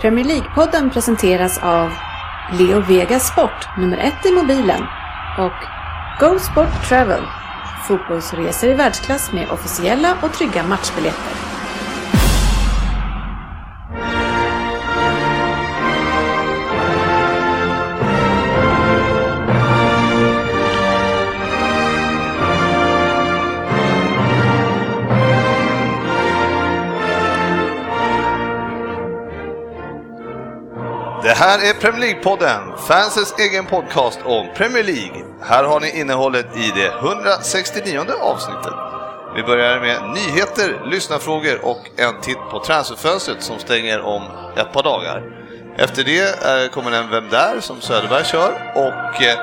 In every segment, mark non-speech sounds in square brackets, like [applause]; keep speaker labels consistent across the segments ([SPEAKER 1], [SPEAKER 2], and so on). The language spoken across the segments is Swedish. [SPEAKER 1] Premier League-podden presenteras av Leo Vega Sport, nummer ett i mobilen och Go Sport Travel, fotbollsresor i världsklass med officiella och trygga matchbiljetter.
[SPEAKER 2] Det här är Premier League-podden, fansens egen podcast om Premier League. Här har ni innehållet i det 169 avsnittet. Vi börjar med nyheter, lyssnarfrågor och en titt på transferfönstret som stänger om ett par dagar. Efter det eh, kommer en Vem där? som Söderberg kör och eh,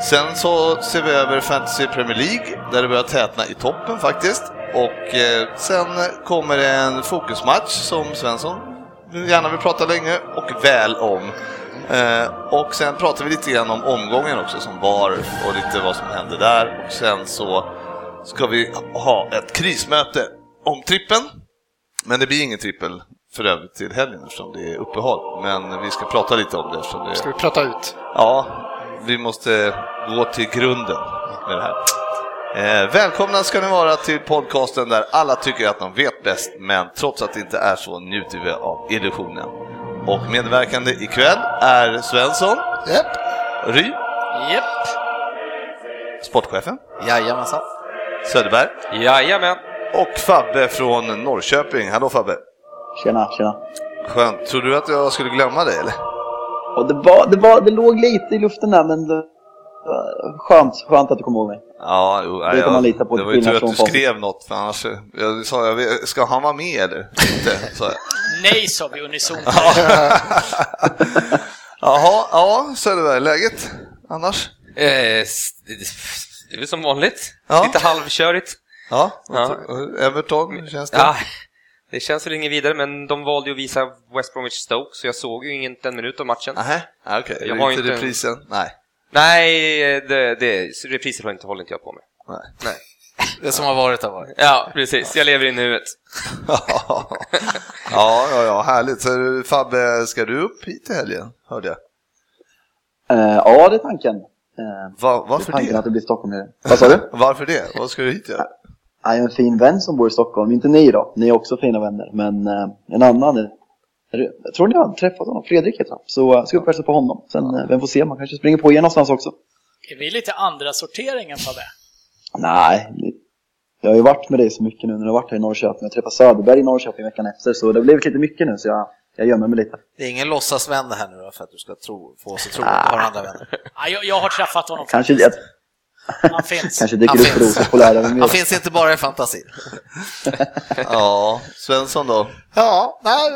[SPEAKER 2] sen så ser vi över Fantasy Premier League där det börjar tätna i toppen faktiskt. Och eh, sen kommer det en fokusmatch som Svensson gärna vill prata länge och väl om. Eh, och sen pratar vi lite grann om omgången också som var och lite vad som hände där. Och sen så ska vi ha ett krismöte om trippen. Men det blir ingen trippel för övrigt till helgen eftersom det är uppehåll. Men vi ska prata lite om det eftersom det
[SPEAKER 3] Ska vi prata ut?
[SPEAKER 2] Ja, vi måste gå till grunden med det här. Eh, välkomna ska ni vara till podcasten där alla tycker att de vet bäst, men trots att det inte är så njuter vi av illusionen. Och medverkande ikväll är Svensson,
[SPEAKER 4] Japp.
[SPEAKER 2] Ry,
[SPEAKER 3] Japp.
[SPEAKER 2] sportchefen,
[SPEAKER 4] Jajamensan.
[SPEAKER 2] Söderberg
[SPEAKER 5] Jajamän!
[SPEAKER 2] och Fabbe från Norrköping. Hallå Fabbe!
[SPEAKER 6] Tjena, tjena.
[SPEAKER 2] Skönt. Tror du att jag skulle glömma dig eller?
[SPEAKER 6] Och det, var, det, var, det låg lite i luften där, men det, var skönt, skönt att du kom ihåg mig.
[SPEAKER 2] Ja, jo, nej,
[SPEAKER 6] Det kan man
[SPEAKER 2] jag-
[SPEAKER 6] lita på,
[SPEAKER 2] Det
[SPEAKER 6] till
[SPEAKER 2] var ju tur att
[SPEAKER 6] skillnad
[SPEAKER 2] du
[SPEAKER 6] från Fabbe.
[SPEAKER 2] skrev något, för annars... Jag sa, jag vet, ska han vara med eller? Inte, sa jag.
[SPEAKER 3] Nej, sa vi unisont.
[SPEAKER 2] Jaha, ja Söderberg, läget annars?
[SPEAKER 5] Eh, s- det är väl som vanligt.
[SPEAKER 2] Ja.
[SPEAKER 5] Lite halvkörigt.
[SPEAKER 2] Ja,
[SPEAKER 5] Ja.
[SPEAKER 2] Everton, hur känns det?
[SPEAKER 5] Ja. Det känns väl inget vidare, men de valde ju att visa West Bromwich Stoke, så jag såg ju inte en minut av matchen.
[SPEAKER 2] Nähä, ja, okej.
[SPEAKER 5] Jag
[SPEAKER 2] Det är
[SPEAKER 5] har
[SPEAKER 2] inte
[SPEAKER 5] inte-
[SPEAKER 2] reprisen? Nej.
[SPEAKER 5] Nej, det, det, så repriser håller inte, håller inte jag på med.
[SPEAKER 2] Nej. [laughs]
[SPEAKER 4] Det som har varit har varit.
[SPEAKER 5] Ja, precis. Jag lever i nuet.
[SPEAKER 2] ja, ja, ja, härligt. Så du, Fabbe, ska du upp hit i helgen? Hörde jag.
[SPEAKER 6] Eh, ja, det är tanken. Eh,
[SPEAKER 2] Va,
[SPEAKER 6] det
[SPEAKER 2] varför
[SPEAKER 6] är tanken
[SPEAKER 2] det?
[SPEAKER 6] att det blir Stockholm nu. Vad
[SPEAKER 2] [laughs]
[SPEAKER 6] sa du?
[SPEAKER 2] Varför det? Vad ska du hit
[SPEAKER 6] [laughs]
[SPEAKER 2] göra?
[SPEAKER 6] Jag är en fin vän som bor i Stockholm. Inte ni då, ni är också fina vänner. Men eh, en annan är, är det, Jag tror ni har träffat honom, Fredrik heter han. Så eh, ska upp och hälsa på honom. Sen, eh, vem får se, man kanske springer på er någonstans också.
[SPEAKER 3] Är vi lite andra sorteringen Fabbe?
[SPEAKER 6] Nej, jag har ju varit med dig så mycket nu när du har varit här i Norrköping. Jag träffade Söderberg i Norrköping veckan efter, så det har blivit lite mycket nu så jag, jag gömmer mig lite.
[SPEAKER 4] Det är ingen låtsasvän det här nu då, för att du ska tro, få oss att tro på varandra vänner.
[SPEAKER 3] Ja, jag, jag har träffat honom,
[SPEAKER 6] Kanske, jag,
[SPEAKER 3] han finns.
[SPEAKER 6] kanske dyker
[SPEAKER 4] Han
[SPEAKER 6] upp för
[SPEAKER 4] finns.
[SPEAKER 6] Rosor på lördag.
[SPEAKER 4] Han finns inte bara i fantasin.
[SPEAKER 2] Ja, Svensson då?
[SPEAKER 3] Ja,
[SPEAKER 7] Nej,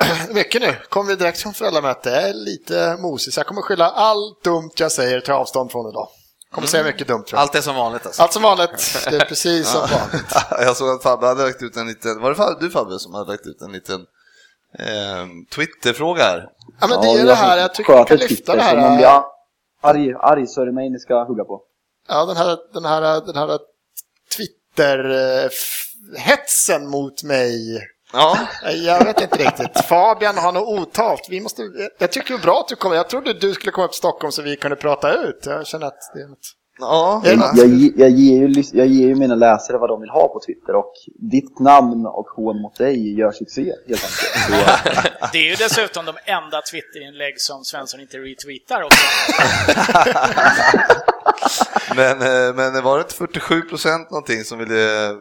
[SPEAKER 7] [clears throat] eh, mycket nu. Kom vi direkt från föräldramöte. Jag är lite mosig, så jag kommer skylla allt dumt jag säger ta avstånd från idag. Kommer säga mycket dumt tror jag. Allt,
[SPEAKER 4] Mm. Allt är som vanligt alltså.
[SPEAKER 7] allt som vanligt. Det är precis som vanligt.
[SPEAKER 2] jag såg att Fabbe hade lagt ut en liten... Var det Fabbe, du Fabbe som hade lagt ut en liten eh, Twitterfråga här?
[SPEAKER 7] Ja, men det är det här, jag tycker vi kan lyfta det
[SPEAKER 6] Om man
[SPEAKER 7] här.
[SPEAKER 6] blir
[SPEAKER 7] eh,
[SPEAKER 6] ar- arg, arg så är det mig ni ska hugga på.
[SPEAKER 7] Ja, den här, den här, den här Twitter-hetsen mot mig.
[SPEAKER 2] Ja,
[SPEAKER 7] Jag vet inte riktigt. Fabian har nog otalt. Vi måste, jag tycker det är bra att du kommer. Jag trodde du skulle komma upp till Stockholm så vi kunde prata ut. Jag känner att det är något.
[SPEAKER 2] ja.
[SPEAKER 7] Är det
[SPEAKER 6] Jag, jag, ge- jag, ger ju, lys- jag ger ju mina läsare vad de vill ha på Twitter och ditt namn och hån mot dig gör succé helt enkelt. Så, eh,
[SPEAKER 3] Det är ju dessutom de enda Twitterinlägg som Svensson inte retweetar också.
[SPEAKER 2] Men, eh, men det var det inte 47 procent någonting som ville eh,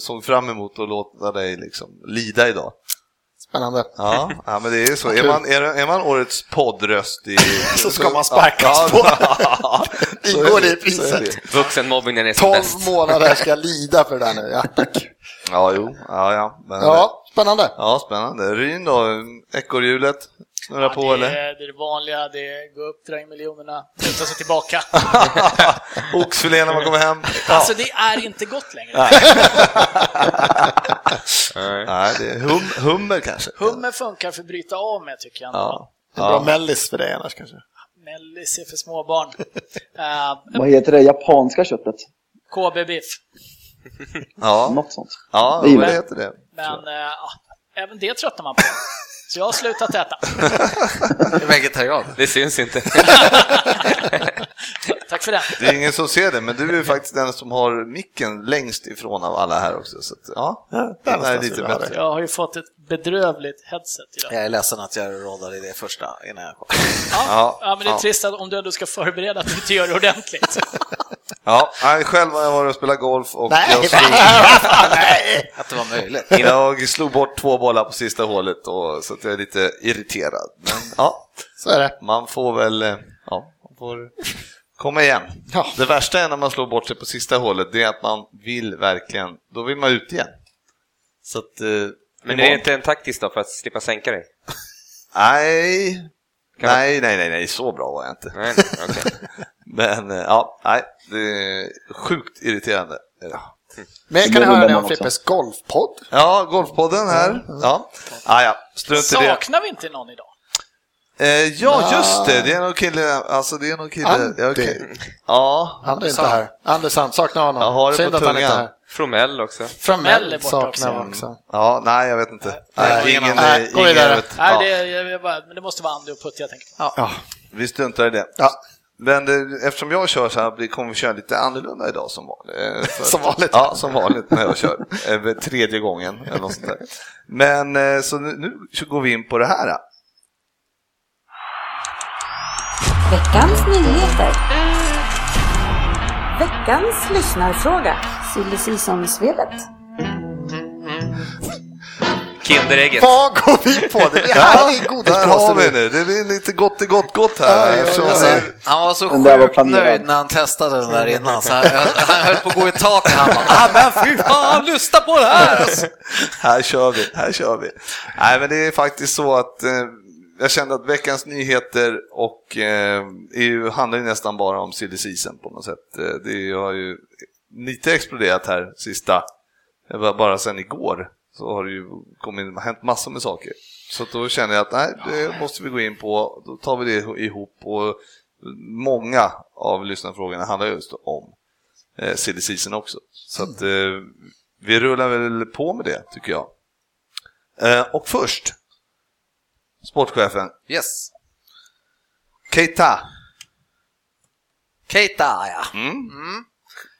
[SPEAKER 2] såg fram emot att låta dig liksom lida idag?
[SPEAKER 7] Spännande. [laughs]
[SPEAKER 2] Ja, ja men det är ju så. Är man, är, är man årets poddröst i...
[SPEAKER 7] [laughs] Så ska
[SPEAKER 2] [laughs]
[SPEAKER 7] man sparkas på. [laughs]
[SPEAKER 2] så
[SPEAKER 7] Ingår
[SPEAKER 2] är
[SPEAKER 7] det i priset?
[SPEAKER 2] så är det.
[SPEAKER 5] Vuxenmobbing när det är som
[SPEAKER 7] 12
[SPEAKER 5] bäst.
[SPEAKER 7] månader ska jag lida för det där nu. Ja, tack.
[SPEAKER 2] Ja, jo. Ja, ja. Men, ja.
[SPEAKER 7] ja spännande.
[SPEAKER 2] ja spännande. Ryn då, ekorrhjulet snurrar på
[SPEAKER 3] det,
[SPEAKER 2] eller?
[SPEAKER 3] är, det är det vanliga, det är gå upp, dra in miljonerna, luta
[SPEAKER 2] [laughs]
[SPEAKER 3] sig tillbaka.
[SPEAKER 2] Oxfilé när man kommer hem?
[SPEAKER 3] Alltså det är inte gott längre.
[SPEAKER 5] [laughs] Nej.
[SPEAKER 2] Nej, det är hum, hummer kanske?
[SPEAKER 3] Hummer funkar för att bryta av med tycker jag.
[SPEAKER 2] Ja.
[SPEAKER 7] Det är bra
[SPEAKER 2] Ja.
[SPEAKER 7] mellis för dig annars kanske.
[SPEAKER 3] Mellis är för småbarn. Uh,
[SPEAKER 6] vad heter det japanska köttet?
[SPEAKER 3] KB-biff.
[SPEAKER 2] Ja,
[SPEAKER 6] Något sånt.
[SPEAKER 2] ja,
[SPEAKER 6] Det
[SPEAKER 2] ja
[SPEAKER 6] gillar
[SPEAKER 2] det
[SPEAKER 6] jag.
[SPEAKER 2] heter det.
[SPEAKER 3] Men eh, ja, även det tröttnar man på. Så jag har
[SPEAKER 2] [laughs]
[SPEAKER 3] slutat äta.
[SPEAKER 4] Vegetarian.
[SPEAKER 5] Det syns [laughs] inte.
[SPEAKER 3] Tack för det.
[SPEAKER 2] Det är ingen som ser det, men du är ju faktiskt den som har micken längst ifrån av alla här också. Så att, ja, det här är
[SPEAKER 7] någonstans
[SPEAKER 2] lite
[SPEAKER 7] vill jag ha
[SPEAKER 2] bättre.
[SPEAKER 3] Jag har ju fått ett bedrövligt headset idag.
[SPEAKER 4] Jag är ledsen att jag råddade det första innan jag kom.
[SPEAKER 2] Ja,
[SPEAKER 3] Ja, ja, men det är
[SPEAKER 2] ja.
[SPEAKER 3] trist att om du ändå ska förbereda att du inte gör
[SPEAKER 2] [laughs]
[SPEAKER 3] det ordentligt.
[SPEAKER 2] Ja, nej, själv har jag varit och spelat golf och
[SPEAKER 7] Nej,
[SPEAKER 2] jag, slog,
[SPEAKER 7] Nej!
[SPEAKER 4] Att det var möjligt.
[SPEAKER 2] jag slog bort två bollar på sista hålet, och, så att jag är lite irriterad. Men ja,
[SPEAKER 7] [laughs] Så är det.
[SPEAKER 2] man får väl eh, ja, man får komma igen.
[SPEAKER 7] Ja.
[SPEAKER 2] Det värsta är när man slår bort sig på sista hålet, det är att man vill verkligen, då vill man ut igen. Så att, eh,
[SPEAKER 5] Men det
[SPEAKER 2] imorgon-
[SPEAKER 5] är inte en taktisk då för att slippa sänka dig?
[SPEAKER 2] Nej.
[SPEAKER 5] Kan
[SPEAKER 2] Nej, nej, nej, nej, så bra var jag inte.
[SPEAKER 5] Nej, nej, okej.
[SPEAKER 2] Men eh, ja, nej, det är sjukt irriterande.
[SPEAKER 6] Det
[SPEAKER 7] Men kan ni
[SPEAKER 6] blir nog
[SPEAKER 7] höra det om
[SPEAKER 6] den också.
[SPEAKER 7] Frippes golfpodd?
[SPEAKER 2] Ja, Golfpodden här. Ja, ah, ja strunt i det.
[SPEAKER 3] Saknar vi inte någon idag?
[SPEAKER 2] Eh,
[SPEAKER 7] Ah.
[SPEAKER 2] ja, just det, det är någon kille, alltså det är någon kille.
[SPEAKER 7] Antti.
[SPEAKER 2] Ja, okej. ja,
[SPEAKER 7] Han är inte här. Andersson, saknar honom.
[SPEAKER 2] Jag har det
[SPEAKER 7] Synd
[SPEAKER 2] på
[SPEAKER 7] att han inte är
[SPEAKER 2] tungan.
[SPEAKER 7] här.
[SPEAKER 5] Fromell också.
[SPEAKER 3] Mell är
[SPEAKER 7] Framell
[SPEAKER 3] borta
[SPEAKER 7] saknar vi
[SPEAKER 3] också.
[SPEAKER 7] också.
[SPEAKER 2] ja, nej, jag vet inte. Nej,
[SPEAKER 7] Nej,
[SPEAKER 2] ingen,
[SPEAKER 7] nej,
[SPEAKER 2] eh,
[SPEAKER 7] gå vidare.
[SPEAKER 2] vet-
[SPEAKER 3] Nej,
[SPEAKER 2] ja.
[SPEAKER 3] det, jag, jag bara, men det måste vara Andy och Putte jag tänker på.
[SPEAKER 4] Mm.
[SPEAKER 7] Ja.
[SPEAKER 2] Vi struntar i det.
[SPEAKER 7] Ja.
[SPEAKER 2] Men det, eftersom jag kör så här blir- kommer vi köra lite annorlunda idag som vanligt. Eh, för-
[SPEAKER 7] [laughs] Som vanligt.
[SPEAKER 2] Ja, som vanligt när jag kör. Eh, för Tredje gången eller något sånt där. Men eh, så nu, nu så går vi in på det här. då.
[SPEAKER 1] Veckans nyheter. Veckans lyssnarfråga. Silly Season-svepet.
[SPEAKER 5] Kinderägget.
[SPEAKER 7] Vad går vi på?
[SPEAKER 4] [laughs]
[SPEAKER 7] Det det här är
[SPEAKER 2] Där har vi
[SPEAKER 7] godispåsen.
[SPEAKER 2] nu. Det blir lite gott i gott gott här.
[SPEAKER 7] Ja, ja,
[SPEAKER 2] eftersom-
[SPEAKER 7] ja,
[SPEAKER 4] Alltså,
[SPEAKER 7] Nej.
[SPEAKER 4] han var så
[SPEAKER 6] Den där var
[SPEAKER 4] sjukt
[SPEAKER 6] planerad.
[SPEAKER 4] nöjd när han testade den där innan, så han, han höll på att gå i taket. Han bara, ah, men fy fan, lyssna på det här! Alltså.
[SPEAKER 2] [laughs] Här kör vi, här kör vi. Nej, men det är faktiskt så att eh, jag kände att veckans nyheter och eh, EU handlar ju nästan bara om silly season på något sätt. Eh, Det har ju lite exploderat här sista, det var bara sedan igår så har det ju kommit, hänt massor med saker. Så att då känner jag att nej, det måste vi gå in på, då tar vi det ihop och många av lyssnarfrågorna handlar just om eh, silly season också. Så att eh, vi rullar väl på med det, tycker jag. Eh, och först, sportchefen
[SPEAKER 4] Yes.
[SPEAKER 2] Keita,
[SPEAKER 4] Keita, ja.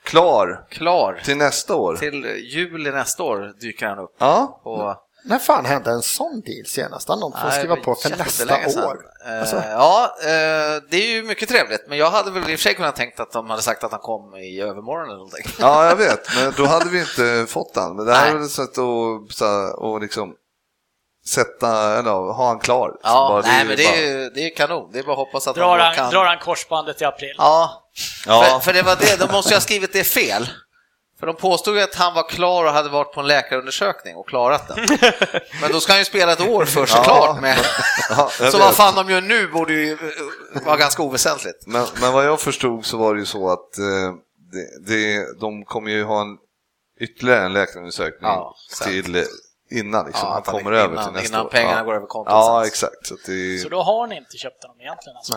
[SPEAKER 2] klar
[SPEAKER 4] Klar.
[SPEAKER 2] till nästa år.
[SPEAKER 4] Till juli nästa år dyker han upp.
[SPEAKER 2] Ja,
[SPEAKER 4] På,
[SPEAKER 7] När fan hände en sån deal senast? Han någon får
[SPEAKER 4] Nej,
[SPEAKER 7] skriva
[SPEAKER 4] det var
[SPEAKER 7] på för
[SPEAKER 4] jättelänge
[SPEAKER 7] nästa
[SPEAKER 4] sedan.
[SPEAKER 7] år.
[SPEAKER 4] Eh,
[SPEAKER 7] Alltså.
[SPEAKER 4] Ja, eh, det är ju mycket trevligt, men jag hade väl i och för sig kunnat tänkt att de hade sagt att han kom i övermorgon eller någonting.
[SPEAKER 2] ja, jag vet, men då hade vi inte fått han. Men det här
[SPEAKER 4] Nej.
[SPEAKER 2] är väl ett sätt att så här, och liksom sätta, eller ja, ha han klar. Så
[SPEAKER 4] Ja,
[SPEAKER 2] bara,
[SPEAKER 4] nej, men det är,
[SPEAKER 2] bara-
[SPEAKER 4] ju, det är ju kanon. Det är bara att hoppas att
[SPEAKER 3] Drar
[SPEAKER 4] då
[SPEAKER 3] han,
[SPEAKER 4] kan...
[SPEAKER 3] drar han korsbandet i april?
[SPEAKER 4] Ja, För,
[SPEAKER 2] Ja,
[SPEAKER 4] för det var det, de måste ju ha skrivit det fel. För de påstod ju att han var klar och hade varit på en läkarundersökning och klarat den. Men då ska han ju spela ett år först
[SPEAKER 2] Ja.
[SPEAKER 4] såklart. Med.
[SPEAKER 2] ja, jag
[SPEAKER 4] Så
[SPEAKER 2] vet.
[SPEAKER 4] vad fan de gör nu borde ju eh, vara ganska oväsentligt.
[SPEAKER 2] Men, men vad jag förstod så var det ju så att eh, det, det, de kommer ju ha en ytterligare en läkarundersökning
[SPEAKER 4] Ja, sen.
[SPEAKER 2] till eh, innan liksom,
[SPEAKER 4] Ja,
[SPEAKER 2] han
[SPEAKER 4] att han-
[SPEAKER 2] kommer över
[SPEAKER 4] innan-
[SPEAKER 2] till nästa
[SPEAKER 4] innan
[SPEAKER 2] år.
[SPEAKER 4] pengarna
[SPEAKER 2] ja.
[SPEAKER 4] går över kontot
[SPEAKER 2] Ja,
[SPEAKER 4] sen.
[SPEAKER 2] exakt. Så att det,
[SPEAKER 3] Så då har ni inte köpt honom egentligen alltså?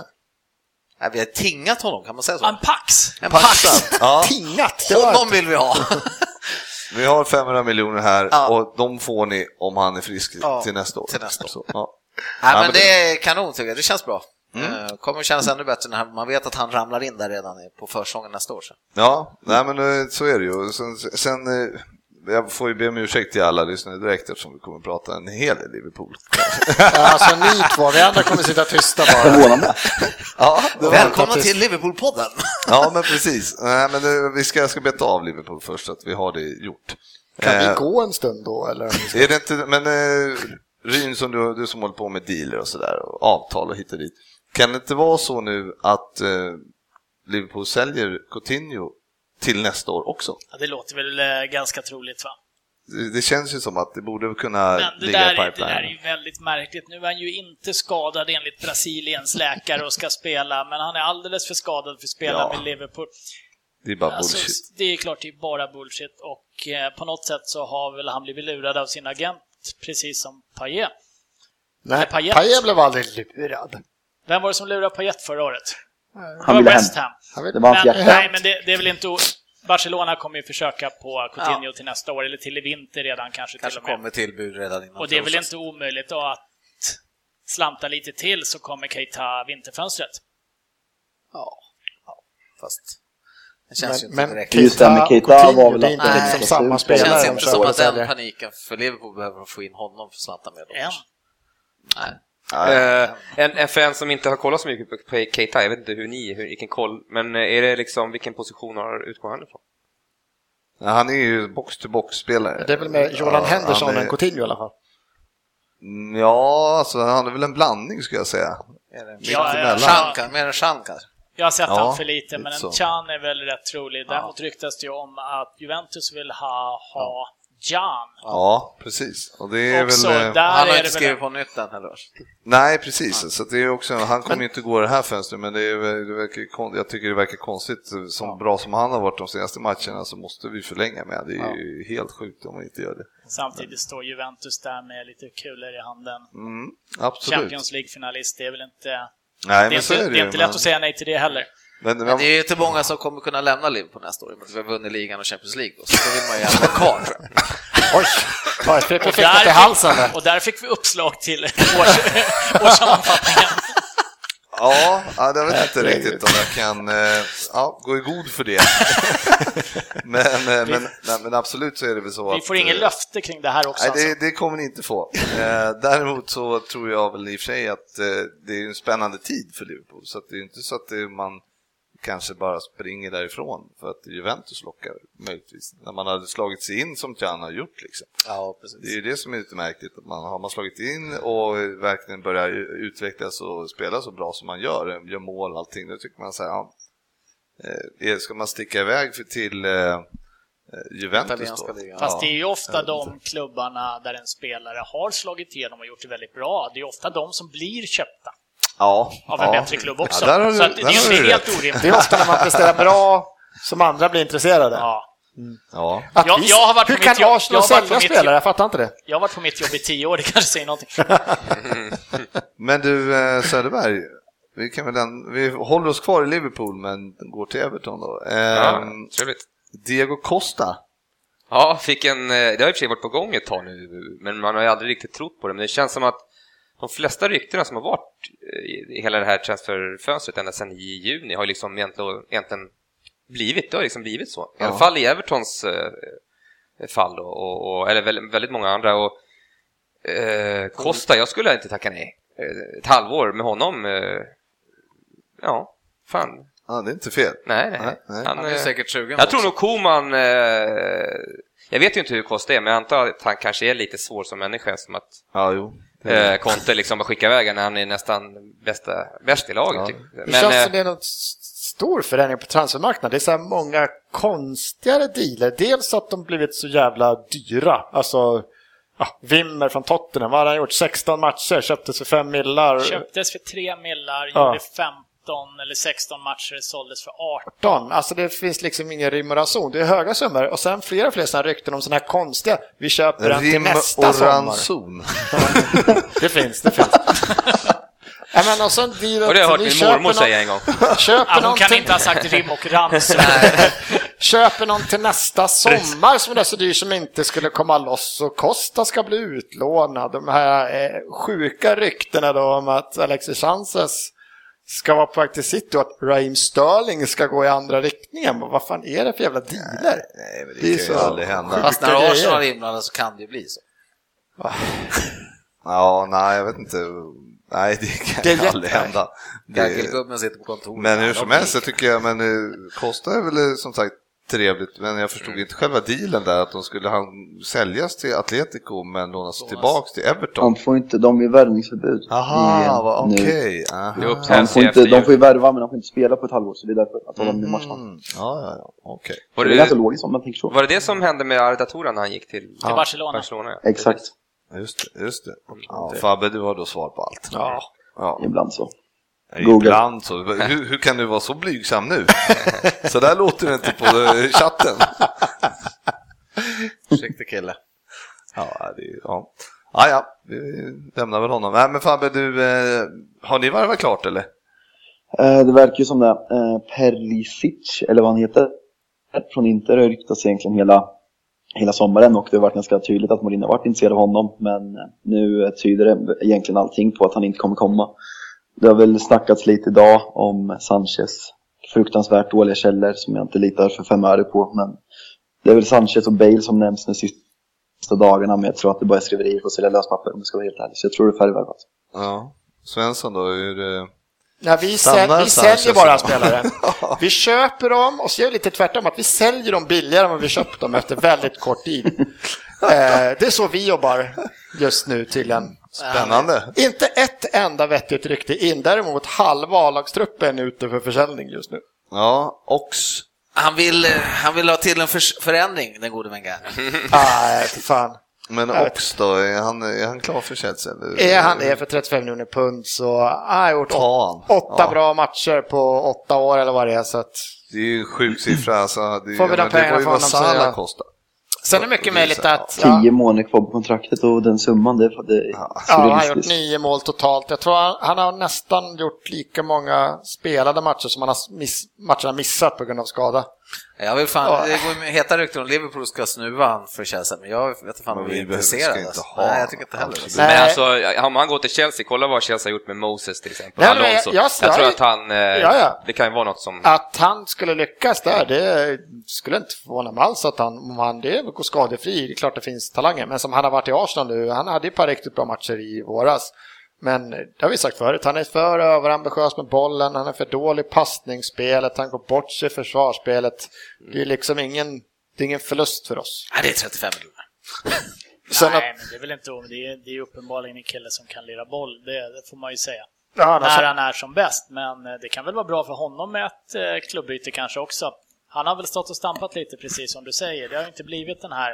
[SPEAKER 4] Nej, vi har tingat honom, kan man säga så?
[SPEAKER 3] En pax!
[SPEAKER 4] En pax!
[SPEAKER 2] ja,
[SPEAKER 7] Tingat! Det var
[SPEAKER 4] Honom vill vi ha!
[SPEAKER 2] vi har 500 miljoner här
[SPEAKER 4] Ja.
[SPEAKER 2] och de får ni om han är frisk
[SPEAKER 4] Ja,
[SPEAKER 2] till nästa år.
[SPEAKER 4] till nästa år.
[SPEAKER 2] Så, ja.
[SPEAKER 4] Nej,
[SPEAKER 2] men Mm.
[SPEAKER 4] men det är kanon tycker jag, det känns bra. Eh, Kommer kännas ännu bättre när man vet att han ramlar in där redan i- på försången nästa år. Sen.
[SPEAKER 2] Ja, nej men eh, så är det ju. Sen, sen eh, jag får ju be om ursäkt till alla lyssnare direkt eftersom vi kommer prata en hel del Liverpool.
[SPEAKER 7] alltså ni två, vi andra kommer sitta tysta
[SPEAKER 4] [laughs]
[SPEAKER 7] bara.
[SPEAKER 6] Förvånande.
[SPEAKER 2] Ja, det var...
[SPEAKER 4] Välkomna
[SPEAKER 7] faktiskt-
[SPEAKER 4] till Liverpool-podden!
[SPEAKER 2] ja men precis. Nej, men eh, vi ska, jag ska beta av Liverpool först så att vi har det gjort.
[SPEAKER 7] Kan vi
[SPEAKER 2] Eh,
[SPEAKER 7] gå en stund då eller?
[SPEAKER 2] Är det inte, men eh, Ryn, som du, du som håller på med dealer och sådär, och avtal och hit och dit. Kan det inte vara så nu att eh, Liverpool säljer Coutinho till nästa år också?
[SPEAKER 3] Ja, det låter väl eh, ganska troligt va?
[SPEAKER 2] Det, det känns ju som att det borde kunna
[SPEAKER 3] Men det
[SPEAKER 2] ligga
[SPEAKER 3] där,
[SPEAKER 2] i
[SPEAKER 3] är, det där är
[SPEAKER 2] pipeline.
[SPEAKER 3] ju väldigt märkligt. Nu är han ju inte skadad enligt Brasiliens läkare och ska spela, men han är alldeles för skadad för att spela
[SPEAKER 2] Ja.
[SPEAKER 3] med Liverpool.
[SPEAKER 2] Det är bara
[SPEAKER 3] Alltså,
[SPEAKER 2] bullshit.
[SPEAKER 3] det är klart, det är bara bullshit och eh, på något sätt så har väl han blivit lurad av sin agent, precis som Payet.
[SPEAKER 7] Nej,
[SPEAKER 3] Payet.
[SPEAKER 7] Payet blev aldrig lurad.
[SPEAKER 3] Vem var det som lurade Payet förra året?
[SPEAKER 6] Han
[SPEAKER 3] det
[SPEAKER 6] ville
[SPEAKER 3] var
[SPEAKER 6] hem.
[SPEAKER 3] West Ham.
[SPEAKER 7] Han
[SPEAKER 6] Det
[SPEAKER 7] vet-
[SPEAKER 6] var hans
[SPEAKER 3] Men,
[SPEAKER 6] hjärta.
[SPEAKER 3] nej, men det, det är väl inte... o- Barcelona kommer ju försöka på Coutinho till nästa år, eller till i vinter redan kanske,
[SPEAKER 4] Kanske
[SPEAKER 3] till och med.
[SPEAKER 4] kommer tillbud redan innan
[SPEAKER 3] Och det är väl
[SPEAKER 4] torsdags.
[SPEAKER 3] inte omöjligt då att slanta lite till så kommer Keita vinterfönstret.
[SPEAKER 4] Ja, ja, fast det känns ju inte
[SPEAKER 7] men
[SPEAKER 4] direkt.
[SPEAKER 6] Just det, men Keita
[SPEAKER 7] Coutinho,
[SPEAKER 6] var väl
[SPEAKER 7] det är inte
[SPEAKER 6] att-
[SPEAKER 7] liksom
[SPEAKER 6] Nej.
[SPEAKER 7] samma
[SPEAKER 6] det
[SPEAKER 4] Det
[SPEAKER 7] spelare.
[SPEAKER 4] känns
[SPEAKER 7] de
[SPEAKER 4] inte
[SPEAKER 7] kör
[SPEAKER 4] som
[SPEAKER 7] och
[SPEAKER 4] att den
[SPEAKER 7] säljer.
[SPEAKER 4] paniken för Liverpool behöver de få in honom för slantar med.
[SPEAKER 3] Än.
[SPEAKER 4] Nej.
[SPEAKER 5] Eh, en, en fan som inte har kollat så mycket på på Keita, jag vet inte hur ni, hur, vilken koll, men eh, är det liksom, vilken position har, utgår han ifrån?
[SPEAKER 2] Ja, Han är ju box-to-box-spelare.
[SPEAKER 7] Det är väl med Jordan
[SPEAKER 2] Ja,
[SPEAKER 7] Henderson
[SPEAKER 2] han är-
[SPEAKER 7] och Coutinho i alla fall.
[SPEAKER 2] Ja, alltså han är väl en blandning skulle jag säga.
[SPEAKER 4] Är det-
[SPEAKER 3] Ja, ja,
[SPEAKER 2] emellan.
[SPEAKER 3] ja.
[SPEAKER 4] Shankan, mer än Shankan.
[SPEAKER 3] Jag har sett
[SPEAKER 2] Ja,
[SPEAKER 3] han för lite, men
[SPEAKER 2] lite så.
[SPEAKER 3] en Chan är väl rätt trolig. Däremot ryktas det ju om att Juventus vill ha, ha Jan.
[SPEAKER 2] Ja, precis. Och det är
[SPEAKER 3] Också,
[SPEAKER 2] väl... eh,
[SPEAKER 3] där
[SPEAKER 4] Han har
[SPEAKER 3] är
[SPEAKER 4] inte
[SPEAKER 3] det väl-
[SPEAKER 4] skrivit på nytt än heller.
[SPEAKER 2] Nej, precis. Så att det är också, han kommer ju inte gå det här fönstret, men det är, väl- det verkar, ju kon- jag tycker det verkar konstigt. eh, Som bra som han har varit de senaste matcherna så måste vi förlänga med. Det är ju helt sjukt om vi inte gör det.
[SPEAKER 3] Samtidigt står Juventus där med lite kulor i handen.
[SPEAKER 2] Mm, absolut.
[SPEAKER 3] Champions League-finalist, det är väl inte...
[SPEAKER 2] Nej,
[SPEAKER 3] det är
[SPEAKER 2] men så
[SPEAKER 3] inte,
[SPEAKER 2] är
[SPEAKER 3] det är
[SPEAKER 2] ju,
[SPEAKER 3] inte
[SPEAKER 2] men-
[SPEAKER 3] lätt att säga nej till det heller.
[SPEAKER 2] Men, men,
[SPEAKER 4] Men det är ju inte många som kommer kunna lämna Liverpool nästa år i och med att vi har vunnit ligan och Champions League. Då, så då vill man ju gärna vara kvar tror jag.
[SPEAKER 7] Oj, var det Frippe
[SPEAKER 3] Och
[SPEAKER 7] fick något i halsen där?
[SPEAKER 3] och där fick vi
[SPEAKER 2] [laughs]
[SPEAKER 3] uppslag till [laughs] års, årssammanfattningen.
[SPEAKER 2] ja, ja, jag vet inte riktigt om jag kan eh, ja, gå i god för
[SPEAKER 3] [laughs]
[SPEAKER 2] det. [laughs] men, eh, men, nej, men absolut så är det väl så
[SPEAKER 3] Vi
[SPEAKER 2] att...
[SPEAKER 3] får inget
[SPEAKER 2] eh,
[SPEAKER 3] löfte kring det här också.
[SPEAKER 2] Nej,
[SPEAKER 3] alltså.
[SPEAKER 2] det, det kommer ni inte få. Eh, däremot så tror jag väl i och för sig att eh, det är en spännande tid för Liverpool, så att det är ju inte så att det, man kanske bara springer därifrån för att Juventus lockar, möjligtvis. När man hade slagit sig in som Can har gjort. Liksom.
[SPEAKER 4] Ja,
[SPEAKER 2] Det är
[SPEAKER 4] precis.
[SPEAKER 2] ju det som är lite märkligt, att man har man slagit in och verkligen börjar utvecklas och spela så bra som man gör, gör mål och allting, då tycker man så här, ja, eh, är- ska man sticka iväg för till eh, eh, Juventus
[SPEAKER 4] Italienska
[SPEAKER 2] då?
[SPEAKER 4] ligan.
[SPEAKER 3] Fast det är ju
[SPEAKER 2] jag
[SPEAKER 3] ofta
[SPEAKER 2] vet
[SPEAKER 3] de klubbarna där en spelare har slagit igenom och gjort det väldigt bra. Det är ofta de som blir köpta
[SPEAKER 2] Ja,
[SPEAKER 3] av en
[SPEAKER 2] ja.
[SPEAKER 3] bättre klubb också.
[SPEAKER 2] Ja, där har du,
[SPEAKER 3] Så att det
[SPEAKER 2] där har
[SPEAKER 3] är ju
[SPEAKER 2] du
[SPEAKER 3] inte helt
[SPEAKER 2] rätt.
[SPEAKER 3] orimligt.
[SPEAKER 7] Det är ofta när man presterar bra som andra blir intresserade.
[SPEAKER 3] Ja.
[SPEAKER 2] Ja.
[SPEAKER 7] Att
[SPEAKER 3] Jag-
[SPEAKER 7] vi-
[SPEAKER 3] jag har varit
[SPEAKER 7] Hur
[SPEAKER 3] på mitt
[SPEAKER 7] kan
[SPEAKER 3] jobb- jag
[SPEAKER 7] Arsenal
[SPEAKER 3] har varit på
[SPEAKER 7] sälja
[SPEAKER 3] mitt
[SPEAKER 7] spelare?
[SPEAKER 3] jobb.
[SPEAKER 7] Jag fattar inte det.
[SPEAKER 3] Jag har varit på mitt jobb i tio år, det kanske säger någonting.
[SPEAKER 2] Men du eh, Söderberg, vi, kan väl en, vi håller oss kvar i Liverpool men går till Everton då. Ehm,
[SPEAKER 5] Ja, trevligt.
[SPEAKER 2] Diego Costa,
[SPEAKER 5] Ja, fick en, eh, det har i och för sig varit på gång ett tag nu, men man har ju aldrig riktigt trott på det. Men det känns som att de flesta ryktena som har varit eh, i hela det här transferfönstret ända sedan i juni har ju liksom egentligen, egentligen blivit, det har liksom blivit så. I alla
[SPEAKER 2] Ja.
[SPEAKER 5] fall i Evertons eh, fall då, och, och, eller väldigt, väldigt många andra. Och, eh, Costa, jag skulle inte tacka nej. Eh, Ett halvår med honom, eh, ja, fan.
[SPEAKER 2] ja, det är inte fel.
[SPEAKER 5] Nej, nej.
[SPEAKER 2] Nej, nej.
[SPEAKER 4] Han är ju
[SPEAKER 5] eh,
[SPEAKER 4] säkert sugen
[SPEAKER 5] jag tror
[SPEAKER 4] också.
[SPEAKER 5] nog Koman... Eh, jag vet ju inte hur Costa är, men jag antar att han kanske är lite svår som människa, som att
[SPEAKER 2] Ja, jo.
[SPEAKER 5] eh, Conte liksom bara skickar iväg honom när han är nästan bästa, bäst i laget.
[SPEAKER 2] Ja.
[SPEAKER 5] typ.
[SPEAKER 7] Det
[SPEAKER 5] Men,
[SPEAKER 7] känns
[SPEAKER 5] eh,
[SPEAKER 7] som det är någon s- stor förändring på transfermarknaden. Det är så här många konstigare dealer. Dels att de blivit så jävla dyra. Alltså, ja, Wimmer från Tottenham, vad hade han gjort? 16 matcher, köptes för 5 millar.
[SPEAKER 3] Köptes för tre millar,
[SPEAKER 7] Ja.
[SPEAKER 3] gjorde 15 eller 16 matcher, såldes för 18.
[SPEAKER 7] 18. Alltså det finns liksom ingen rim och ranson. Det är höga summor. Och sen flera fler sådana rykten om sådana här konstiga. Vi köper den till
[SPEAKER 2] Rim
[SPEAKER 7] nästa
[SPEAKER 2] och
[SPEAKER 7] sommar.
[SPEAKER 2] ranson.
[SPEAKER 7] Det finns, det [laughs] finns. Nej, men och sen dealet,
[SPEAKER 5] och det har jag hört
[SPEAKER 7] ni
[SPEAKER 5] min
[SPEAKER 7] köper
[SPEAKER 5] mormor
[SPEAKER 7] någon-
[SPEAKER 5] säga en gång.
[SPEAKER 7] Köper
[SPEAKER 3] Ja, hon kan
[SPEAKER 7] någonting-
[SPEAKER 3] inte ha sagt rim och ramsor.
[SPEAKER 7] Köper någon till nästa sommar som är så dyr som inte skulle komma loss och Costa ska bli utlånad. De här eh, sjuka ryktena då om att Alexis Sanchez ska vara på väg till City och att Raheem Sterling ska gå i andra riktningen. Men Vad fan är det för jävla dealer?
[SPEAKER 2] Nej, men det,
[SPEAKER 7] Det är
[SPEAKER 2] kan
[SPEAKER 7] så
[SPEAKER 2] ju aldrig hända.
[SPEAKER 4] Fast när
[SPEAKER 7] Sjuka
[SPEAKER 4] Arsenal är
[SPEAKER 7] grejer.
[SPEAKER 4] inblandade så kan det ju bli så.
[SPEAKER 2] Ja, nej, jag vet inte. Nej, det kan
[SPEAKER 7] Det är
[SPEAKER 2] aldrig
[SPEAKER 7] jätte-
[SPEAKER 2] hända. Det,
[SPEAKER 4] Gaggelgubben sitter på kontoret.
[SPEAKER 2] men hur
[SPEAKER 4] Ja,
[SPEAKER 2] som
[SPEAKER 4] de
[SPEAKER 2] helst, jag
[SPEAKER 4] gick.
[SPEAKER 2] tycker jag, men eh, Costa är väl eh, som sagt trevligt, men jag förstod inte själva dealen där, att de skulle han säljas till Atletico men lånas tillbaks till Everton.
[SPEAKER 6] De får inte, de är värvningsförbud. i-
[SPEAKER 2] Aha, vad-
[SPEAKER 6] nu.
[SPEAKER 2] okej.
[SPEAKER 5] Det är
[SPEAKER 2] aha.
[SPEAKER 6] De
[SPEAKER 5] uppsägning
[SPEAKER 6] får,
[SPEAKER 5] efter
[SPEAKER 6] inte, de
[SPEAKER 5] jul.
[SPEAKER 6] får ju värva men de får inte spela på ett halvår så det är därför att de har med matcherna.
[SPEAKER 2] Mm. Ja, ja, ja. Okej.
[SPEAKER 5] Var
[SPEAKER 6] Det är ganska
[SPEAKER 5] det,
[SPEAKER 6] logiskt om man tänker så.
[SPEAKER 5] var det det som hände med Arda Turan när han gick till,
[SPEAKER 3] Till Barcelona.
[SPEAKER 5] Barcelona ja.
[SPEAKER 6] Exakt,
[SPEAKER 2] Just det. Just det. Ja, Fabbe, du har då svar på allt.
[SPEAKER 7] Ja.
[SPEAKER 2] Ja.
[SPEAKER 6] ibland så. Google.
[SPEAKER 2] Ibland så. Hur, hur kan du vara så blygsam nu? [laughs] så där låter det inte på eh, [laughs] chatten.
[SPEAKER 4] Försiktig kille.
[SPEAKER 2] Ja, det, är- ja. Ja, ja, vi lämnar väl honom. Nej, men Fabbe, du, eh, har ni varvat klart eller?
[SPEAKER 6] Eh, Det verkar ju som det. Eh, Perlisic, eller vad han heter, från Inter har ryktats egentligen hela hela sommaren och det har varit ganska tydligt att Mourinho har varit intresserad av honom. Men eh, nu tyder det egentligen allting på att han inte kommer komma. Det har väl snackats lite idag om Sanchez fruktansvärt dåliga källor som jag inte litar för fem öre på. Men det är väl Sanchez och Bale som nämns de sista dagarna, men jag tror att det bara är skriverier för att sälja löspapper om jag ska vara helt ärlig. Så jag tror det är färdigvärvat.
[SPEAKER 2] Ja. Svensson då, hur... eh,
[SPEAKER 7] Nej, vi,
[SPEAKER 2] Stannar
[SPEAKER 7] säl vi säljer
[SPEAKER 2] Sanchez
[SPEAKER 7] bara
[SPEAKER 2] då? [laughs]
[SPEAKER 7] spelare. Vi köper dem och så gör vi lite tvärtom, att vi säljer dem billigare än vad vi köpt dem efter väldigt kort tid. Eh, det är så vi jobbar just nu tydligen.
[SPEAKER 2] Spännande.
[SPEAKER 7] Inte ett enda vettigt rykte in, däremot halva A-lagstruppen är ute för försäljning just nu.
[SPEAKER 2] Ja, Ox.
[SPEAKER 4] Han vill, eh, han vill ha till en förs- förändring, den gode Wenger.
[SPEAKER 7] Nej, för fan.
[SPEAKER 2] Men
[SPEAKER 7] Jag vet.
[SPEAKER 2] Ox då, är han, är han klar för Chelsea? Eller?
[SPEAKER 7] Är han det för 35 miljoner pund så han har gjort
[SPEAKER 2] Ta han.
[SPEAKER 7] åtta
[SPEAKER 2] Ja.
[SPEAKER 7] bra matcher på åtta år eller vad det är. Så att...
[SPEAKER 2] Det är ju en sjuk siffra. Alltså, det,
[SPEAKER 7] Får vi de
[SPEAKER 2] men det
[SPEAKER 7] pengarna
[SPEAKER 2] var ju
[SPEAKER 7] från
[SPEAKER 2] vad
[SPEAKER 7] dem så
[SPEAKER 2] Salah
[SPEAKER 7] är det-
[SPEAKER 2] kostar.
[SPEAKER 7] Sen är det mycket möjligt att...
[SPEAKER 6] Tio månader kvar på kontraktet och den summan, det, det är
[SPEAKER 7] Ja, han har gjort
[SPEAKER 6] surrealistiskt.
[SPEAKER 7] nio mål totalt. Jag tror han, han har nästan gjort lika många spelade matcher som han har miss, matcherna missat på grund av skada.
[SPEAKER 4] Jag vill fan,
[SPEAKER 7] Ja.
[SPEAKER 4] det går ju heta rykten om Liverpool ska snuva han för Chelsea, men jag vet inte fan
[SPEAKER 2] Men
[SPEAKER 4] om vi
[SPEAKER 2] vi
[SPEAKER 4] är
[SPEAKER 2] behöver- ska
[SPEAKER 4] intresserade.
[SPEAKER 2] inte
[SPEAKER 4] Alltså.
[SPEAKER 2] ha
[SPEAKER 4] Nej,
[SPEAKER 2] honom.
[SPEAKER 4] jag tycker inte heller det.
[SPEAKER 7] Nej.
[SPEAKER 5] Men alltså, om han går till Chelsea, kolla vad Chelsea har gjort med Moses till exempel.
[SPEAKER 7] Nej, men
[SPEAKER 5] Alonso.
[SPEAKER 7] jag- jag- jag-
[SPEAKER 5] tror att han... eh,
[SPEAKER 7] Ja, ja.
[SPEAKER 5] Det kan ju vara något som...
[SPEAKER 7] Att han skulle lyckas där, det skulle inte förvåna mig alls att han, om han det går skadefri, det är klart det finns talanger. Men som han har varit i Arsenal nu, han hade ju ett par riktigt bra matcher i våras. Men det har vi sagt förut, han är för överambitiös med bollen, han är för dålig i passningsspelet, han går bort sig i försvarsspelet. Det är liksom ingen, det är ingen förlust för oss.
[SPEAKER 4] Nej, det är 35 miljoner.
[SPEAKER 7] Sen att,
[SPEAKER 3] Nej, men det är väl inte om. Det är, det är uppenbarligen en kille som kan lira boll, det, det får man ju säga.
[SPEAKER 7] ja, han har
[SPEAKER 3] När
[SPEAKER 7] sagt-
[SPEAKER 3] han är som bäst, men eh, det kan väl vara bra för honom med ett eh, klubbyte kanske också. Han har väl stått och stampat lite, precis som du säger. Det har ju inte blivit den här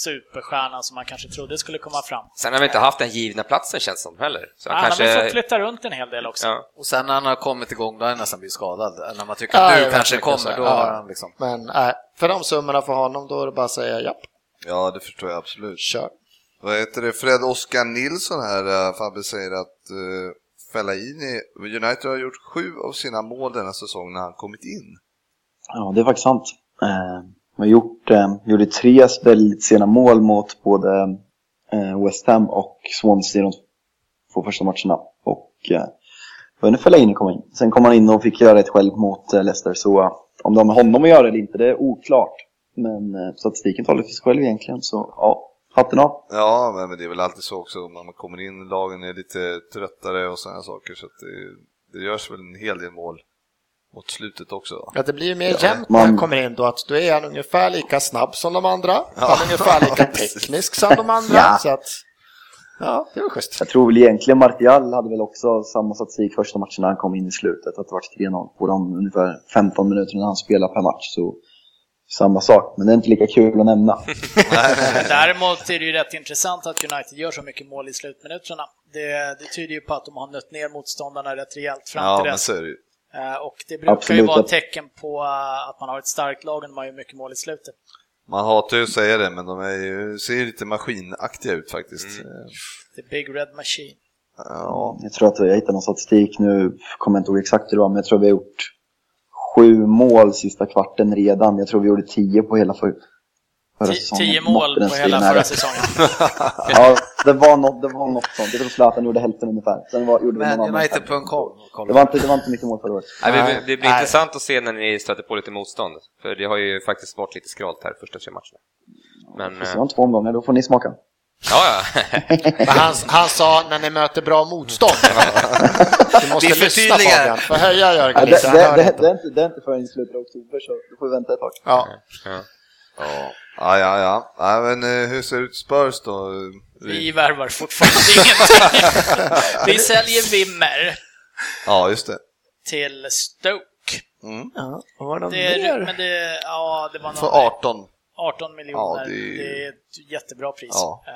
[SPEAKER 3] superstjärnan som man kanske trodde skulle komma fram.
[SPEAKER 5] Sen har vi inte haft den givna platsen känns det som heller. Så han
[SPEAKER 3] Han
[SPEAKER 5] kanske...
[SPEAKER 3] har väl fått flytta runt en hel del också.
[SPEAKER 5] ja.
[SPEAKER 4] Och sen när han har kommit igång, då har han nästan blivit skadad. När man tycker
[SPEAKER 7] Ja,
[SPEAKER 4] att
[SPEAKER 7] jag
[SPEAKER 4] nu
[SPEAKER 7] vet
[SPEAKER 4] kanske det
[SPEAKER 7] inte,
[SPEAKER 4] kommer, då
[SPEAKER 7] så- ja.
[SPEAKER 4] har han liksom...
[SPEAKER 7] Men nej, för de summorna för honom, då är det bara att säga japp,
[SPEAKER 2] Ja, det förstår jag absolut.
[SPEAKER 7] kör.
[SPEAKER 2] Vad heter det? Fred Oskar Nilsson här, eh, Fabbe säger att uh, Fellaini, United har gjort sju av sina mål denna säsong när han kommit in.
[SPEAKER 6] Ja, det är faktiskt sant. Eh, man har gjort, eh, gjorde tre väldigt sena mål mot både eh, West Ham och Swansea de två första matcherna. Och eh, det var när Fellaini kom in. Sen kom han in och fick göra ett själv mot eh, Leicester. Så eh, om det har med honom att göra eller inte, det är oklart. Men eh, statistiken talar för sig själv egentligen, så ja, hatten av.
[SPEAKER 2] Ja, men men det är väl alltid så också när man kommer in, lagen är lite tröttare och sådana saker så att det, det görs väl en hel del mål mot slutet också. va?
[SPEAKER 7] Att det blir ju mer jämnt när
[SPEAKER 6] man-
[SPEAKER 7] han kommer in då, att då är han ungefär lika snabb som de andra. Han är ungefär lika teknisk som de andra.
[SPEAKER 6] Ja.
[SPEAKER 7] Så att, ja, det var schysst.
[SPEAKER 6] Jag tror väl egentligen Martial hade väl också samma statistik första matchen när han kom in i slutet. Att det var 3-0 på de ungefär 15 minuterna han spelar per match. Så samma sak, men det är inte lika kul
[SPEAKER 3] [laughs]
[SPEAKER 6] att nämna.
[SPEAKER 3] Men [laughs] Däremot är det ju rätt intressant att United gör så mycket mål i slutminuterna. Det, det tyder ju på att de har nött ner motståndarna rätt rejält fram
[SPEAKER 2] Ja,
[SPEAKER 3] till
[SPEAKER 2] men
[SPEAKER 3] dess.
[SPEAKER 2] så är det ju.
[SPEAKER 3] Eh, Och det brukar ju
[SPEAKER 6] Absolut.
[SPEAKER 3] vara ett tecken på eh, att man har ett starkt lag när man gör mycket mål i slutet.
[SPEAKER 2] Man hatar ju att säga det, men de är ju, ser ju lite maskinaktiga ut faktiskt. Eh,
[SPEAKER 3] The Big Red Machine.
[SPEAKER 2] Ja,
[SPEAKER 6] Jag tror att jag hittade någon statistik nu, kommer jag inte ihåg exakt hur det var, men jag tror vi har gjort sju mål sista kvarten redan. Jag tror vi gjorde tio på hela för, förra
[SPEAKER 3] Ti-
[SPEAKER 6] säsongen.
[SPEAKER 3] Tio
[SPEAKER 6] Något
[SPEAKER 3] mål
[SPEAKER 6] i den
[SPEAKER 3] på hela
[SPEAKER 6] stilen är
[SPEAKER 3] förra
[SPEAKER 6] det.
[SPEAKER 2] [laughs]
[SPEAKER 3] säsongen.
[SPEAKER 6] Ja, det var, något, det var något sånt. Jag tror Zlatan gjorde hälften ungefär. Sen var, gjorde vi någon
[SPEAKER 4] Men
[SPEAKER 6] annan
[SPEAKER 4] United.com,
[SPEAKER 6] Det var, inte, det var inte mycket mål förra året.
[SPEAKER 5] Nej, det blir- det blir
[SPEAKER 7] Nej.
[SPEAKER 5] intressant att se när ni stöter på lite motstånd. För det har ju faktiskt varit lite skralt här första tre matcherna. Men,
[SPEAKER 6] Det
[SPEAKER 5] eh,
[SPEAKER 6] var två omgångar, då får ni smaka.
[SPEAKER 5] ja, ja. [laughs]
[SPEAKER 7] Men han, han sa när ni möter bra motstånd. [laughs] Du måste
[SPEAKER 4] Vi
[SPEAKER 7] lyssna
[SPEAKER 4] förtydligar.
[SPEAKER 7] Fabian, för höja
[SPEAKER 6] Ja,
[SPEAKER 7] Jörgen
[SPEAKER 6] det,
[SPEAKER 7] lite.
[SPEAKER 6] det,
[SPEAKER 7] Han hör
[SPEAKER 6] det,
[SPEAKER 7] inte.
[SPEAKER 6] det, är inte, det är inte förrän i slutet av oktober, så då får vi vänta ett tag.
[SPEAKER 7] Ja.
[SPEAKER 2] ja, ja, ja. ja. Nej, men eh, hur ser det ut Spurs då?
[SPEAKER 3] Vi värvar fortfarande
[SPEAKER 2] [laughs]
[SPEAKER 3] ingenting. Vi säljer Wimmer
[SPEAKER 2] Ja, just det.
[SPEAKER 3] till Stoke.
[SPEAKER 2] Mm.
[SPEAKER 7] Ja, var det någon
[SPEAKER 3] Det, är-
[SPEAKER 7] mer?
[SPEAKER 3] men det, ja, det var
[SPEAKER 2] För
[SPEAKER 3] någon,
[SPEAKER 2] 18.
[SPEAKER 3] 18 miljoner.
[SPEAKER 2] Ja, det är ju-
[SPEAKER 3] Det är ett jättebra pris.
[SPEAKER 2] Ja.
[SPEAKER 3] Eh,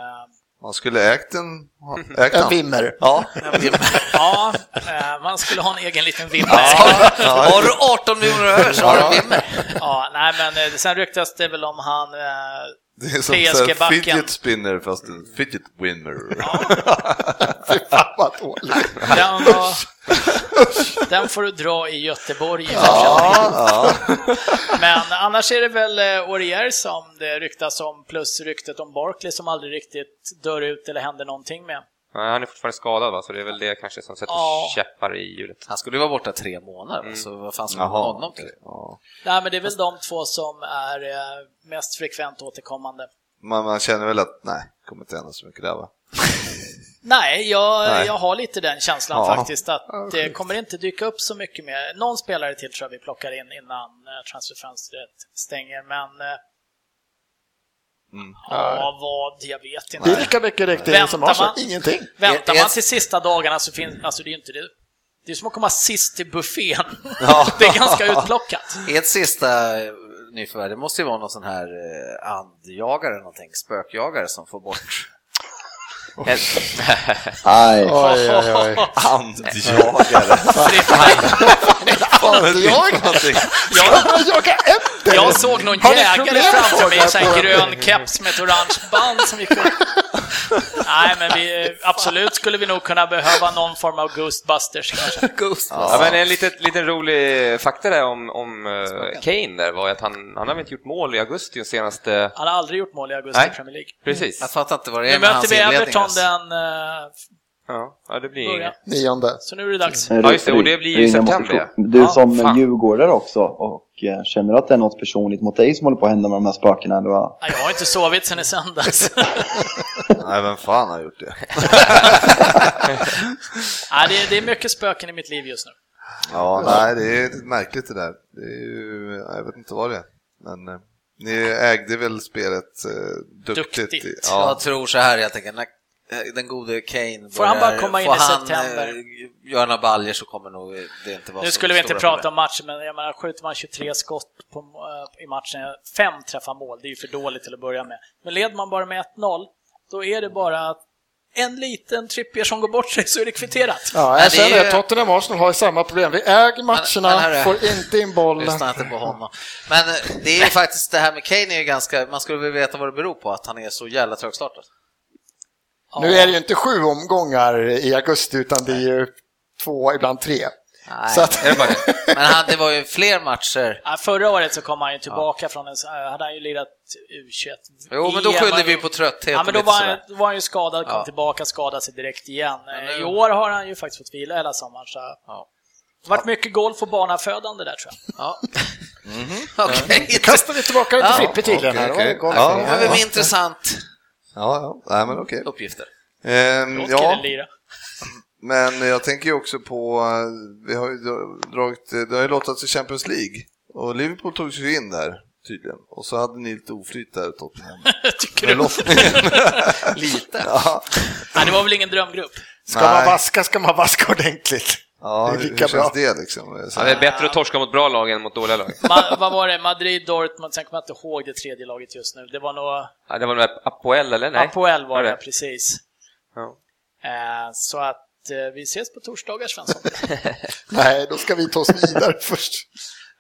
[SPEAKER 2] Man skulle ägt den. ha- Ägt
[SPEAKER 7] En
[SPEAKER 2] han.
[SPEAKER 7] vimmer.
[SPEAKER 2] Ja,
[SPEAKER 3] Ja, eh, man skulle ha en egen liten vimma.
[SPEAKER 4] Har du 18 miljoner över så har du en vimmel.
[SPEAKER 3] Ja, nej, men eh, sen ryktas det väl om han eh,
[SPEAKER 2] Det är som
[SPEAKER 3] PSG
[SPEAKER 2] en
[SPEAKER 3] backen.
[SPEAKER 2] fidget spinner fast en fidget winner. [laughs]
[SPEAKER 7] Fy fan [laughs] vad dåligt.
[SPEAKER 3] Den,
[SPEAKER 2] [laughs]
[SPEAKER 3] var, den får du dra i Göteborg. Men annars är det väl eh, Aurier som det ryktas om, plus ryktet om Barkley som aldrig riktigt dör ut eller händer någonting med.
[SPEAKER 5] Nej, han är fortfarande skadad va, så det är väl det kanske som sätter
[SPEAKER 3] Ja.
[SPEAKER 5] käppar i hjulet.
[SPEAKER 4] Han skulle ju vara borta tre månader, så vad fan skulle man ha
[SPEAKER 2] Mm. Jaha.
[SPEAKER 4] honom till?
[SPEAKER 2] Ja.
[SPEAKER 3] Nej, men det är väl de två som är eh, mest frekvent återkommande.
[SPEAKER 2] Man, man känner väl att nej, kommer inte hända så mycket där va?
[SPEAKER 3] Nej, jag,
[SPEAKER 2] Nej.
[SPEAKER 3] jag har lite den känslan
[SPEAKER 2] Ja.
[SPEAKER 3] faktiskt att det kommer inte dyka upp så mycket mer. Någon spelare till tror jag vi plockar in innan eh, transferfönstret stänger, men eh,
[SPEAKER 2] Mm.
[SPEAKER 3] ja, vad, jag vet
[SPEAKER 7] Det är
[SPEAKER 3] inte.
[SPEAKER 7] lika mycket
[SPEAKER 3] Väntar
[SPEAKER 7] riktigt som Arsenal.
[SPEAKER 3] man?
[SPEAKER 7] Ingenting.
[SPEAKER 3] Väntar
[SPEAKER 4] Är- är-
[SPEAKER 3] man till sista dagarna så finns, alltså det är ju inte det. Det är som att komma sist till buffén.
[SPEAKER 4] Ja.
[SPEAKER 3] [laughs] Det är ganska utplockat.
[SPEAKER 4] Ett sista eh, nyförvärv, det måste ju vara någon sån här eh, andjagare eller någonting, spökjagare som får bort...
[SPEAKER 6] Nej,
[SPEAKER 7] Oj, oj, oj.
[SPEAKER 3] [laughs]
[SPEAKER 2] Andjagare.
[SPEAKER 7] Fan, jag
[SPEAKER 3] Jag,
[SPEAKER 7] jagar efter!
[SPEAKER 3] jag såg någon
[SPEAKER 7] Har ni
[SPEAKER 3] jägare
[SPEAKER 7] problem?
[SPEAKER 3] framför mig i en sån här
[SPEAKER 7] Frågar jag.
[SPEAKER 3] grön keps med ett orange band som gick upp. Nej, men vi, absolut skulle vi nog kunna behöva någon form av Ghostbusters kanske.
[SPEAKER 5] Ja, men en liten, liten rolig fakta där om, om eh, Kane där var ju att han, han har väl inte gjort mål i augusti den senaste...
[SPEAKER 3] Han har aldrig gjort mål i augusti
[SPEAKER 5] Nej.
[SPEAKER 3] i Premier League.
[SPEAKER 5] Precis.
[SPEAKER 3] Mm.
[SPEAKER 4] Jag fattar inte vad det
[SPEAKER 3] Nu
[SPEAKER 4] är med
[SPEAKER 3] möter
[SPEAKER 4] hans
[SPEAKER 3] vi
[SPEAKER 4] inledning.
[SPEAKER 3] Everton
[SPEAKER 4] alltså.
[SPEAKER 3] den... eh,
[SPEAKER 5] Ja, ja, det blir
[SPEAKER 3] Börja.
[SPEAKER 5] inget.
[SPEAKER 7] Nionde.
[SPEAKER 3] Så nu är det dags.
[SPEAKER 6] Eh,
[SPEAKER 5] Ja, just det, och det blir ju i
[SPEAKER 6] inga
[SPEAKER 5] september,
[SPEAKER 6] motion.
[SPEAKER 5] ja.
[SPEAKER 6] Du
[SPEAKER 5] Ja,
[SPEAKER 6] som
[SPEAKER 5] fan.
[SPEAKER 6] djurgårdare också och eh, känner du att det är något personligt mot dig som håller på att hända med de här spökena? Det var...
[SPEAKER 3] Nej, Jag har inte sovit sen i
[SPEAKER 4] [laughs]
[SPEAKER 3] söndags.
[SPEAKER 2] Nej, vem fan har gjort det?
[SPEAKER 3] Nej, det, är, det är mycket spöken i mitt liv just nu.
[SPEAKER 2] Ja, nej, det är märkligt det där. Det är ju, jag vet inte vad det är. Men eh, ni ägde väl spelet eh, duktigt?
[SPEAKER 3] Duktigt.
[SPEAKER 2] i-
[SPEAKER 4] Jag
[SPEAKER 2] Ja.
[SPEAKER 4] tror så här helt enkelt, när eh, den gode Kane
[SPEAKER 3] Får han
[SPEAKER 4] börjar-
[SPEAKER 3] bara komma in
[SPEAKER 4] får
[SPEAKER 3] i
[SPEAKER 4] han,
[SPEAKER 3] september?
[SPEAKER 4] eh, Göra några baljer så kommer nog eh, det inte vara
[SPEAKER 3] Nu
[SPEAKER 4] så
[SPEAKER 3] skulle vi inte
[SPEAKER 4] stora
[SPEAKER 3] prata
[SPEAKER 4] problem.
[SPEAKER 3] om matchen, men jag menar, skjuter man 23 skott på, eh, i matchen, fem träffar mål, det är ju för dåligt till att börja med. Men leder man bara med 1-0, då är det bara att en liten trippier som går bort sig så är det kvitterat.
[SPEAKER 7] Ja,
[SPEAKER 4] Nej,
[SPEAKER 7] jag
[SPEAKER 4] det är
[SPEAKER 7] känner
[SPEAKER 4] ju-
[SPEAKER 7] det. Tottenham och Arsenal har ju samma problem. Vi äger
[SPEAKER 4] Men- men här
[SPEAKER 7] matcherna,
[SPEAKER 4] är-
[SPEAKER 7] får inte in bollen.
[SPEAKER 4] Lyssna inte på honom. Men eh, det är ju faktiskt det här med Kane är ju ganska, man skulle väl veta vad det beror på att han är så jävla trögstartad.
[SPEAKER 7] Nu är det ju inte sju omgångar i augusti, utan det är ju två, ibland tre.
[SPEAKER 4] Nej.
[SPEAKER 7] Så att,
[SPEAKER 5] Är det bara det?
[SPEAKER 4] Men han, det var ju fler matcher.
[SPEAKER 3] Ja, Förra året så kom han ju tillbaka från en, så- eh, hade han ju lirat U21.
[SPEAKER 4] Jo, men då
[SPEAKER 3] EM.
[SPEAKER 4] skyllde vi på trötthet
[SPEAKER 3] Ja,
[SPEAKER 4] och
[SPEAKER 3] men då
[SPEAKER 4] lite
[SPEAKER 3] var, han,
[SPEAKER 4] sådär.
[SPEAKER 3] då var han ju skadad, kom
[SPEAKER 4] Ja.
[SPEAKER 3] tillbaka, skadade sig direkt igen. Eh,
[SPEAKER 4] nu-
[SPEAKER 3] I år har han ju faktiskt fått vila hela sommaren, så
[SPEAKER 4] Ja.
[SPEAKER 3] det har varit mycket golf och barnafödande där tror jag.
[SPEAKER 4] Ja. Okej.
[SPEAKER 7] kastar vi tillbaka den till
[SPEAKER 4] Ja,
[SPEAKER 7] Frippe [laughs] tydligen.
[SPEAKER 2] okej,
[SPEAKER 7] här.
[SPEAKER 2] okej.
[SPEAKER 7] Det var ju
[SPEAKER 2] Ja,
[SPEAKER 4] Det
[SPEAKER 7] golf.
[SPEAKER 4] var väl intressant
[SPEAKER 2] Ja, ja, nej men okej.
[SPEAKER 4] uppgifter.
[SPEAKER 2] Ehm,
[SPEAKER 3] Låt
[SPEAKER 2] ja,
[SPEAKER 3] killen lira. [laughs]
[SPEAKER 2] men jag tänker ju också på, eh, vi har ju dra- dragit, eh, det har ju lottats i Champions League och Liverpool tog sig ju in där tydligen och så hade ni lite oflyt där Tottenham.
[SPEAKER 3] Tycker
[SPEAKER 2] Med
[SPEAKER 3] du?
[SPEAKER 2] lottningen.
[SPEAKER 4] Lite.
[SPEAKER 2] [laughs] Ja,
[SPEAKER 3] Nej, det var väl ingen drömgrupp.
[SPEAKER 7] Ska man
[SPEAKER 2] Nej.
[SPEAKER 7] vaska ska man vaska ordentligt.
[SPEAKER 2] ja
[SPEAKER 7] Det
[SPEAKER 2] hur
[SPEAKER 7] är
[SPEAKER 2] hur
[SPEAKER 7] lika
[SPEAKER 2] känns
[SPEAKER 7] bra.
[SPEAKER 2] det liksom? Så
[SPEAKER 5] Ja, det är bättre att torska mot bra lag än mot dåliga lag.
[SPEAKER 3] Ma- vad var det? Madrid, Dortmund, sen kommer jag inte ihåg det tredje laget just nu. Det var nog
[SPEAKER 5] Ja, det var nog Apoel eller? Nej.
[SPEAKER 3] Apoel var
[SPEAKER 5] Var det?
[SPEAKER 3] det, precis.
[SPEAKER 5] Ja.
[SPEAKER 3] Eh, så att eh, vi ses på torsdagar, Svensson.
[SPEAKER 7] Nej, då ska vi ta oss
[SPEAKER 2] [laughs]
[SPEAKER 7] vidare först.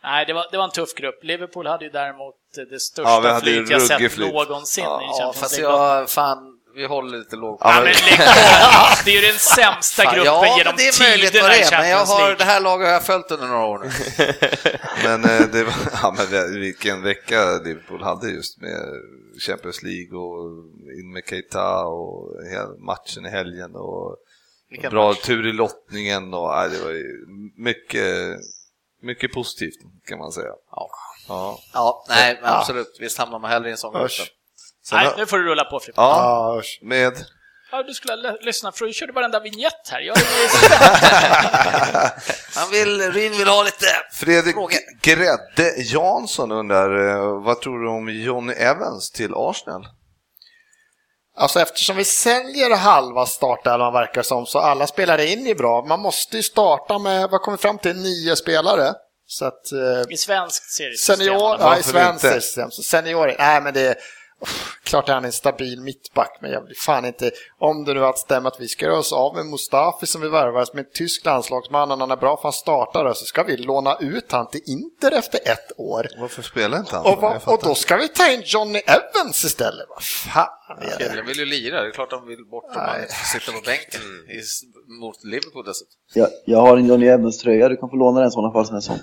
[SPEAKER 3] Nej, det var, det var en tuff grupp. Liverpool hade ju däremot eh, det
[SPEAKER 2] Ja, vi
[SPEAKER 3] största
[SPEAKER 2] hade ju
[SPEAKER 3] flyt jag
[SPEAKER 2] ruggig
[SPEAKER 3] sett
[SPEAKER 2] flyt.
[SPEAKER 3] någonsin i
[SPEAKER 4] Ja,
[SPEAKER 3] Champions
[SPEAKER 4] fast
[SPEAKER 3] League. Ja,
[SPEAKER 4] jag, fan, vi håller lite lågt.
[SPEAKER 2] Ja, men-
[SPEAKER 4] [laughs]
[SPEAKER 3] men lägg av! Det är ju den sämsta
[SPEAKER 4] Fan,
[SPEAKER 3] gruppen
[SPEAKER 4] ja,
[SPEAKER 3] genom
[SPEAKER 4] men det är möjligt
[SPEAKER 3] tiderna
[SPEAKER 4] vad det
[SPEAKER 3] i
[SPEAKER 4] är, men jag
[SPEAKER 3] Champions
[SPEAKER 4] har,
[SPEAKER 3] League.
[SPEAKER 4] det här laget har jag följt under några år nu.
[SPEAKER 2] Men eh, det var, [laughs] ja, men det, vilken vecka Liverpool hade just med Champions League och in med Keita och hel- matchen i helgen och bra tur i lottningen och nej, det var ju mycket, mycket positivt kan man säga.
[SPEAKER 4] Ja.
[SPEAKER 2] Ja.
[SPEAKER 4] Ja, nej, men absolut. Visst hamnar man hellre i en sån grupp.
[SPEAKER 7] Usch.
[SPEAKER 2] Sen,
[SPEAKER 3] Nej,
[SPEAKER 2] har-
[SPEAKER 3] nu får du rulla på, Frippe.
[SPEAKER 2] ja,
[SPEAKER 7] Ja, usch.
[SPEAKER 2] med
[SPEAKER 3] Ja, du skulle ha l- lyssnat, för du körde varenda vignett här. Jag är
[SPEAKER 4] Han vill, Ryn vill ha lite...
[SPEAKER 2] Fredrik
[SPEAKER 4] Fråga.
[SPEAKER 2] Grädde Jansson undrar, eh, vad tror du om Johnny Evans till Arsenal?
[SPEAKER 7] Alltså eftersom vi säljer halva startelvan verkar som, så alla spelare in är bra. Man måste ju starta med, vad kommer vi fram till, nio spelare. Så att... eh,
[SPEAKER 3] i svensk serie.
[SPEAKER 7] Senior,
[SPEAKER 2] Varför
[SPEAKER 7] ja, i svenskt
[SPEAKER 2] inte?
[SPEAKER 7] system. Så senior, nej men det är Klart är han en stabil mittback, men jag blir fan inte... Om det nu att stämma att vi ska göra oss av med Mustafi som vi värvar som en tysk landslagsman, och han är bra för han startar, och så ska vi låna ut han till Inter efter ett år.
[SPEAKER 2] Varför spelar inte han?
[SPEAKER 7] Och, va,
[SPEAKER 2] Jag fattar
[SPEAKER 7] och då
[SPEAKER 2] inte.
[SPEAKER 7] ska vi ta in Johnny Evans istället? Vad fan är det?
[SPEAKER 4] Killen vill ju lira, det är klart de vill bort om
[SPEAKER 7] Nej.
[SPEAKER 4] han sitter på bänken i, s- mot Liverpool dessutom.
[SPEAKER 6] Jag, jag har en Johnny Evans tröja, du kan få låna den i sådana fall som en sån.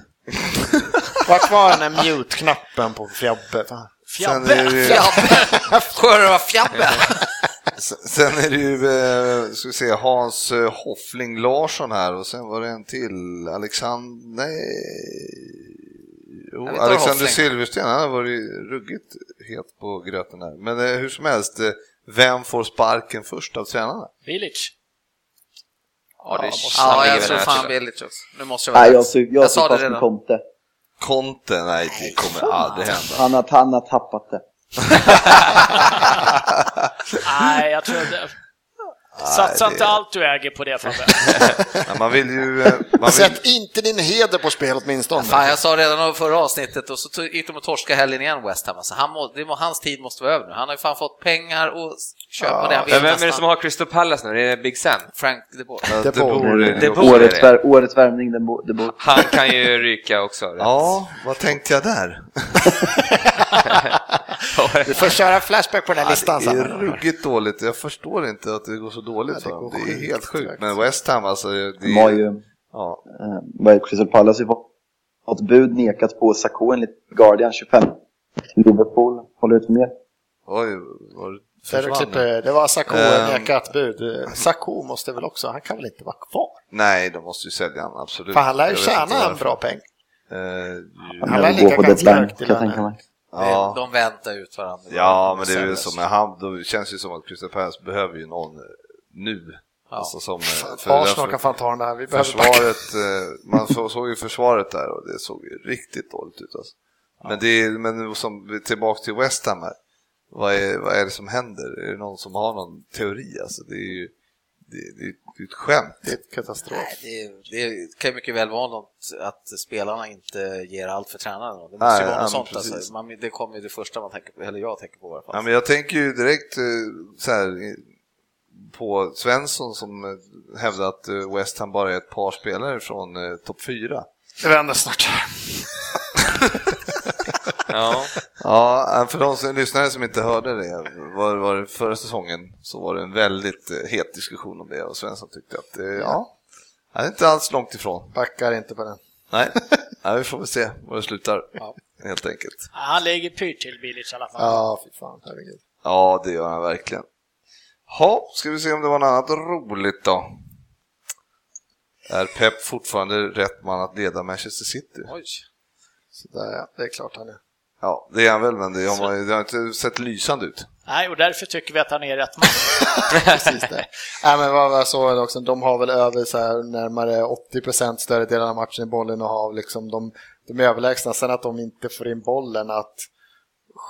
[SPEAKER 7] Vart var den där mute-knappen på Fjabbe? Fan.
[SPEAKER 2] Sen
[SPEAKER 3] Fjabbe!
[SPEAKER 2] är det ju,
[SPEAKER 4] Sjöröva fjabbe!
[SPEAKER 2] sen är det ju eh, ska vi se, Hans eh, Hoffling Larsson här och sen var det en till, Alexander... Nej. Jo,
[SPEAKER 4] Nej, vi tar
[SPEAKER 2] Alexander
[SPEAKER 4] Hoffling.
[SPEAKER 2] Silversten, han har varit ruggigt het på gröten här. Men eh, hur som helst, eh, vem får sparken först av tränarna?
[SPEAKER 3] Bilic.
[SPEAKER 5] Ja, det är
[SPEAKER 4] Ja,
[SPEAKER 5] ligger
[SPEAKER 4] jag
[SPEAKER 5] väl
[SPEAKER 4] tror
[SPEAKER 5] nära
[SPEAKER 4] fan
[SPEAKER 5] till.
[SPEAKER 4] Bilic också. Nu måste jag vara
[SPEAKER 6] Nej, jag,
[SPEAKER 4] rätt.
[SPEAKER 6] ser- jag, jag
[SPEAKER 4] sa
[SPEAKER 6] står
[SPEAKER 4] det
[SPEAKER 6] fast med
[SPEAKER 4] redan.
[SPEAKER 6] Conte.
[SPEAKER 2] Conte, nej det kommer aldrig hända.
[SPEAKER 6] Han har, han har tappat det.
[SPEAKER 3] Nej, jag tror det. Satsa
[SPEAKER 2] det-
[SPEAKER 3] inte allt du äger på
[SPEAKER 2] [laughs]
[SPEAKER 3] det Fabbe.
[SPEAKER 2] Ja, man vill ju... eh, Man vill...
[SPEAKER 7] Sätt inte din heder på spel åtminstone.
[SPEAKER 4] Fan, jag sa redan i förra avsnittet och så tog- gick de och torskade helgen igen West Ham. Alltså, han må, det må, hans tid måste vara över nu. Han har ju fan fått pengar och s- köpa det han vill.
[SPEAKER 5] Men Vem är det
[SPEAKER 4] nästan.
[SPEAKER 5] som har Crystal Palace nu? Det är Big Sam.
[SPEAKER 4] Frank de Boer.
[SPEAKER 7] Det
[SPEAKER 2] Det
[SPEAKER 7] borde-
[SPEAKER 2] borde-
[SPEAKER 5] Det borde
[SPEAKER 6] årets,
[SPEAKER 5] det.
[SPEAKER 6] vär, årets värvning, den bo, det bo.
[SPEAKER 5] Han kan ju [laughs] ryka också.
[SPEAKER 2] Ja, vad tänkte jag där?
[SPEAKER 7] Du får köra flashback på den här listan
[SPEAKER 2] Det är
[SPEAKER 7] sen.
[SPEAKER 2] ruggigt dåligt. Jag förstår inte att det går så dåligt
[SPEAKER 7] Alltså, det
[SPEAKER 2] för dem.
[SPEAKER 7] går
[SPEAKER 2] Det är
[SPEAKER 7] sjukt
[SPEAKER 2] helt sjukt.
[SPEAKER 7] trögt.
[SPEAKER 2] Men West Ham alltså. Det
[SPEAKER 6] De har ju,
[SPEAKER 2] är,
[SPEAKER 6] eh,
[SPEAKER 2] ja.
[SPEAKER 6] vad är det, Crystal Palace har ju fått- fått bud nekat på Sakho enligt Guardian 25. Liverpool håller ut mer.
[SPEAKER 2] Oj, var det
[SPEAKER 7] Där du
[SPEAKER 2] försvann nu?
[SPEAKER 7] klipper, det var Sakho
[SPEAKER 2] Ehm.
[SPEAKER 7] nekat bud. Sakho måste väl också, han kan väl inte vara kvar?
[SPEAKER 2] Nej, de måste ju sälja honom, absolut.
[SPEAKER 7] För han lär ju
[SPEAKER 2] Jag vet inte
[SPEAKER 7] tjäna en
[SPEAKER 2] varför.
[SPEAKER 7] bra peng.
[SPEAKER 2] Eh,
[SPEAKER 7] Han
[SPEAKER 6] Jag
[SPEAKER 7] lär
[SPEAKER 6] vill
[SPEAKER 7] ligga
[SPEAKER 6] gå på
[SPEAKER 7] ganska
[SPEAKER 6] deadline,
[SPEAKER 7] högt i
[SPEAKER 6] kan jag
[SPEAKER 7] lönen.
[SPEAKER 6] tänka mig.
[SPEAKER 2] ja.
[SPEAKER 4] De väntar ut varandra.
[SPEAKER 2] ja, men det är
[SPEAKER 4] Sen-
[SPEAKER 2] ju som med Ham, det känns ju som att Crystal Palace behöver ju någon eh, nu. Alltså som, eh, för
[SPEAKER 7] Arsenal kan fan ta den här. Vi behöver backa.
[SPEAKER 2] försvaret, eh, man så- såg ju försvaret där och det såg ju riktigt dåligt ut. Alltså. Men, det är, men som, tillbaka till West Ham här. Vad är, vad är det som händer? Är det någon som har någon teori? Alltså, det är ju det, det är ju ett skämt.
[SPEAKER 7] Det är ett katastrof.
[SPEAKER 4] Nej, det, det kan ju mycket väl vara något att spelarna inte ger allt för tränaren. då. Det måste
[SPEAKER 2] Nej,
[SPEAKER 4] ju
[SPEAKER 2] ja,
[SPEAKER 4] vara
[SPEAKER 2] men
[SPEAKER 4] något sånt.
[SPEAKER 2] precis.
[SPEAKER 4] Alltså. Man, det kommer ju det första man tänker på, eller jag tänker på i alla fall.
[SPEAKER 2] Ja, men jag tänker ju direkt eh, så här, eh, på Svensson som eh, hävdar att eh, West Ham bara är ett par spelare från eh, topp fyra.
[SPEAKER 7] Det vänder snart.
[SPEAKER 5] [laughs] Ja.
[SPEAKER 2] Ja, eh, för de som lyssnare som inte hörde det, var, var det förra säsongen så var det en väldigt eh, het diskussion om det och Svensson tyckte att eh, ja, han är inte alls långt ifrån.
[SPEAKER 7] Backar inte på den.
[SPEAKER 2] Nej, ja, vi får väl se var det slutar helt enkelt.
[SPEAKER 3] Ja, Han lägger pyrt till Bilic i alla fall.
[SPEAKER 7] Ja, fy fan. Herregud.
[SPEAKER 2] Ja, det gör han verkligen. Ja, ska vi se om det var något annat roligt då. Är Pep fortfarande rätt man att leda Manchester City?
[SPEAKER 4] Oj.
[SPEAKER 7] Så där, ja. Det är klart han är.
[SPEAKER 2] Ja, det är han väl, men det har, man, det har inte sett lysande ut.
[SPEAKER 3] Nej, och därför tycker vi att han är
[SPEAKER 2] [laughs]
[SPEAKER 3] rätt man.
[SPEAKER 7] Precis det. Nej, men vad jag såg också, de har väl över så här, närmare 80 procent större delen av matchen i bollen och har liksom de, de är överlägsna. Sen att de inte får in bollen, att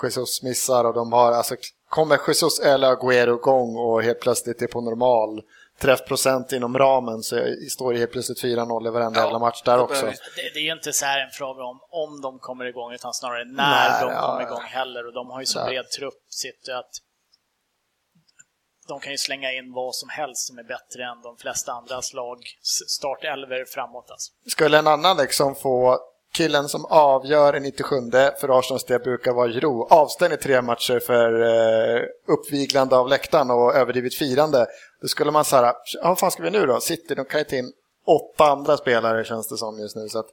[SPEAKER 7] Jesus missar och de har, alltså kommer Jesus eller Agüero igång och helt plötsligt är på normal träffprocent inom ramen så står det helt plötsligt 4-0 i varenda
[SPEAKER 4] Ja,
[SPEAKER 7] jävla match där
[SPEAKER 4] det
[SPEAKER 7] också.
[SPEAKER 4] behöver-
[SPEAKER 3] Det, det är ju inte så här en fråga om om de kommer igång, utan snarare när
[SPEAKER 7] Nej,
[SPEAKER 3] de
[SPEAKER 7] ja,
[SPEAKER 3] kommer
[SPEAKER 7] ja.
[SPEAKER 3] igång heller. Och de har ju så
[SPEAKER 7] Där.
[SPEAKER 3] bred trupp sitt att de kan ju slänga in vad som helst som är bättre än de flesta andras lag startelver framåt. Alltså.
[SPEAKER 7] Skulle en annan liksom få killen som avgör i 97 för Arsenals del brukar vara Jiro avstängd i tre matcher för eh, uppviglande av läktaren och överdrivet firande. Då skulle man så här, "Ja, vad fan ska vi nu då? City, de kan ju ta in åtta andra spelare känns det som just nu. Så att,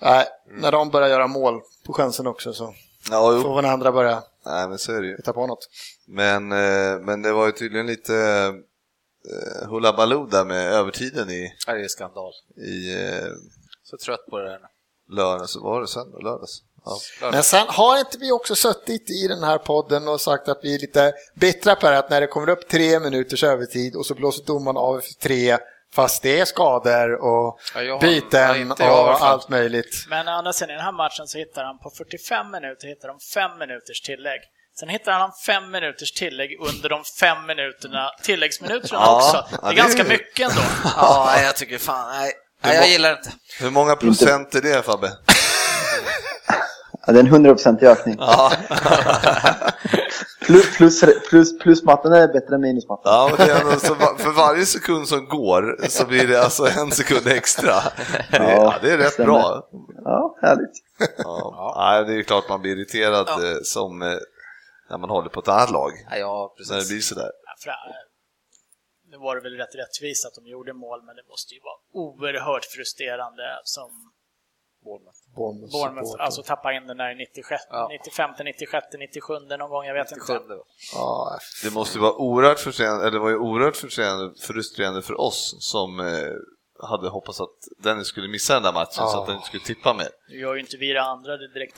[SPEAKER 7] nej, när de börjar göra mål på chansen också så
[SPEAKER 2] Ja,
[SPEAKER 7] får väl andra börja
[SPEAKER 2] Nej, men så är det ju.
[SPEAKER 7] hitta på något.
[SPEAKER 2] Men, eh, men det var ju tydligen lite eh, hullabaloo där med övertiden i,
[SPEAKER 4] Ja, Det är skandal.
[SPEAKER 2] i eh,
[SPEAKER 4] Så trött på det där nu.
[SPEAKER 2] lördags. Var det söndag? Lördags? Ja.
[SPEAKER 7] Men sen har inte vi också suttit i den här podden och sagt att vi är lite bittra på det, att när det kommer upp tre minuters övertid och så blåser domaren av efter tre fast det är skador och
[SPEAKER 4] Ja, jag har- ja,
[SPEAKER 7] byten
[SPEAKER 4] inte jag i alla
[SPEAKER 7] och
[SPEAKER 4] fall.
[SPEAKER 7] allt möjligt.
[SPEAKER 3] Men å andra sidan, i den här matchen så hittar han på 45 minuter hittar de 5 minuters tillägg. Sen hittar han 5 minuters tillägg under de 5 minuterna, tilläggsminuterna
[SPEAKER 2] Ja,
[SPEAKER 3] också.
[SPEAKER 2] ja,
[SPEAKER 3] Det
[SPEAKER 2] det
[SPEAKER 3] är
[SPEAKER 2] är
[SPEAKER 3] ganska
[SPEAKER 2] ju-
[SPEAKER 3] mycket ändå.
[SPEAKER 4] Ja, nej, jag tycker fan, nej. Nej, jag gillar det inte.
[SPEAKER 2] Hur många procent är det Fabbe?
[SPEAKER 6] Ja, det är en hundraprocentig ökning.
[SPEAKER 2] Ja.
[SPEAKER 6] Plus, plus, plus, plusmatten är bättre än minusmatten.
[SPEAKER 2] Ja, men det är ändå så, va- för varje sekund som går så blir det alltså en sekund extra. Det, är- ja, det är rätt
[SPEAKER 6] stämmer.
[SPEAKER 2] bra.
[SPEAKER 6] Ja, härligt.
[SPEAKER 2] Ja. Nej, det är klart man blir irriterad eh, som eh, när man håller på ett annat lag.
[SPEAKER 4] Ja, ja
[SPEAKER 2] När det
[SPEAKER 4] precis.
[SPEAKER 2] blir sådär.
[SPEAKER 3] Ja, för, eh, Nu var det väl rätt rättvist att de gjorde mål, men det måste ju vara oerhört frustrerande som
[SPEAKER 7] Bournemouth.
[SPEAKER 3] Bournemouth, alltså tappa in den där i 96,
[SPEAKER 4] Ja.
[SPEAKER 3] 95, 96, 97 någon gång, jag vet inte.
[SPEAKER 4] Sjunde, va?
[SPEAKER 7] Ja,
[SPEAKER 2] Det måste ju vara oerhört frustrerande, eller det var ju oerhört frustrerande, frustrerande för oss som eh, hade hoppats att Dennis skulle missa den där matchen så
[SPEAKER 7] Ja.
[SPEAKER 2] att den inte skulle tippa mer.
[SPEAKER 3] Nu gör ju inte vi det andra det direkt.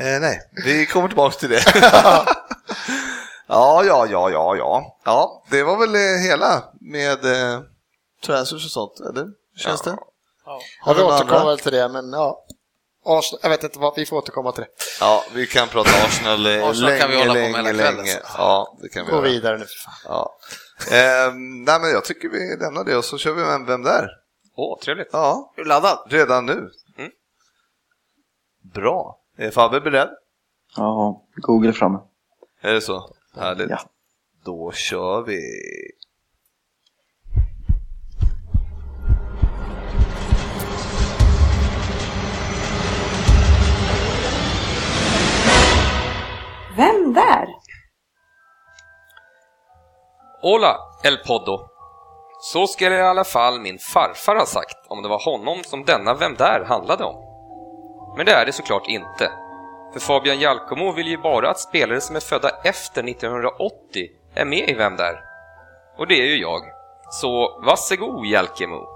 [SPEAKER 2] Eh, nej, vi kommer tillbaka
[SPEAKER 4] [laughs]
[SPEAKER 2] till det. ja, ja, ja, ja, ja. Ja, det var väl eh, hela med eh, transfers och sånt, eller? Känns det?
[SPEAKER 3] Ja.
[SPEAKER 7] Ja, vi
[SPEAKER 2] Har du några
[SPEAKER 7] återkommer
[SPEAKER 2] andra?
[SPEAKER 7] väl till det, men ja. Arsenal, jag vet inte vad, vi får återkomma till det.
[SPEAKER 2] Ja, vi kan prata Arsenal, eh,
[SPEAKER 4] Arsenal
[SPEAKER 2] länge,
[SPEAKER 4] kan vi hålla på med
[SPEAKER 2] länge,
[SPEAKER 4] hela kvällen,
[SPEAKER 2] länge.
[SPEAKER 4] så.
[SPEAKER 2] Ja, det kan vi
[SPEAKER 7] Gå
[SPEAKER 2] göra.
[SPEAKER 7] vidare nu för fan.
[SPEAKER 2] Ja. Eh, nej, men jag tycker vi lämnar det och så kör vi med Vem där?
[SPEAKER 5] Åh, trevligt.
[SPEAKER 2] Ja,
[SPEAKER 4] Är du laddad?
[SPEAKER 2] redan nu.
[SPEAKER 5] Mm.
[SPEAKER 2] Bra. Är Fabbe beredd?
[SPEAKER 6] Ja, Google framme.
[SPEAKER 2] Är det så? Härligt.
[SPEAKER 6] Ja.
[SPEAKER 2] Då kör vi.
[SPEAKER 1] Vem där?
[SPEAKER 5] Hola, El Poddo. Så skulle i alla fall min farfar ha sagt om det var honom som denna Vem där handlade om. Men det är det såklart inte. För Fabian Jalkomo vill ju bara att spelare som är födda efter 1980 är med i Vem där? Och det är ju jag. Så varsågod Jalkemo.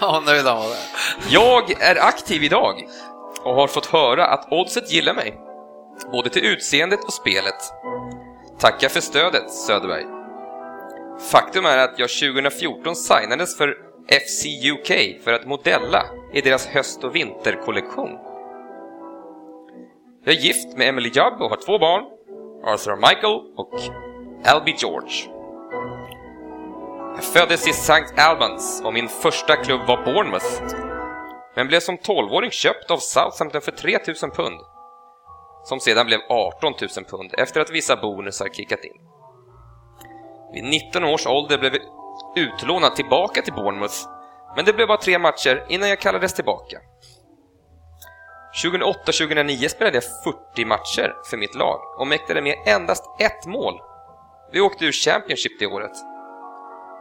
[SPEAKER 4] Ja, nöjd han var där.
[SPEAKER 5] Jag är aktiv idag och har fått höra att oddset gillar mig. Både till utseendet och spelet. Tackar för stödet Söderberg. Faktum är att jag 2014 signades för FC UK för att modella i deras höst och vinterkollektion. Jag är gift med Emily Jubb och har två barn, Arthur Michael och Albie George. Jag föddes i St. Albans och min första klubb var Bournemouth men blev som 12-åring köpt av Southampton för 3 000 pund. Som sedan blev 18 000 pund efter att vissa bonusar kickat in. Vid 19 års ålder blev jag utlånad tillbaka till Bournemouth, men det blev bara tre matcher innan jag kallades tillbaka. 2008-2009 spelade jag 40 matcher för mitt lag och mäktade med endast ett mål. Vi åkte ur Championship det året.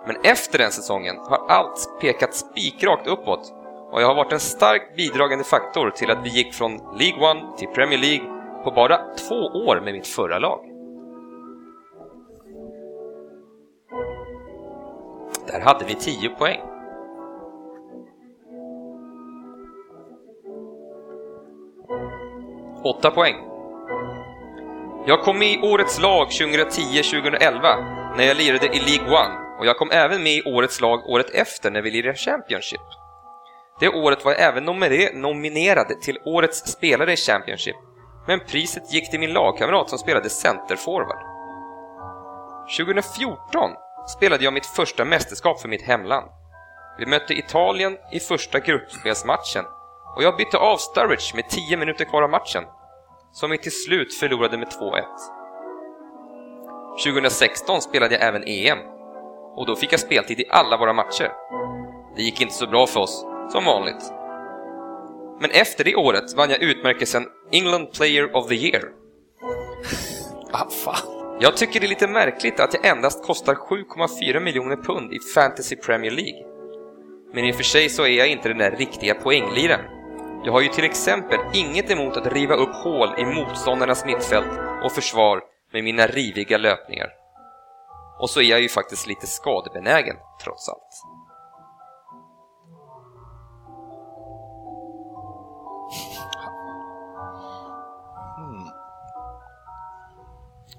[SPEAKER 5] Men efter den säsongen har allt pekat spikrakt uppåt och jag har varit en starkt bidragande faktor till att vi gick från League One till Premier League på bara två år med mitt förra lag. Där hade vi 10 poäng. Åtta poäng. Jag kom med i årets lag 2010-2011 när jag lirade i League One och jag kom även med i årets lag året efter när vi lirade Championship. Det året var jag även nomere- nominerad till årets spelare i Championship, men priset gick till min lagkamrat som spelade centerforward. 2014 spelade jag mitt första mästerskap för mitt hemland. Vi mötte Italien i första gruppspelsmatchen och jag bytte av Sturridge med 10 minuter kvar av matchen, som vi till slut förlorade med 2-1. 2016 spelade jag även EM och då fick jag speltid i alla våra matcher. Det gick inte så bra för oss, som vanligt. Men efter det året vann jag utmärkelsen England Player of the Year.
[SPEAKER 4] Ah, fan.
[SPEAKER 5] Jag tycker det är lite märkligt att jag endast kostar 7,4 miljoner pund i Fantasy Premier League. Men i och för sig så är jag inte den där riktiga poängliraren. Jag har ju till exempel inget emot att riva upp hål i motståndarnas mittfält och försvar med mina riviga löpningar. Och så är jag ju faktiskt lite skadebenägen, trots allt.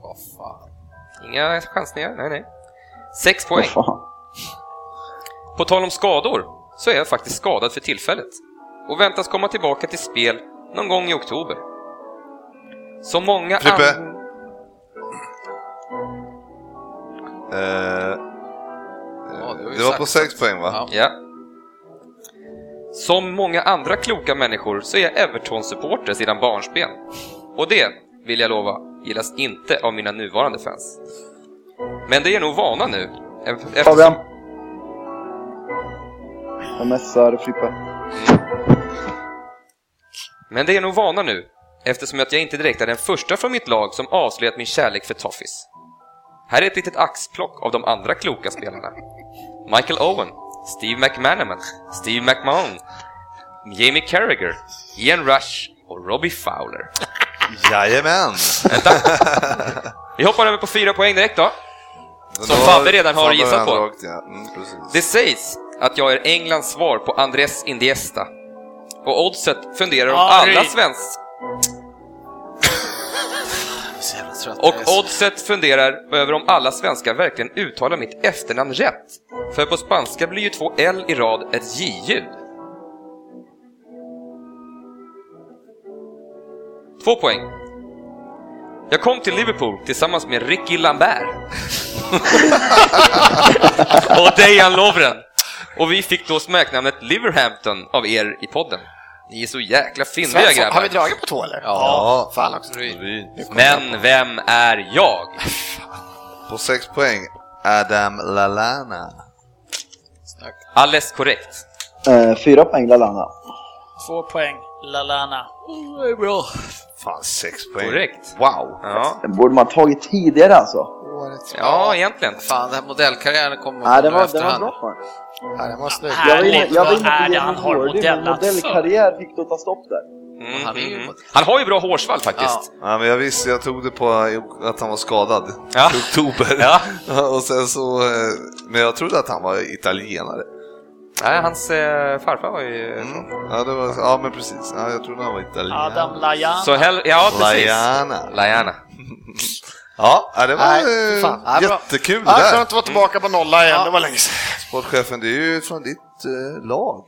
[SPEAKER 4] Vad fan.
[SPEAKER 5] Inga chansningar, nej nej. Sex
[SPEAKER 6] Vad
[SPEAKER 5] poäng.
[SPEAKER 6] fan.
[SPEAKER 5] På tal om skador, så är jag faktiskt skadad för tillfället och väntas komma tillbaka till spel någon gång i oktober. Som många
[SPEAKER 2] Frippe?
[SPEAKER 5] an-
[SPEAKER 2] Eh,
[SPEAKER 4] Ja, har ju
[SPEAKER 2] det var
[SPEAKER 4] sagt
[SPEAKER 2] Eh, på
[SPEAKER 4] så.
[SPEAKER 2] sex poäng va?
[SPEAKER 5] Ja. Som många andra kloka människor så är jag Everton-supporter sedan barnsben. Och det, vill jag lova, gillas inte av mina nuvarande fans. Men det är nog vana nu. ef- eftersom-
[SPEAKER 6] Fabian! Jag messar Frippe.
[SPEAKER 5] Men det är nog vana nu, eftersom att jag inte direkt är den första från mitt lag som avslöjat min kärlek för Toffis. Här är ett litet axplock av de andra kloka spelarna. Michael Owen, Steve McManaman, Steve McMahon, Jamie Carragher, Ian Rush och Robbie Fowler.
[SPEAKER 2] Jajamän!
[SPEAKER 5] Vi hoppar över på fyra poäng direkt då.
[SPEAKER 2] Som
[SPEAKER 5] Fabbe redan har gissat på.
[SPEAKER 2] Rakt, ja. mm, precis.
[SPEAKER 5] Det sägs att jag är Englands svar på Andrés Indiesta. Och oddset funderar om
[SPEAKER 3] Harry.
[SPEAKER 5] alla svensk... Och oddset funderar över om alla svenskar verkligen uttalar mitt efternamn rätt. För på spanska blir ju två L i rad ett J-ljud. Två poäng. Jag kom till Liverpool tillsammans med Ricky Lambert och Dejan Lovren. Och vi fick då smeknamnet Liverhampton av er i podden. Ni är så jäkla fyndiga
[SPEAKER 7] Svensson, har vi
[SPEAKER 5] grabbar.
[SPEAKER 7] dragit på två eller?
[SPEAKER 2] Ja.
[SPEAKER 7] Fan också.
[SPEAKER 2] Vi-
[SPEAKER 5] Men vem är jag?
[SPEAKER 2] På sex poäng, Adam Lallana.
[SPEAKER 5] Alldeles korrekt.
[SPEAKER 6] Eh, fyra poäng Lalana.
[SPEAKER 3] Två poäng, Lalana. Oh, det är bra.
[SPEAKER 2] Fan, sex poäng.
[SPEAKER 5] Korrekt.
[SPEAKER 2] Wow!
[SPEAKER 5] Ja,
[SPEAKER 6] Den borde man ha tagit tidigare alltså.
[SPEAKER 7] Årets
[SPEAKER 5] ja egentligen.
[SPEAKER 4] Fan, den här modellkarriären kommer
[SPEAKER 6] Nej, den var,
[SPEAKER 4] nu
[SPEAKER 6] den var
[SPEAKER 4] efterhand.
[SPEAKER 6] bra för den.
[SPEAKER 7] Ja, det var snygg.
[SPEAKER 6] Jag vill-
[SPEAKER 3] Ärligt,
[SPEAKER 6] jag
[SPEAKER 3] vad
[SPEAKER 6] vill inte
[SPEAKER 3] är
[SPEAKER 6] ge
[SPEAKER 3] det
[SPEAKER 6] honom
[SPEAKER 3] han har alltså.
[SPEAKER 6] dålig, men
[SPEAKER 3] modellat för?
[SPEAKER 6] Modellkarriär fick då ta stopp där.
[SPEAKER 5] Mm,
[SPEAKER 4] Han är ju-
[SPEAKER 5] mm, mm. han har ju bra hårsvall faktiskt.
[SPEAKER 2] Ja, men jag visste, jag tog det på att han var skadad.
[SPEAKER 5] Ja.
[SPEAKER 2] I oktober.
[SPEAKER 5] Ja.
[SPEAKER 2] [laughs] Och sen så, eh, men jag trodde att han var italienare.
[SPEAKER 5] Nej, hans eh, farfar var ju...
[SPEAKER 2] Mm. Ja, det var, ja, men precis. Ja, jag trodde han var italienare.
[SPEAKER 3] Adam Lajan.
[SPEAKER 5] Så hell... Ja, precis.
[SPEAKER 2] Lajana.
[SPEAKER 5] Lajana.
[SPEAKER 2] Ja, ja, det var
[SPEAKER 7] Nej,
[SPEAKER 2] eh,
[SPEAKER 7] fan.
[SPEAKER 4] Ja, bra.
[SPEAKER 2] jättekul det
[SPEAKER 7] Ja, jag kan
[SPEAKER 2] där.
[SPEAKER 7] inte vara tillbaka på nolla igen, det var länge sedan.
[SPEAKER 2] Sportchefen, det är ju från ditt eh, lag.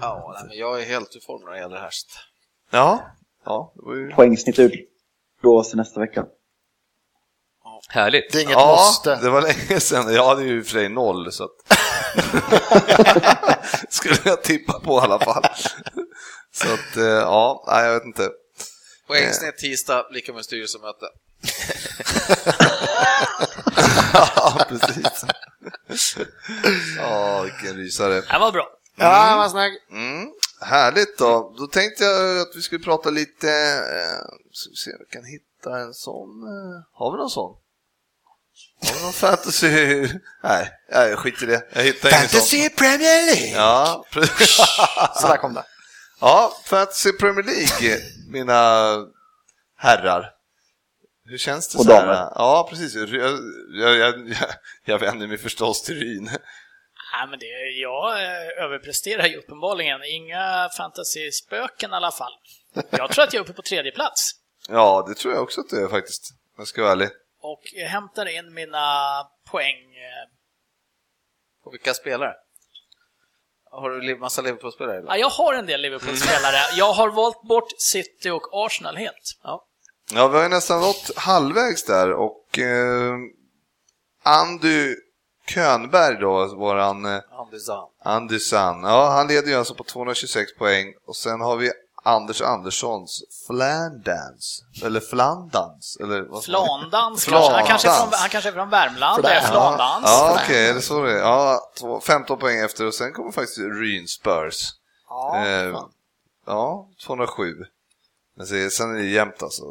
[SPEAKER 4] Ja, nej, men jag är helt ur form när det gäller det här. så att-
[SPEAKER 2] Ja. Ja, det var ju...
[SPEAKER 6] Poängsnitt utlås till nästa vecka.
[SPEAKER 5] Härligt.
[SPEAKER 7] Det är inget
[SPEAKER 2] ja, Mm.
[SPEAKER 7] måste.
[SPEAKER 2] det var länge sedan. Jag hade ju i och för sig noll, så att... skulle jag tippa på i alla fall. så att, eh, ja, nej, jag vet inte. [laughs]
[SPEAKER 4] Poängsnitt tisdag, lika med styrelsemöte.
[SPEAKER 2] ja, precis. Ja, vilken rysare.
[SPEAKER 3] Det var bra.
[SPEAKER 7] Ja, det var snygg.
[SPEAKER 2] Mm, härligt då. Då tänkte jag att vi skulle prata lite, eh, ska vi se om vi kan hitta en sån. Eh, har vi någon sån? Har vi någon fantasy? [laughs] Nej, nej, skit i det. Jag hittar ingen sån.
[SPEAKER 7] Premier League!
[SPEAKER 2] Ja, [laughs] precis.
[SPEAKER 7] Så där kom det.
[SPEAKER 2] ja, Fantasy Premier League, mina herrar. Hur känns det
[SPEAKER 6] Och
[SPEAKER 2] så här?
[SPEAKER 6] damer.
[SPEAKER 2] Ja, precis. Jag, jag, jag, jag, jag vänder mig förstås till Ryn.
[SPEAKER 3] Nej, men det, jag eh, överpresterar ju uppenbarligen. Inga fantasyspöken i alla fall. Jag tror att jag är uppe på tredje plats
[SPEAKER 2] Ja, det tror jag också att det är faktiskt, om jag ska vara ärlig.
[SPEAKER 3] och jag hämtar in mina poäng. eh.
[SPEAKER 4] På vilka spelare? Har du li- massa Liverpool-spelare? eller?
[SPEAKER 3] Ja, jag har en del Liverpool-spelare.
[SPEAKER 7] Mm.
[SPEAKER 3] Jag har valt bort City och Arsenal helt.
[SPEAKER 2] Ja, vi har ju nästan nått halvvägs där och eh, Andy Könberg då, våran eh,
[SPEAKER 4] Andersson.
[SPEAKER 2] Andy San, ja han leder ju alltså på 226 poäng och sen har vi Anders Anderssons Flandans, eller Flandans, eller vad fan?
[SPEAKER 3] Flandans kanske. Han kanske, är från,
[SPEAKER 2] Flandans.
[SPEAKER 3] han kanske är från Värmland. Det är
[SPEAKER 2] Ja,
[SPEAKER 3] Flandans.
[SPEAKER 2] ja okej, är det så det är? Ja, två, 15 poäng efter och sen kommer faktiskt Ryn Spurs.
[SPEAKER 3] Ja,
[SPEAKER 2] Eh, ja, 207. Men se, sen är det jämnt alltså.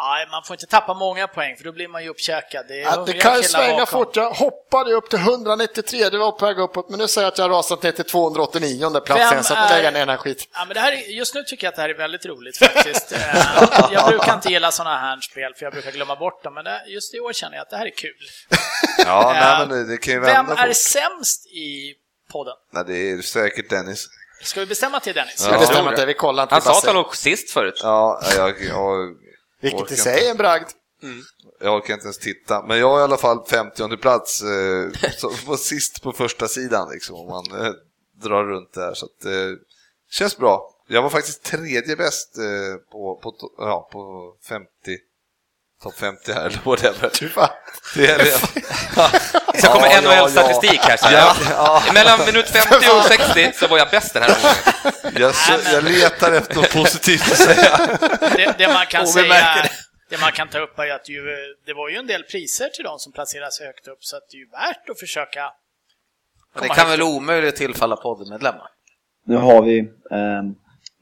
[SPEAKER 3] Nej, man får inte tappa många poäng för då blir man ju uppkäkad. Det är
[SPEAKER 7] Ja, det
[SPEAKER 3] hungriga
[SPEAKER 7] kan ju
[SPEAKER 3] killar
[SPEAKER 7] svänga
[SPEAKER 3] bakom.
[SPEAKER 7] fort. Jag hoppade ju upp till 193, det var på väg uppåt, men nu säger jag att jag har rasat ner till 289 plats
[SPEAKER 3] Vem
[SPEAKER 7] igen, så att
[SPEAKER 3] är-
[SPEAKER 7] lägga ner den här skiten.
[SPEAKER 3] Ja, men det här är, just nu tycker jag att det här är väldigt roligt
[SPEAKER 7] [laughs]
[SPEAKER 3] faktiskt. Eh, jag brukar inte gilla sådana här spel för jag brukar glömma bort dem, men det, just i år känner jag att det här är kul.
[SPEAKER 2] Ja,
[SPEAKER 3] Eh,
[SPEAKER 2] nej, men det, det kan ju
[SPEAKER 3] Vem
[SPEAKER 2] vända på.
[SPEAKER 3] är sämst i podden?
[SPEAKER 2] Nej, det är säkert Dennis.
[SPEAKER 3] Ska vi bestämma till Dennis?
[SPEAKER 7] Ja, det
[SPEAKER 5] tror
[SPEAKER 7] stämmer
[SPEAKER 5] det.
[SPEAKER 7] inte, vi kollar inte.
[SPEAKER 5] Han
[SPEAKER 7] vi
[SPEAKER 5] sa
[SPEAKER 7] bara
[SPEAKER 5] att han
[SPEAKER 7] ser.
[SPEAKER 5] låg sist förut.
[SPEAKER 2] Ja, jag, jag,
[SPEAKER 7] Vilket
[SPEAKER 2] orkar
[SPEAKER 7] i sig är en bragd.
[SPEAKER 2] jag orkar inte ens titta. Men jag är i alla fall 50 plats, eh, så- på sist på första sidan liksom, om man eh, drar runt där. Så att, eh, känns bra. Jag var faktiskt tredje bäst eh, på, på, to- ja, på 50, topp 50 här, eller whatever.
[SPEAKER 7] Du, fan.
[SPEAKER 2] Det är det.
[SPEAKER 5] Så kommer
[SPEAKER 7] Ja, ja,
[SPEAKER 5] NHL-statistik här. Så jag, Mellan minut 50 och
[SPEAKER 4] [laughs]
[SPEAKER 5] 60 så var jag bäst den här omgången.
[SPEAKER 2] Jag,
[SPEAKER 3] Nej, men-
[SPEAKER 2] jag letar
[SPEAKER 4] [laughs]
[SPEAKER 2] efter något positivt att säga.
[SPEAKER 3] Det, det man kan
[SPEAKER 4] Och vi
[SPEAKER 3] säga,
[SPEAKER 4] märker
[SPEAKER 3] det. man kan ta upp är att ju, det var ju en del priser till de som placeras högt upp, så att det är ju värt att försöka
[SPEAKER 4] Men det
[SPEAKER 3] komma
[SPEAKER 4] kan
[SPEAKER 3] högt
[SPEAKER 4] väl omöjligt tillfalla poddmedlemmar?
[SPEAKER 6] Nu har vi ehm,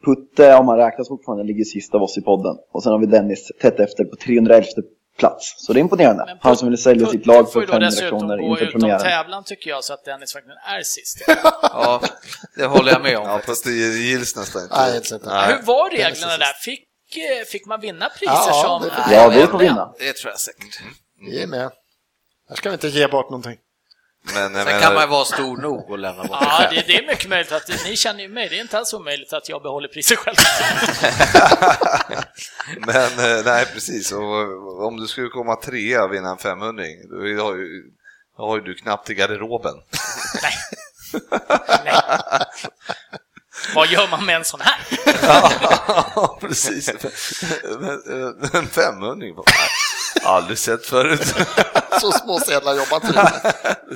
[SPEAKER 6] Putte, om han räknas fortfarande, ligger sist av oss i podden. Och sen har vi Dennis tätt efter på 311 plats. Så det är imponerande.
[SPEAKER 3] Men Putte-
[SPEAKER 6] han som ville sälja
[SPEAKER 3] Putte
[SPEAKER 6] sitt lag
[SPEAKER 3] får
[SPEAKER 6] för
[SPEAKER 3] ju då
[SPEAKER 6] 500
[SPEAKER 3] dessutom
[SPEAKER 6] kronor
[SPEAKER 3] gå
[SPEAKER 6] inför
[SPEAKER 3] utom
[SPEAKER 6] premiären.
[SPEAKER 3] tävlan tycker jag, så att Dennis verkligen är sist.
[SPEAKER 4] Ja, det håller jag med om.
[SPEAKER 2] Ja, fast det gills nästan inte.
[SPEAKER 7] Nej, det är inte.
[SPEAKER 2] Nej.
[SPEAKER 3] Hur var
[SPEAKER 7] Dennis är
[SPEAKER 3] reglerna
[SPEAKER 7] sist.
[SPEAKER 3] där? Fick, eh, fick man vinna priser
[SPEAKER 7] Ja,
[SPEAKER 3] som...
[SPEAKER 7] det fick-
[SPEAKER 6] Ja, vi får vinna.
[SPEAKER 4] Det tror jag säkert.
[SPEAKER 7] Vi är med. Här ska vi inte ge bort någonting. [laughs]
[SPEAKER 2] Men jag
[SPEAKER 4] Sen kan man ju
[SPEAKER 2] menar,
[SPEAKER 4] vara stor nog och lämna bort
[SPEAKER 3] Ja, det, det är mycket möjligt att ni känner ju mig. Det är inte alls omöjligt att jag behåller priser själv.
[SPEAKER 2] men eh, nej precis. Och om du skulle komma trea och vinna en 500 då har ju, då har ju du knappt i garderoben.
[SPEAKER 3] Vad gör man med en sån här?
[SPEAKER 2] [laughs] Ja, precis. Men, eh, En 500 bara, nej, Aldrig sett förut.
[SPEAKER 7] Så små sedlar jobbar inte vi.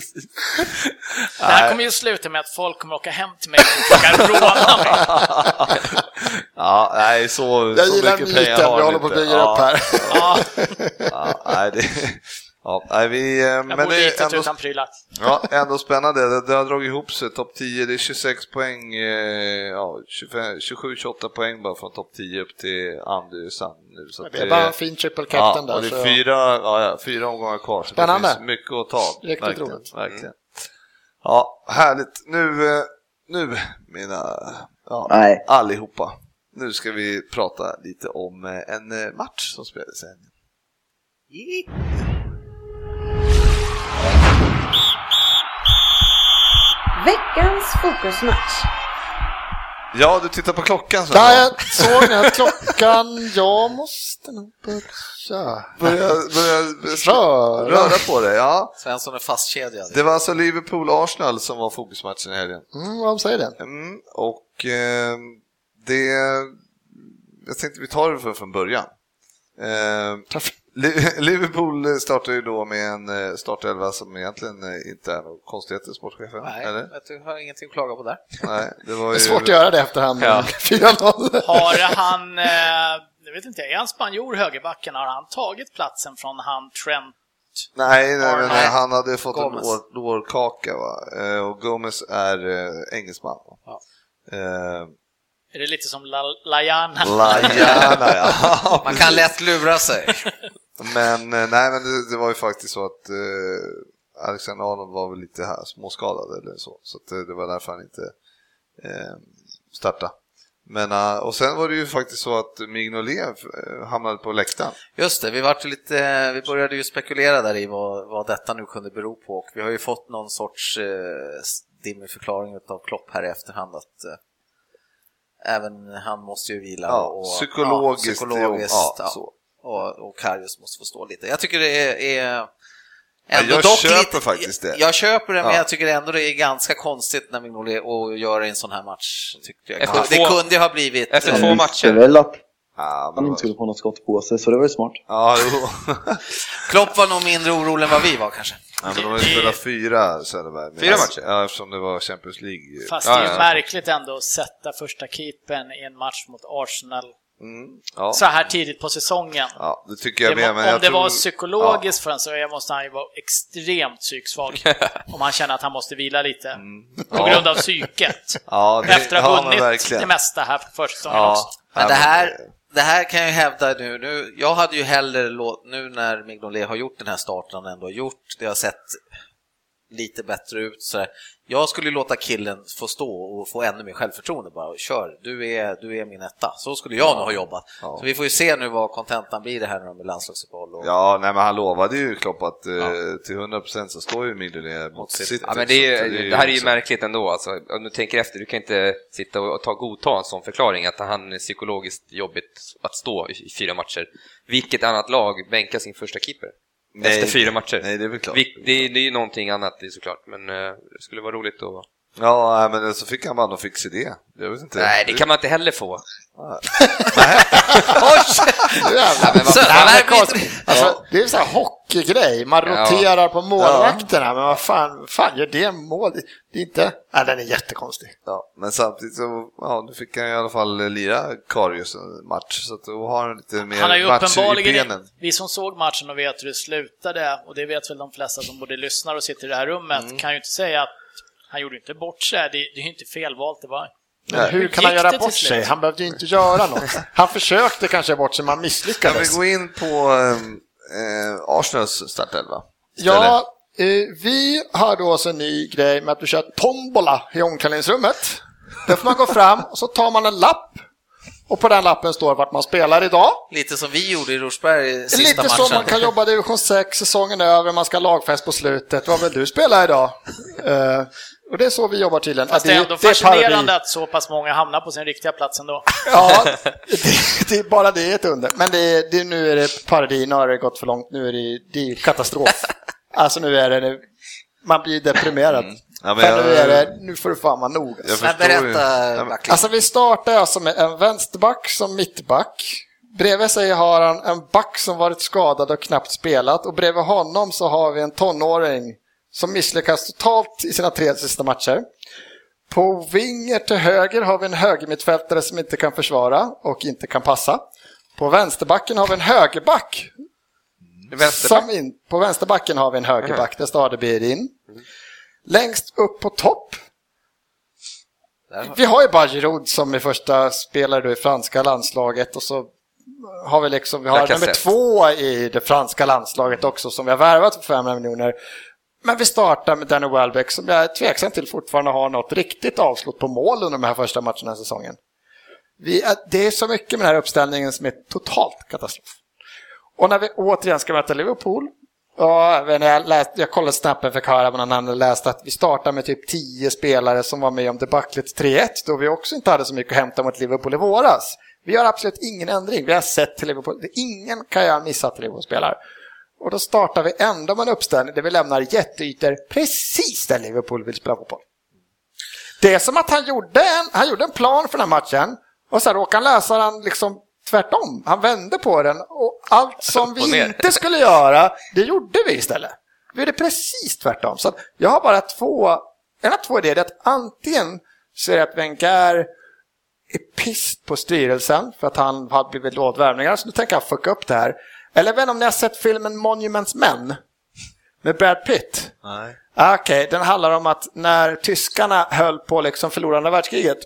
[SPEAKER 3] Det här kommer ju sluta med att folk kommer åka hem till mig och försöka råna mig.
[SPEAKER 2] [laughs] Ja, nej, så,
[SPEAKER 7] Jag
[SPEAKER 2] så
[SPEAKER 7] gillar
[SPEAKER 2] mycket pengar
[SPEAKER 7] myten,
[SPEAKER 2] har
[SPEAKER 7] vi
[SPEAKER 2] vi
[SPEAKER 7] håller på att
[SPEAKER 2] inte.
[SPEAKER 7] bygga upp
[SPEAKER 2] [laughs]
[SPEAKER 7] här.
[SPEAKER 3] Ja,
[SPEAKER 2] Ja, nej, det, ja, nej, vi, eh, men
[SPEAKER 3] jag bor
[SPEAKER 2] det
[SPEAKER 3] litet
[SPEAKER 2] är ändå,
[SPEAKER 3] utan prylar.
[SPEAKER 2] ja, ändå spännande. Det, det har dragit ihop sig. Topp 10, det är 26 poäng, eh, ja, 27-28 poäng bara från topp 10 upp till Andersson nu. Så att
[SPEAKER 7] Det är bara en fin triple captain
[SPEAKER 2] ja,
[SPEAKER 7] där.
[SPEAKER 2] och det
[SPEAKER 7] så-
[SPEAKER 2] är fyra, ja, ja, fyra omgångar kvar, så
[SPEAKER 7] Spännande.
[SPEAKER 2] det finns mycket att ta.
[SPEAKER 7] Riktigt
[SPEAKER 2] verkligen,
[SPEAKER 7] roligt. Mm.
[SPEAKER 2] Verkligen. Ja, härligt. Nu, eh, nu mina, ja,
[SPEAKER 6] Nej.
[SPEAKER 2] allihopa. Nu ska vi prata lite om eh, en eh, match som spelades i helgen.
[SPEAKER 1] Veckans fokusmatch.
[SPEAKER 2] Ja, du tittar på klockan så.
[SPEAKER 7] Där jag såg jag att klockan, jag måste nog börja
[SPEAKER 2] Börja, börja
[SPEAKER 7] röra.
[SPEAKER 2] röra på dig. Ja.
[SPEAKER 4] Svensson är fastkedjad.
[SPEAKER 2] Det var alltså Liverpool-Arsenal som var fokusmatchen i helgen.
[SPEAKER 7] Mm, vad säger det?
[SPEAKER 2] Mm, och eh, det... Jag tänkte vi tar det från, från början. Eh, Li- [laughs] Liverpool startar ju då med en eh, startelva som egentligen eh, inte är något konstigheter, sportchefen.
[SPEAKER 4] Nej,
[SPEAKER 2] Eller?
[SPEAKER 4] vet du har ingenting att klaga på där.
[SPEAKER 2] Nej, det var
[SPEAKER 7] Det
[SPEAKER 2] ju...
[SPEAKER 7] är svårt att göra det efterhand. [laughs]
[SPEAKER 2] Ja.
[SPEAKER 7] 4-0.
[SPEAKER 3] Har han, eh, jag vet inte, är han spanjor, högerbacken? Har han tagit platsen från han Trent?
[SPEAKER 2] Nej, nej, men eh,
[SPEAKER 3] Nej.
[SPEAKER 2] han hade fått
[SPEAKER 4] Gomez.
[SPEAKER 2] en lår, lårkaka va? Eh, och Gomez är eh, engelsman. Va?
[SPEAKER 4] Ja.
[SPEAKER 2] Eh,
[SPEAKER 3] Är det lite som La, Lajana?
[SPEAKER 2] Mm. [laughs] Lajana, ja.
[SPEAKER 4] Man kan lätt lura sig.
[SPEAKER 2] Men eh, nej, men det, det var ju faktiskt så att eh, Alexander Arnold var väl lite här, småskadad eller så, så att, eh, det var därför han inte eh, startade. Men, eh, och sen var det ju faktiskt så att Mignolet eh, hamnade på läktaren.
[SPEAKER 4] Just det, vi, vart ju lite, vi började ju spekulera där i vad, vad detta nu kunde bero på och vi har ju fått någon sorts eh, dimmig förklaring av Klopp här i efterhand att eh, även han måste ju vila.
[SPEAKER 2] Ja,
[SPEAKER 4] och,
[SPEAKER 2] psykologiskt,
[SPEAKER 4] ja, psykologiskt
[SPEAKER 2] ja,
[SPEAKER 4] ja,
[SPEAKER 2] så.
[SPEAKER 4] och, och Karius måste få stå lite. Jag tycker det är... är
[SPEAKER 2] jag köper faktiskt det.
[SPEAKER 4] Jag, jag köper det, men
[SPEAKER 2] Ja.
[SPEAKER 4] jag tycker ändå det är ganska konstigt när Mignolet och gör en sån här match. Tyckte jag.
[SPEAKER 5] Efter
[SPEAKER 4] det
[SPEAKER 5] två-
[SPEAKER 4] kunde ju ha blivit...
[SPEAKER 5] efter
[SPEAKER 4] eh,
[SPEAKER 5] två
[SPEAKER 6] Han
[SPEAKER 5] matcher.
[SPEAKER 6] visste väl att
[SPEAKER 2] Ja, men
[SPEAKER 6] han
[SPEAKER 2] det
[SPEAKER 6] inte
[SPEAKER 2] var-
[SPEAKER 3] typ.
[SPEAKER 6] skulle få något skott på sig, så det var ju smart.
[SPEAKER 2] ja, jo.
[SPEAKER 4] Klopp var nog mindre orolig än vad vi var kanske.
[SPEAKER 2] ja, men de har ju spelat fyra Söderberg.
[SPEAKER 5] Fyra matcher?
[SPEAKER 2] Ja, eftersom det var Champions League.
[SPEAKER 3] Fast
[SPEAKER 5] Ja,
[SPEAKER 3] det är
[SPEAKER 5] ja.
[SPEAKER 3] ju märkligt ändå att sätta första keepern i en match mot Arsenal
[SPEAKER 2] Mm, ja.
[SPEAKER 3] så här tidigt på säsongen.
[SPEAKER 2] ja, det tycker jag
[SPEAKER 3] det,
[SPEAKER 2] med.
[SPEAKER 3] må-
[SPEAKER 2] Men
[SPEAKER 3] om
[SPEAKER 2] jag
[SPEAKER 3] det
[SPEAKER 2] tror...
[SPEAKER 3] var psykologiskt för en så måste han ju vara
[SPEAKER 2] [laughs]
[SPEAKER 3] extremt psyksvag. om han känner att han måste vila lite. På grund av psyket.
[SPEAKER 2] Mm. Ja, det-
[SPEAKER 3] Efter att ha
[SPEAKER 2] ja, men
[SPEAKER 3] vunnit
[SPEAKER 2] verkligen.
[SPEAKER 3] det mesta här på försäsongen också.
[SPEAKER 2] Ja,
[SPEAKER 4] Men
[SPEAKER 2] ja,
[SPEAKER 4] det här, det här kan jag ju hävda nu, nu. Jag hade ju hellre låt, nu när Mignolet har gjort den här starten han ändå har gjort, det har sett lite bättre ut så där. Jag skulle ju låta killen få stå och få ännu mer självförtroende bara. Kör, du är, du är min etta. Så skulle jag nog ha jobbat.
[SPEAKER 2] Ja.
[SPEAKER 4] Så vi får ju se nu vad kontentan blir det här när de är landslagsuppehåll. Och...
[SPEAKER 2] Ja, nej, men han lovade ju Klopp att eh, till 100% så står ju Mignolet mot
[SPEAKER 4] City.
[SPEAKER 2] City.
[SPEAKER 5] Ja, men det, är,
[SPEAKER 2] Så att
[SPEAKER 5] ju- det här är ju
[SPEAKER 2] också-
[SPEAKER 5] märkligt ändå. Alltså, om du tänker efter, du kan inte sitta och ta, godta en sån förklaring att han är psykologiskt jobbigt att stå i i fyra matcher. Vilket annat lag bänkar sin första keeper
[SPEAKER 2] Nej.
[SPEAKER 5] efter fyra matcher?
[SPEAKER 2] Nej, det är väl klart.
[SPEAKER 5] Vil- det, är- det är ju någonting annat det är såklart, men eh, det skulle vara roligt att
[SPEAKER 2] Ja, nej, men så fick han bara någon fix idé. Jag vet inte.
[SPEAKER 5] Nej, det kan man inte heller få.
[SPEAKER 2] [laughs]
[SPEAKER 7] Jävlar.
[SPEAKER 5] Men vad
[SPEAKER 4] Så-
[SPEAKER 5] fan,
[SPEAKER 4] Nej,
[SPEAKER 7] Det är konstigt. Alltså,
[SPEAKER 2] Ja.
[SPEAKER 7] det är så här hockeygrej, man
[SPEAKER 5] Ja.
[SPEAKER 7] roterar på målvakterna, men vad fan, fan gör det mål? Det är inte... Nej, den är jättekonstig.
[SPEAKER 2] Ja, men samtidigt så ja, nu fick han i alla fall lira Karius en match, så att då har han lite mer
[SPEAKER 3] Han har ju
[SPEAKER 2] matcher Eh, i
[SPEAKER 3] uppenbarligen,
[SPEAKER 2] benen.
[SPEAKER 3] vi som såg matchen och vet hur det slutade, och det vet väl de flesta som både lyssnar och sitter i det här rummet,
[SPEAKER 2] Mm.
[SPEAKER 3] kan ju inte säga att han gjorde inte bort sig. Det, det är ju inte felvalt, det var
[SPEAKER 7] Men
[SPEAKER 2] Nej.
[SPEAKER 7] hur kan han
[SPEAKER 3] Gick det
[SPEAKER 7] göra
[SPEAKER 3] till
[SPEAKER 7] bort
[SPEAKER 3] slut?
[SPEAKER 7] sig? Han behövde ju inte göra något. Han försökte kanske bort sig, men han
[SPEAKER 2] Kan vi
[SPEAKER 7] misslyckades.
[SPEAKER 2] gå in på eh, eh, Arsenals startelva?
[SPEAKER 7] Ja, eh, vi har då så en ny grej med att du kör ett tombola i omklädningsrummet. Där får man gå fram och så tar man en lapp och på den lappen står vart man spelar idag.
[SPEAKER 4] Lite som vi gjorde i Rosberg i sista
[SPEAKER 7] Lite
[SPEAKER 4] matchen.
[SPEAKER 7] så man kan jobba division 6, säsongen över, man ska ha lagfest på slutet. Vad vill du spela idag? Eh, och det är så vi jobbar tydligen.
[SPEAKER 3] Fast
[SPEAKER 7] Ja,
[SPEAKER 3] det är ändå fascinerande
[SPEAKER 7] parodi.
[SPEAKER 3] att så pass många hamnar på sin riktiga plats ändå.
[SPEAKER 7] Ja, det, det är bara det är ett under. Men det, är- det, nu är det parodi, nu har det gått för långt, nu är det, det är
[SPEAKER 2] [laughs]
[SPEAKER 7] ju katastrof. Alltså nu är det, man blir deprimerad.
[SPEAKER 2] Mm. Ja, men
[SPEAKER 7] För
[SPEAKER 2] jag-
[SPEAKER 7] nu, är det, nu får du fan vara nog.
[SPEAKER 2] Jag
[SPEAKER 7] Alltså.
[SPEAKER 4] Men
[SPEAKER 2] förstår ju.
[SPEAKER 4] berätta,
[SPEAKER 2] Ja, men-
[SPEAKER 4] Backlund.
[SPEAKER 7] alltså vi startar alltså med en vänsterback som mittback. Bredvid sig har han en back som varit skadad och knappt spelat och bredvid honom så har vi en tonåring som misslyckas totalt i sina tre sista matcher. På vinger till höger har vi en högermittfältare som inte kan försvara och inte kan passa. På vänsterbacken har vi en högerback
[SPEAKER 5] Vänsterback.
[SPEAKER 7] som in, på vänsterbacken har vi en högerback, där står Adebir in. Längst upp på topp. Vi har ju Bajerod som är första spelare då i franska landslaget och så har vi liksom, vi har
[SPEAKER 5] Lacazette.
[SPEAKER 7] nummer två i det franska landslaget också som vi har värvat för 500 miljoner. Men vi startar med Danny Welbeck som jag är tveksam till fortfarande har något riktigt avslut på mål under de här första matcherna den här säsongen. Vi är, det är så mycket med den här uppställningen som är totalt katastrof. Och när vi återigen ska möta Liverpool. Och även när jag, läste, jag kollade snappen för höra vad någon annan läste att vi startar med typ 10 spelare som var med om debaclet 3-1 då vi också inte hade så mycket att hämta mot Liverpool i våras. Vi har absolut ingen ändring. Vi har sett till Liverpool. Ingen kan jag ha missat till Liverpool spelar. Och då startar vi ändå med en uppställning där vi lämnar jätteytor precis där Liverpool vill spela fotboll. Det är som att han gjorde en, han gjorde en plan för den här matchen och sen råkade han läsa den liksom tvärtom. Han vände på den och allt som
[SPEAKER 5] och
[SPEAKER 7] vi
[SPEAKER 5] ner.
[SPEAKER 7] inte skulle göra, det gjorde vi istället. Vi gjorde precis tvärtom. Så att jag har bara två, en av två idéer. Det är att antingen så är det att Wenger är pissed på styrelsen för att han har blivit lovad värvningar, så nu tänker han fucka upp det här. Eller vem om ni har sett filmen Monuments Men med Brad Pitt?
[SPEAKER 2] Nej.
[SPEAKER 7] Ah, Okej, den handlar om att när tyskarna höll på liksom förlora andra världskriget,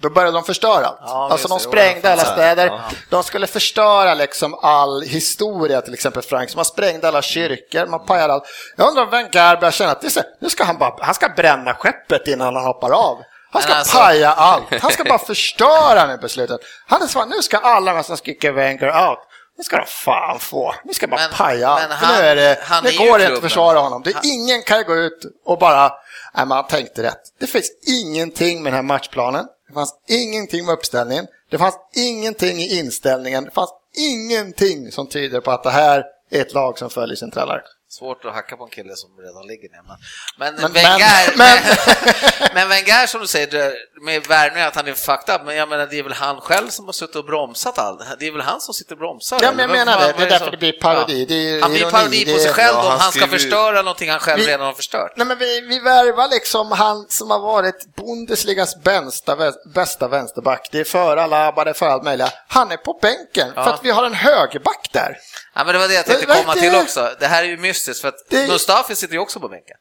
[SPEAKER 7] då började de förstöra allt.
[SPEAKER 4] Ja,
[SPEAKER 7] alltså de
[SPEAKER 4] just det. Jo,
[SPEAKER 7] sprängde
[SPEAKER 4] det
[SPEAKER 7] alla
[SPEAKER 4] fanns det.
[SPEAKER 7] städer.
[SPEAKER 4] Ja.
[SPEAKER 7] De skulle förstöra liksom all historia, till exempel Frank. Så man sprängde alla kyrkor, man pajade allt. Jag undrar om Wenger börjar känna att det är så, nu ska han, bara, han ska bränna skeppet innan han hoppar av. Han ska
[SPEAKER 4] Men alltså- [laughs]
[SPEAKER 7] paja allt. Han ska bara förstöra med beslutet. Han är så här, nu ska alla de som skriker Wenger out. Nu ska de fan få. Nu ska bara
[SPEAKER 4] Men-
[SPEAKER 7] paja allt.
[SPEAKER 4] men
[SPEAKER 7] För nu
[SPEAKER 4] han-
[SPEAKER 7] är det,
[SPEAKER 4] han
[SPEAKER 7] nu
[SPEAKER 4] är ju
[SPEAKER 7] går det inte att
[SPEAKER 4] klubben.
[SPEAKER 7] försvara honom. Det är ingen kan gå ut och bara, nej men han tänkte rätt. Det finns ingenting med den här matchplanen. Det fanns ingenting med uppställningen. Det fanns ingenting i inställningen. Det fanns ingenting som tyder på att det här är ett lag som följer sin tränare.
[SPEAKER 4] Svårt att hacka på en kille som redan ligger ner. Men, men,
[SPEAKER 7] Men-
[SPEAKER 4] Wenger,
[SPEAKER 7] men-
[SPEAKER 4] [laughs] men, Wenger som du säger, det- med värvningar att han är fucked up, men jag menar det är väl han själv som har suttit och bromsat allt. Det är väl han som sitter och bromsar?
[SPEAKER 7] Ja, men jag
[SPEAKER 4] eller?
[SPEAKER 7] menar
[SPEAKER 4] Vad-
[SPEAKER 7] det.
[SPEAKER 4] vad
[SPEAKER 7] Det är
[SPEAKER 4] som-
[SPEAKER 7] därför det blir parodi. Det är
[SPEAKER 4] Han blir
[SPEAKER 7] ironi.
[SPEAKER 4] parodi på
[SPEAKER 7] Det
[SPEAKER 4] sig
[SPEAKER 7] är-
[SPEAKER 4] själv
[SPEAKER 2] Ja,
[SPEAKER 4] om
[SPEAKER 2] han
[SPEAKER 4] han ska
[SPEAKER 2] skriver ju-
[SPEAKER 4] förstöra någonting han själv
[SPEAKER 7] Vi-
[SPEAKER 4] redan har förstört.
[SPEAKER 7] Nej, men vi, vi värvar liksom han som har varit Bundesligas bästa, vä- bästa vänsterback. Det är för Alaba, det är för allt möjligt. Han är på bänken för
[SPEAKER 4] Ja.
[SPEAKER 7] att vi har en högerback där.
[SPEAKER 4] Ja, men det var det jag
[SPEAKER 7] Men
[SPEAKER 4] tänkte komma
[SPEAKER 7] verkar-
[SPEAKER 4] till också. Det här är ju mystiskt för att
[SPEAKER 7] Det-
[SPEAKER 4] Mustafi sitter ju också på bänken.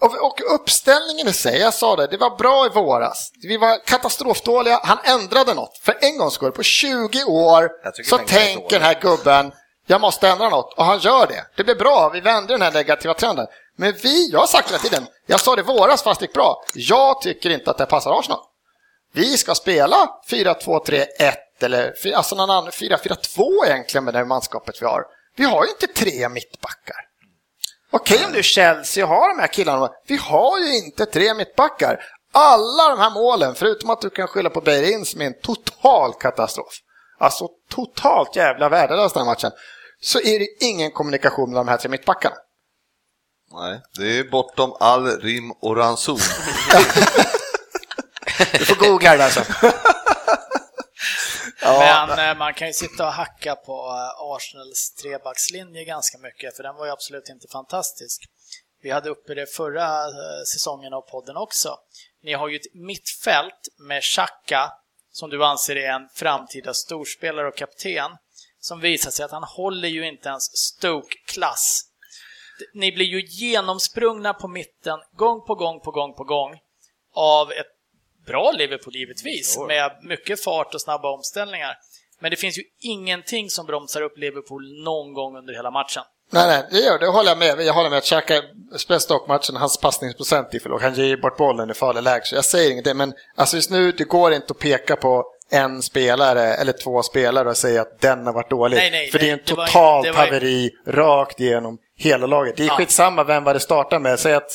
[SPEAKER 7] Och, och uppställningen i sig, jag sa det, det var bra i våras. Vi var katastrofdåliga, han ändrade något. För en gångs skull, på 20 år
[SPEAKER 4] Jag tycker
[SPEAKER 7] så
[SPEAKER 4] Wenger är
[SPEAKER 7] tänker den här gubben, jag måste ändra något. Och han gör det. Det blir bra, vi vänder den här negativa trenden. Men vi, jag har sagt hela tiden, jag sa det i våras fast det gick bra. Jag tycker inte att det passar Arsenal. Vi ska spela 4-2-3-1 eller fy- alltså någon annan 4-4-2 egentligen med det manskapet vi har. Vi har ju inte tre mittbackar. Okej om du Chelsea har de här killarna, vi har ju inte tre mittbackar. Alla de här målen, förutom att du kan skylla på Beirin som är en total katastrof, alltså totalt jävla värdelös den här matchen, så är det ingen kommunikation mellan de här tre mittbackarna.
[SPEAKER 2] Nej, det är bortom all rim och ranson.
[SPEAKER 7] Du får googla det där sen.
[SPEAKER 3] Men eh, man kan ju sitta och hacka på eh, Arsenals trebackslinje ganska mycket, för den var ju absolut inte fantastisk. Vi hade uppe det förra eh, säsongen av podden också. Ni har ju ett mittfält med Xhaka, som du anser är en framtida storspelare och kapten, som visar sig att han håller ju inte ens Stoke-klass. Ni blir ju genomsprungna på mitten gång på gång på gång på gång av ett bra Liverpool givetvis, med mycket fart och snabba omställningar. Men det finns ju ingenting som bromsar upp Liverpool någon gång under hela matchen.
[SPEAKER 7] Nej, nej, det gör det. håller jag med. Jag håller med att Xhaka, speciellt Stockmatchen, hans passningsprocent är för låg. Han ger ju bort bollen i farliga läge, så jag säger inget. Men alltså just nu, det går inte att peka på en spelare eller två spelare och säga att den har varit dålig.
[SPEAKER 3] Nej, nej,
[SPEAKER 7] för det är
[SPEAKER 3] nej,
[SPEAKER 7] en
[SPEAKER 3] det var-
[SPEAKER 7] totalt
[SPEAKER 3] det var-
[SPEAKER 7] haveri rakt igenom hela laget. Det är
[SPEAKER 3] Ja.
[SPEAKER 7] skitsamma vem var det startar med. Säg att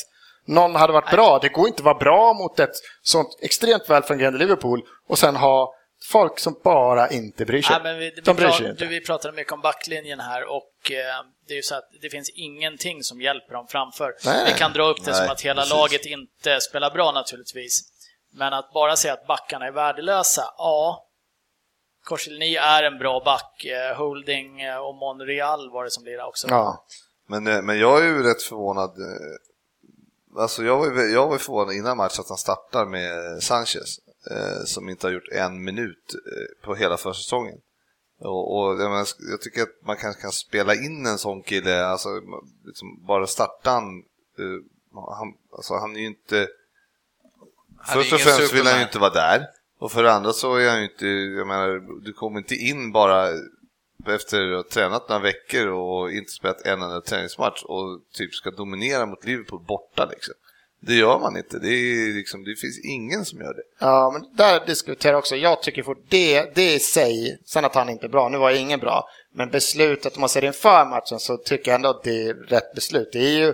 [SPEAKER 7] någon hade varit bra. Det går inte att vara bra mot ett sånt extremt välfungerande Liverpool och sen ha folk som bara inte bryr sig.
[SPEAKER 3] Nej, men vi, vi,
[SPEAKER 7] De bryr
[SPEAKER 3] prat-
[SPEAKER 7] sig inte.
[SPEAKER 3] du, vi pratade mycket om backlinjen här och eh, det är ju så att det finns ingenting som hjälper dem framför.
[SPEAKER 7] Nej,
[SPEAKER 3] vi kan dra upp det
[SPEAKER 2] nej,
[SPEAKER 3] som att hela
[SPEAKER 2] precis.
[SPEAKER 3] laget inte spelar bra naturligtvis. Men att bara säga att backarna är värdelösa, ja. Korselny är en bra back. Eh, Holding eh, och Monreal var det som lirade också.
[SPEAKER 7] Ja.
[SPEAKER 2] Men, eh, men jag är ju rätt förvånad. eh, Alltså jag var ju jag var ju förvånad innan matchen att han startar med Sanchez eh, som inte har gjort en minut eh, på hela försäsongen. Och, och jag, menar, jag tycker att man kanske kan spela in en sån kille, alltså, liksom bara starta han, eh, han, alltså, han är ju inte...
[SPEAKER 4] Han är
[SPEAKER 2] Först och
[SPEAKER 4] ingen
[SPEAKER 2] främst vill han ju
[SPEAKER 4] superman.
[SPEAKER 2] inte vara där. Och för det andra så är han ju inte, jag menar, du kommer inte in bara efter att ha tränat några veckor och inte spelat en enda träningsmatch och typ ska dominera mot Liverpool borta liksom. Det gör man inte. Det, är liksom, det finns ingen som gör det.
[SPEAKER 7] Ja, men där diskuterar jag också. Jag tycker för det, det i sig, sen att han inte är bra, nu var ju ingen bra, men beslutet om man ser det inför matchen så tycker jag ändå att det är rätt beslut. Det är ju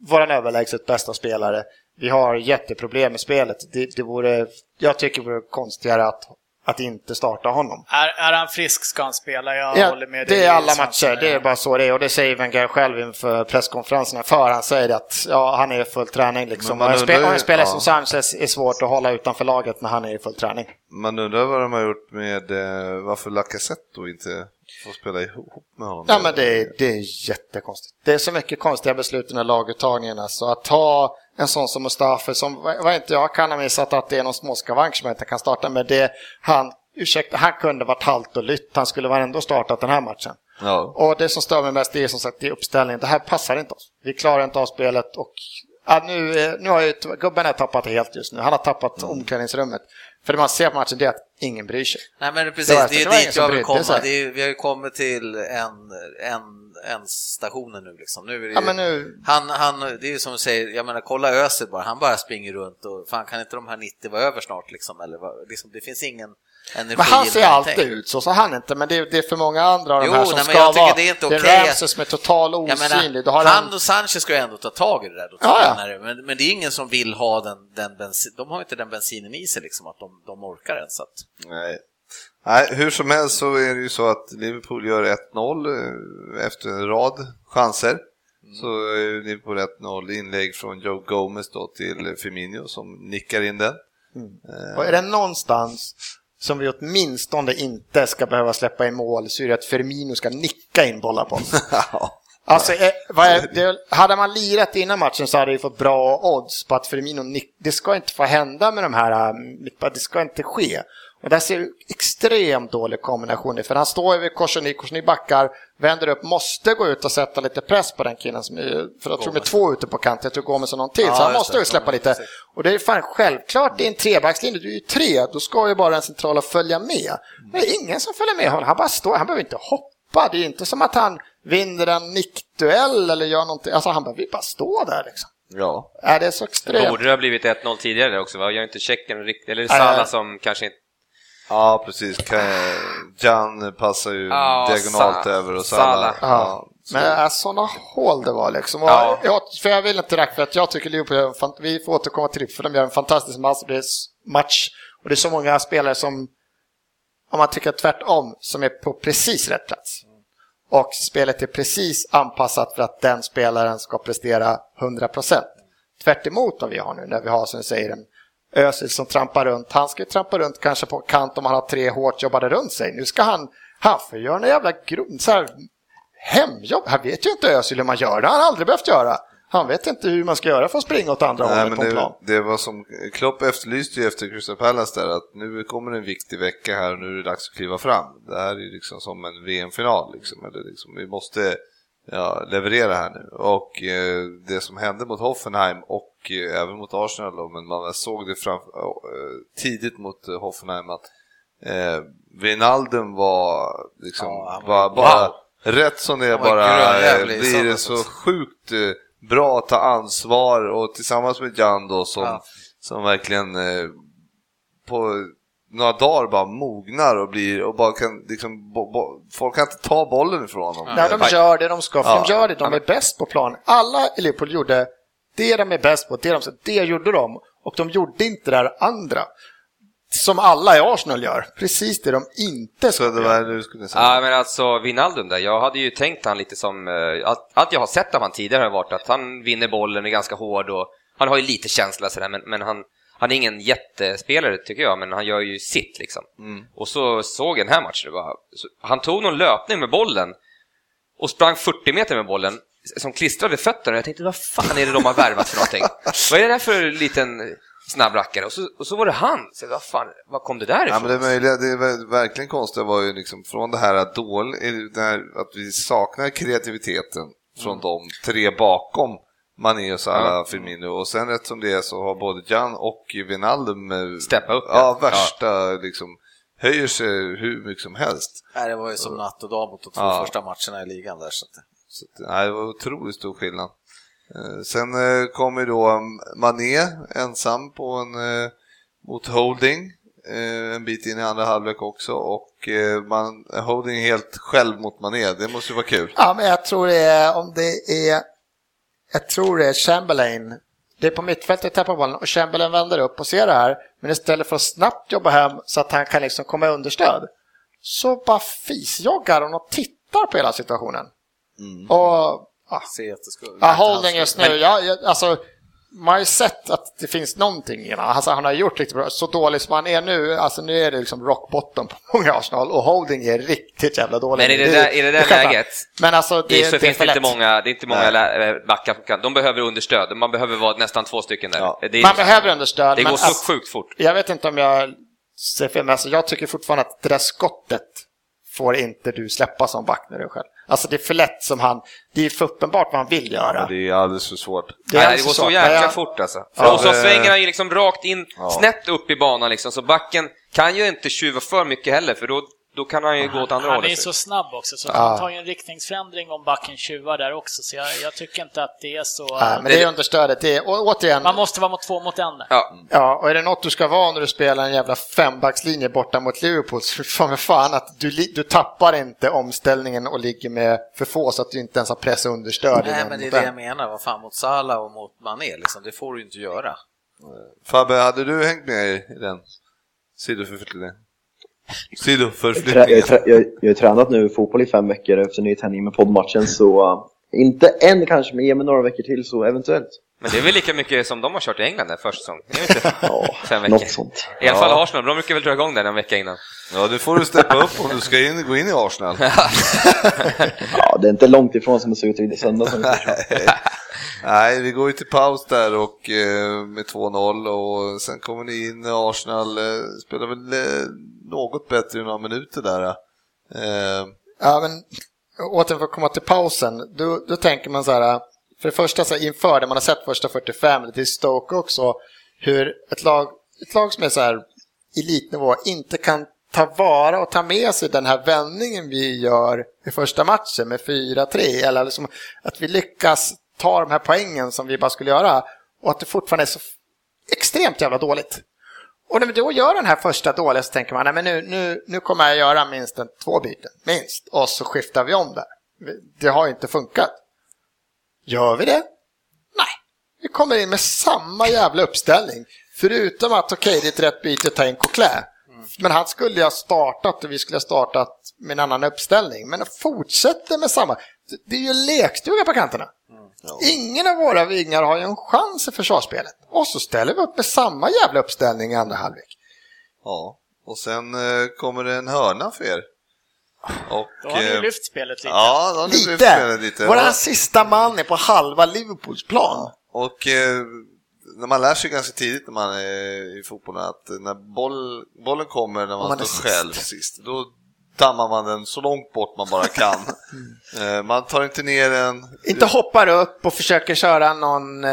[SPEAKER 7] vår överlägset bästa spelare. Vi har jätteproblem med spelet. Det, det vore, jag tycker det vore konstigare att, att inte starta honom.
[SPEAKER 3] Är, är han frisk ska han spela, jag
[SPEAKER 7] Ja,
[SPEAKER 3] håller med dig.
[SPEAKER 7] det är alla
[SPEAKER 3] Svensson.
[SPEAKER 7] matcher, det är bara så det är. Och det säger Wenger själv inför presskonferenserna för. Han säger att ja, han är i full träning.
[SPEAKER 2] Men
[SPEAKER 7] Liksom.
[SPEAKER 2] man
[SPEAKER 7] Och en
[SPEAKER 2] undrar ju-
[SPEAKER 7] spe- och en spelare
[SPEAKER 2] ja.
[SPEAKER 7] som Sanchez är svårt att hålla utanför laget när han är i full träning.
[SPEAKER 2] Man undrar vad de har gjort med eh, varför Lacazette då inte får spela ihop med honom.
[SPEAKER 7] Ja, men det, är- det är jättekonstigt. Det är så mycket konstiga beslut i den här laguttagningen. Alltså. Att ta en sån som Mustafa, som vad vad inte jag kan ha missat att det är någon småskavank som jag inte kan starta med. Det, han, ursäkta, han kunde varit halt och lytt. Han skulle vara ändå startat den här matchen.
[SPEAKER 2] Ja.
[SPEAKER 7] Och det som stör mig mest det är som sagt det är uppställningen. Det här passar inte oss. Vi klarar inte av spelet och ja, nu, eh, nu har ju t- gubben har tappat det helt just nu. Han har tappat omklädningsrummet. För det man ser på matchen det är att ingen bryr sig.
[SPEAKER 4] Nej men det är precis,
[SPEAKER 7] Det var-
[SPEAKER 4] det
[SPEAKER 7] det var
[SPEAKER 4] är
[SPEAKER 7] ingen
[SPEAKER 4] dit
[SPEAKER 7] som
[SPEAKER 4] jag vill
[SPEAKER 7] brydde sig.
[SPEAKER 4] komma. Det är, vi har ju kommit till en, en, en stationen nu liksom. Nu är det ju,
[SPEAKER 7] Ja, men nu-
[SPEAKER 4] han, han, det är ju som du säger, jag menar kolla Özil bara, han bara springer runt och fan kan inte de här 90 vara över snart liksom? Eller, vad- liksom det finns ingen energi
[SPEAKER 7] Men han
[SPEAKER 4] i
[SPEAKER 7] ser
[SPEAKER 4] någonting.
[SPEAKER 7] alltid ut så, så han inte. Men det är, det är för många andra av
[SPEAKER 4] Jo,
[SPEAKER 7] de här som
[SPEAKER 4] nej, men
[SPEAKER 7] ska
[SPEAKER 4] jag tycker
[SPEAKER 7] vara...
[SPEAKER 4] det är inte
[SPEAKER 7] det
[SPEAKER 4] okej.
[SPEAKER 7] Ramses som är total
[SPEAKER 4] Jag
[SPEAKER 7] osynlig. Då har
[SPEAKER 4] menar, han,
[SPEAKER 7] han...
[SPEAKER 4] och Sanchez ska ju ändå ta tag i det där då,
[SPEAKER 7] Ja, ja.
[SPEAKER 4] tränare. Men, men det är ingen som vill ha den, den bensin, de har ju inte den bensinen i sig liksom, att de, de orkar ens. Så att,
[SPEAKER 2] Nej. Nej, hur som helst så är det ju så att Liverpool gör 1-0 eh, efter en rad chanser. Så är ju Liverpool 1-0 inlägg från Joe Gomez då till Firmino som nickar in den.
[SPEAKER 7] Och är det någonstans som vi åtminstone inte ska behöva släppa in mål så är det att Firmino ska nicka in bollar på
[SPEAKER 4] [laughs]
[SPEAKER 7] oss. Alltså, eh, vad är, det, hade man lirat innan matchen så hade vi fått bra odds på att Firmino nick, Det ska inte få hända med de här, eh, mittback- det ska inte ske. Och där ser du extremt dålig kombination i, för han står ju vid Korseny, Korseny backar, vänder upp, måste gå ut och sätta lite press på den killen som är, för jag tror med två ute på kant, jag tror Gomes och någon till,
[SPEAKER 4] Ja,
[SPEAKER 7] så han
[SPEAKER 4] just
[SPEAKER 7] måste
[SPEAKER 4] det.
[SPEAKER 7] ju släppa
[SPEAKER 4] Ja,
[SPEAKER 7] lite.
[SPEAKER 4] precis.
[SPEAKER 7] Och det är fan självklart, det är en trebackslinje, du är ju tre, då ska ju bara den centrala följa med. Men det är ingen som följer med honom, han bara står, han behöver inte hoppa, det är inte som att han vinner en nickduell eller gör någonting, alltså han behöver ju bara stå där liksom.
[SPEAKER 2] Ja.
[SPEAKER 7] Äh, det är så extremt.
[SPEAKER 5] Borde det ha blivit 1-0 tidigare också? Va? Gör inte Tjeckien riktigt... Eller
[SPEAKER 7] Nej.
[SPEAKER 5] Salah som kanske inte...
[SPEAKER 2] Ja, precis. Kan- Jan passar ju
[SPEAKER 5] Ja,
[SPEAKER 2] diagonalt
[SPEAKER 5] Sa-
[SPEAKER 2] över och
[SPEAKER 5] Salah.
[SPEAKER 2] Salah.
[SPEAKER 7] Ja.
[SPEAKER 2] så-
[SPEAKER 7] Men äh, sådana hål det var liksom. Och
[SPEAKER 5] Ja.
[SPEAKER 7] jag, för jag vill inte racka, för att jag tycker Liverpool gör en fan, vi får återkomma till det, för de gör en fantastisk match. Det är s- match och det är så många spelare som, om man tycker tvärtom, som är på precis rätt plats. Och spelet är precis anpassat för att den spelaren ska prestera 100%. Tvärt emot vad vi har nu när vi har som du säger en Özil som trampar runt. Han ska ju trampa runt kanske på kant om han har tre hårt jobbade runt sig. Nu ska han, han får göra en jävla grund, så här, hemjobb. Han vet ju inte Özil hur man gör det, har han aldrig behövt göra. Han vet inte hur man ska göra för att springa åt andra
[SPEAKER 2] Nej,
[SPEAKER 7] hållet
[SPEAKER 2] men
[SPEAKER 7] på en plan.
[SPEAKER 2] det, det var som Klopp efterlyste ju efter Crystal Palace där att nu kommer en viktig vecka här och nu är det dags att kliva fram. Det här är ju liksom som en VM-final liksom, eller liksom, vi måste ja, leverera här nu. Och eh, det som hände mot Hoffenheim och eh, även mot Arsenal då, men man såg det fram, eh, tidigt mot eh, Hoffenheim att eh, Wijnaldum var liksom
[SPEAKER 4] Ja, han var-
[SPEAKER 2] bara, bara
[SPEAKER 4] wow.
[SPEAKER 2] rätt som det är
[SPEAKER 4] Han var
[SPEAKER 2] bara eh,
[SPEAKER 4] grönjävlig i
[SPEAKER 2] blir det
[SPEAKER 4] söndags
[SPEAKER 2] så
[SPEAKER 4] också.
[SPEAKER 2] sjukt eh, bra att ta ansvar och tillsammans med Jan då som,
[SPEAKER 4] Ja.
[SPEAKER 2] som verkligen eh, på några dagar bara mognar och blir och bara kan liksom, bo, bo, folk kan inte ta bollen ifrån honom.
[SPEAKER 7] När de
[SPEAKER 2] Nej.
[SPEAKER 7] gör det de ska, för
[SPEAKER 2] Ja.
[SPEAKER 7] de gör det, de är bäst på plan. Alla i Liverpool gjorde det de är bäst på, det, de, det gjorde de. Och de gjorde inte det där andra. Som alla i Arsenal gör. Precis det de inte ska
[SPEAKER 2] Så det
[SPEAKER 7] göra.
[SPEAKER 2] var du skulle säga.
[SPEAKER 5] Ja, men alltså Wijnaldum där, jag hade ju tänkt han lite som, eh, allt, allt jag har sett av han tidigare har varit att han vinner bollen, är ganska hård och han har ju lite känsla sådär, men, men han, han är ingen jättespelare tycker jag, men han gör ju sitt liksom.
[SPEAKER 2] Mm.
[SPEAKER 5] Och så såg jag den här matchen, det var, så, han tog någon löpning med bollen och sprang 40 meter med bollen som klistrade fötterna. Jag tänkte, vad fan är det de har värvat
[SPEAKER 2] [laughs]
[SPEAKER 5] för någonting? vad är det där för liten snabbrackare? Och så, och så var det han, så, jag, vad fan, var kom det
[SPEAKER 2] Ja,
[SPEAKER 5] där ifrån?
[SPEAKER 2] men det möjliga, det är verkligen konstiga var ju liksom från det här att, dål, eller det här att vi saknar kreativiteten från de tre bakom Mané och Salah,
[SPEAKER 5] Mm. Ja.
[SPEAKER 2] Firmino och sen rätt som det är så har både Jan och Wijnaldum eh,
[SPEAKER 5] Steppa upp,
[SPEAKER 2] ja,
[SPEAKER 5] ja.
[SPEAKER 2] värsta liksom höjer sig hur mycket som helst.
[SPEAKER 4] Nej, det var ju som natt och dag mot de två
[SPEAKER 2] Ja.
[SPEAKER 4] första matcherna i ligan där. Så att,
[SPEAKER 2] Så att, nej, det var otroligt stor skillnad. Eh, Sen eh, kom ju då mm, Mané ensam på en, eh, mot Holding eh, en bit in i andra halvlek också och eh, man, Holding är helt själv mot Mané, det måste ju vara kul.
[SPEAKER 7] Ja, men jag tror det är, om det är, jag tror det är Chamberlain. Det är på mittfältet tappar bollen och Chamberlain vänder upp och ser det här. Men istället för att snabbt jobba hem så att han kan liksom komma i understöd. Så bara fisjoggar hon och tittar på hela situationen.
[SPEAKER 5] Mm.
[SPEAKER 7] Och ja,
[SPEAKER 4] se att det skulle...
[SPEAKER 7] ja, holding just nu, ja, jag, alltså man har ju sett att det finns någonting i honom. Alltså, han har gjort riktigt bra. Så dålig som han är nu, alltså nu är det liksom rock bottom på [laughs] många Arsenal och Holding är riktigt jävla dålig.
[SPEAKER 5] Men i det där- i det där
[SPEAKER 7] kan jag-
[SPEAKER 5] läget
[SPEAKER 7] Men alltså det,
[SPEAKER 5] Det, så
[SPEAKER 7] det är
[SPEAKER 5] finns
[SPEAKER 7] för
[SPEAKER 5] det inte
[SPEAKER 7] lätt.
[SPEAKER 5] många, det är inte
[SPEAKER 2] Nej.
[SPEAKER 5] många lä- eh, backar som kan. De behöver understöd. Man behöver vara nästan två stycken där.
[SPEAKER 2] Ja.
[SPEAKER 5] Det, är-
[SPEAKER 7] Man behöver understöd.
[SPEAKER 5] det
[SPEAKER 7] men
[SPEAKER 5] går så
[SPEAKER 7] alltså,
[SPEAKER 5] sjukt fort.
[SPEAKER 7] Jag vet inte om jag ser fel, men alltså, jag tycker fortfarande att det där skottet får inte du släppa som back när du är själv. Alltså det är för lätt som han, det är för uppenbart vad han vill göra.
[SPEAKER 2] Det är alldeles för svårt.
[SPEAKER 7] är
[SPEAKER 5] Nej,
[SPEAKER 7] alltså
[SPEAKER 5] det går så
[SPEAKER 7] men
[SPEAKER 5] jäkla
[SPEAKER 7] jag-
[SPEAKER 5] fort alltså.
[SPEAKER 2] Ja,
[SPEAKER 5] och så
[SPEAKER 2] det-
[SPEAKER 5] svänger han ju liksom rakt in,
[SPEAKER 2] Ja.
[SPEAKER 5] snett upp i banan liksom. Så backen kan ju inte tjuva för mycket heller, för då, då kan han ju gå åt andra
[SPEAKER 3] Han är
[SPEAKER 5] hållet.
[SPEAKER 3] så snabb också, så han tar ju en riktningsförändring om backen tjuvar där också, så jag, jag tycker inte att det är så...
[SPEAKER 7] Ja, Äh, men det, är understödet. Det är, och återigen,
[SPEAKER 3] Man måste vara mot två mot en där.
[SPEAKER 5] Ja.
[SPEAKER 7] ja, och är det något du ska vara när du spelar en jävla fembackslinje borta mot Liverpool så [laughs] fan, med fan att du, li- du tappar inte omställningen och ligger med för få så att du inte ens har press och understöd.
[SPEAKER 4] Nej,
[SPEAKER 7] innan
[SPEAKER 4] men det är
[SPEAKER 7] mot
[SPEAKER 4] det
[SPEAKER 7] den.
[SPEAKER 4] jag menar. Vad fan, mot Salah och mot Mané, liksom, det får du ju inte göra.
[SPEAKER 2] Fabbe, hade du hängt med i den [laughs] sidoförflyttningen?
[SPEAKER 6] Jag har trä-
[SPEAKER 2] Sidoförflyttningen?
[SPEAKER 6] jag har trä- jag- jag har tränat nu fotboll i fem veckor efter nytändning med poddmatchen så uh, inte än kanske, men ge mig några veckor till så eventuellt.
[SPEAKER 5] Men det är väl lika mycket som de har kört i England där första säsongen. Det är ju inte
[SPEAKER 2] [laughs]
[SPEAKER 6] Ja,
[SPEAKER 5] fem veckor.
[SPEAKER 6] något sånt.
[SPEAKER 5] I alla fall
[SPEAKER 2] Ja.
[SPEAKER 5] Arsenal, de brukar väl dra igång där en vecka innan.
[SPEAKER 2] Ja, det får du steppa upp om du ska in, gå in i [laughs] Arsenal.
[SPEAKER 6] Ja, det är inte långt ifrån som det såg ut i söndags.
[SPEAKER 5] [laughs]
[SPEAKER 6] om vi säger så.
[SPEAKER 2] Nej, vi går ju till paus där och eh, med 2-0 och sen kommer ni in Arsenal eh, spelar väl eh, något bättre i några minuter där. Eh,
[SPEAKER 7] Ja, men åter för att komma till pausen, då, då tänker man så här, för det första så här, inför det man har sett första 45, det är Stoke också, hur ett lag, ett lag som är så här elitnivå inte kan ta vara och ta med sig den här vändningen vi gör i första matchen med 4-3, eller liksom att vi lyckas ta de här poängen som vi bara skulle göra och att det fortfarande är så extremt jävla dåligt. Och när vi då gör den här första dåliga så tänker man, nej men nu, nu, nu kommer jag göra minst en, två byten, minst. Och så skiftar vi om där. Vi- Det har ju inte funkat. Gör vi det? Nej. Vi kommer in med samma jävla uppställning. Förutom att, okej, det är ett rätt byte att ta in Coquelin. Men han skulle ha startat och vi skulle ha startat med en annan uppställning. Men fortsätter med samma. Det är ju lekstuga på kanterna. Ingen av våra vingar har ju en chans i försvarsspelet. Och så ställer vi upp med samma jävla uppställning i andra halvlek.
[SPEAKER 2] Ja, och sen eh, kommer det en hörna för er. Och,
[SPEAKER 3] Då har ni
[SPEAKER 2] eh,
[SPEAKER 3] ju lyft spelet lite.
[SPEAKER 2] Ja, då har ni lyft
[SPEAKER 7] Lite!
[SPEAKER 2] spelet lite.
[SPEAKER 7] Våran sista man är på halva Liverpools plan.
[SPEAKER 2] Och eh, när man lär sig ganska tidigt när man är i fotbollen att när boll, bollen kommer när man,
[SPEAKER 7] man är
[SPEAKER 2] står
[SPEAKER 7] sist.
[SPEAKER 2] själv sist, då dammar man den så långt bort man bara
[SPEAKER 7] [laughs]
[SPEAKER 2] kan. eh, man tar inte ner den.
[SPEAKER 7] Inte hoppar upp och försöker köra någon eh,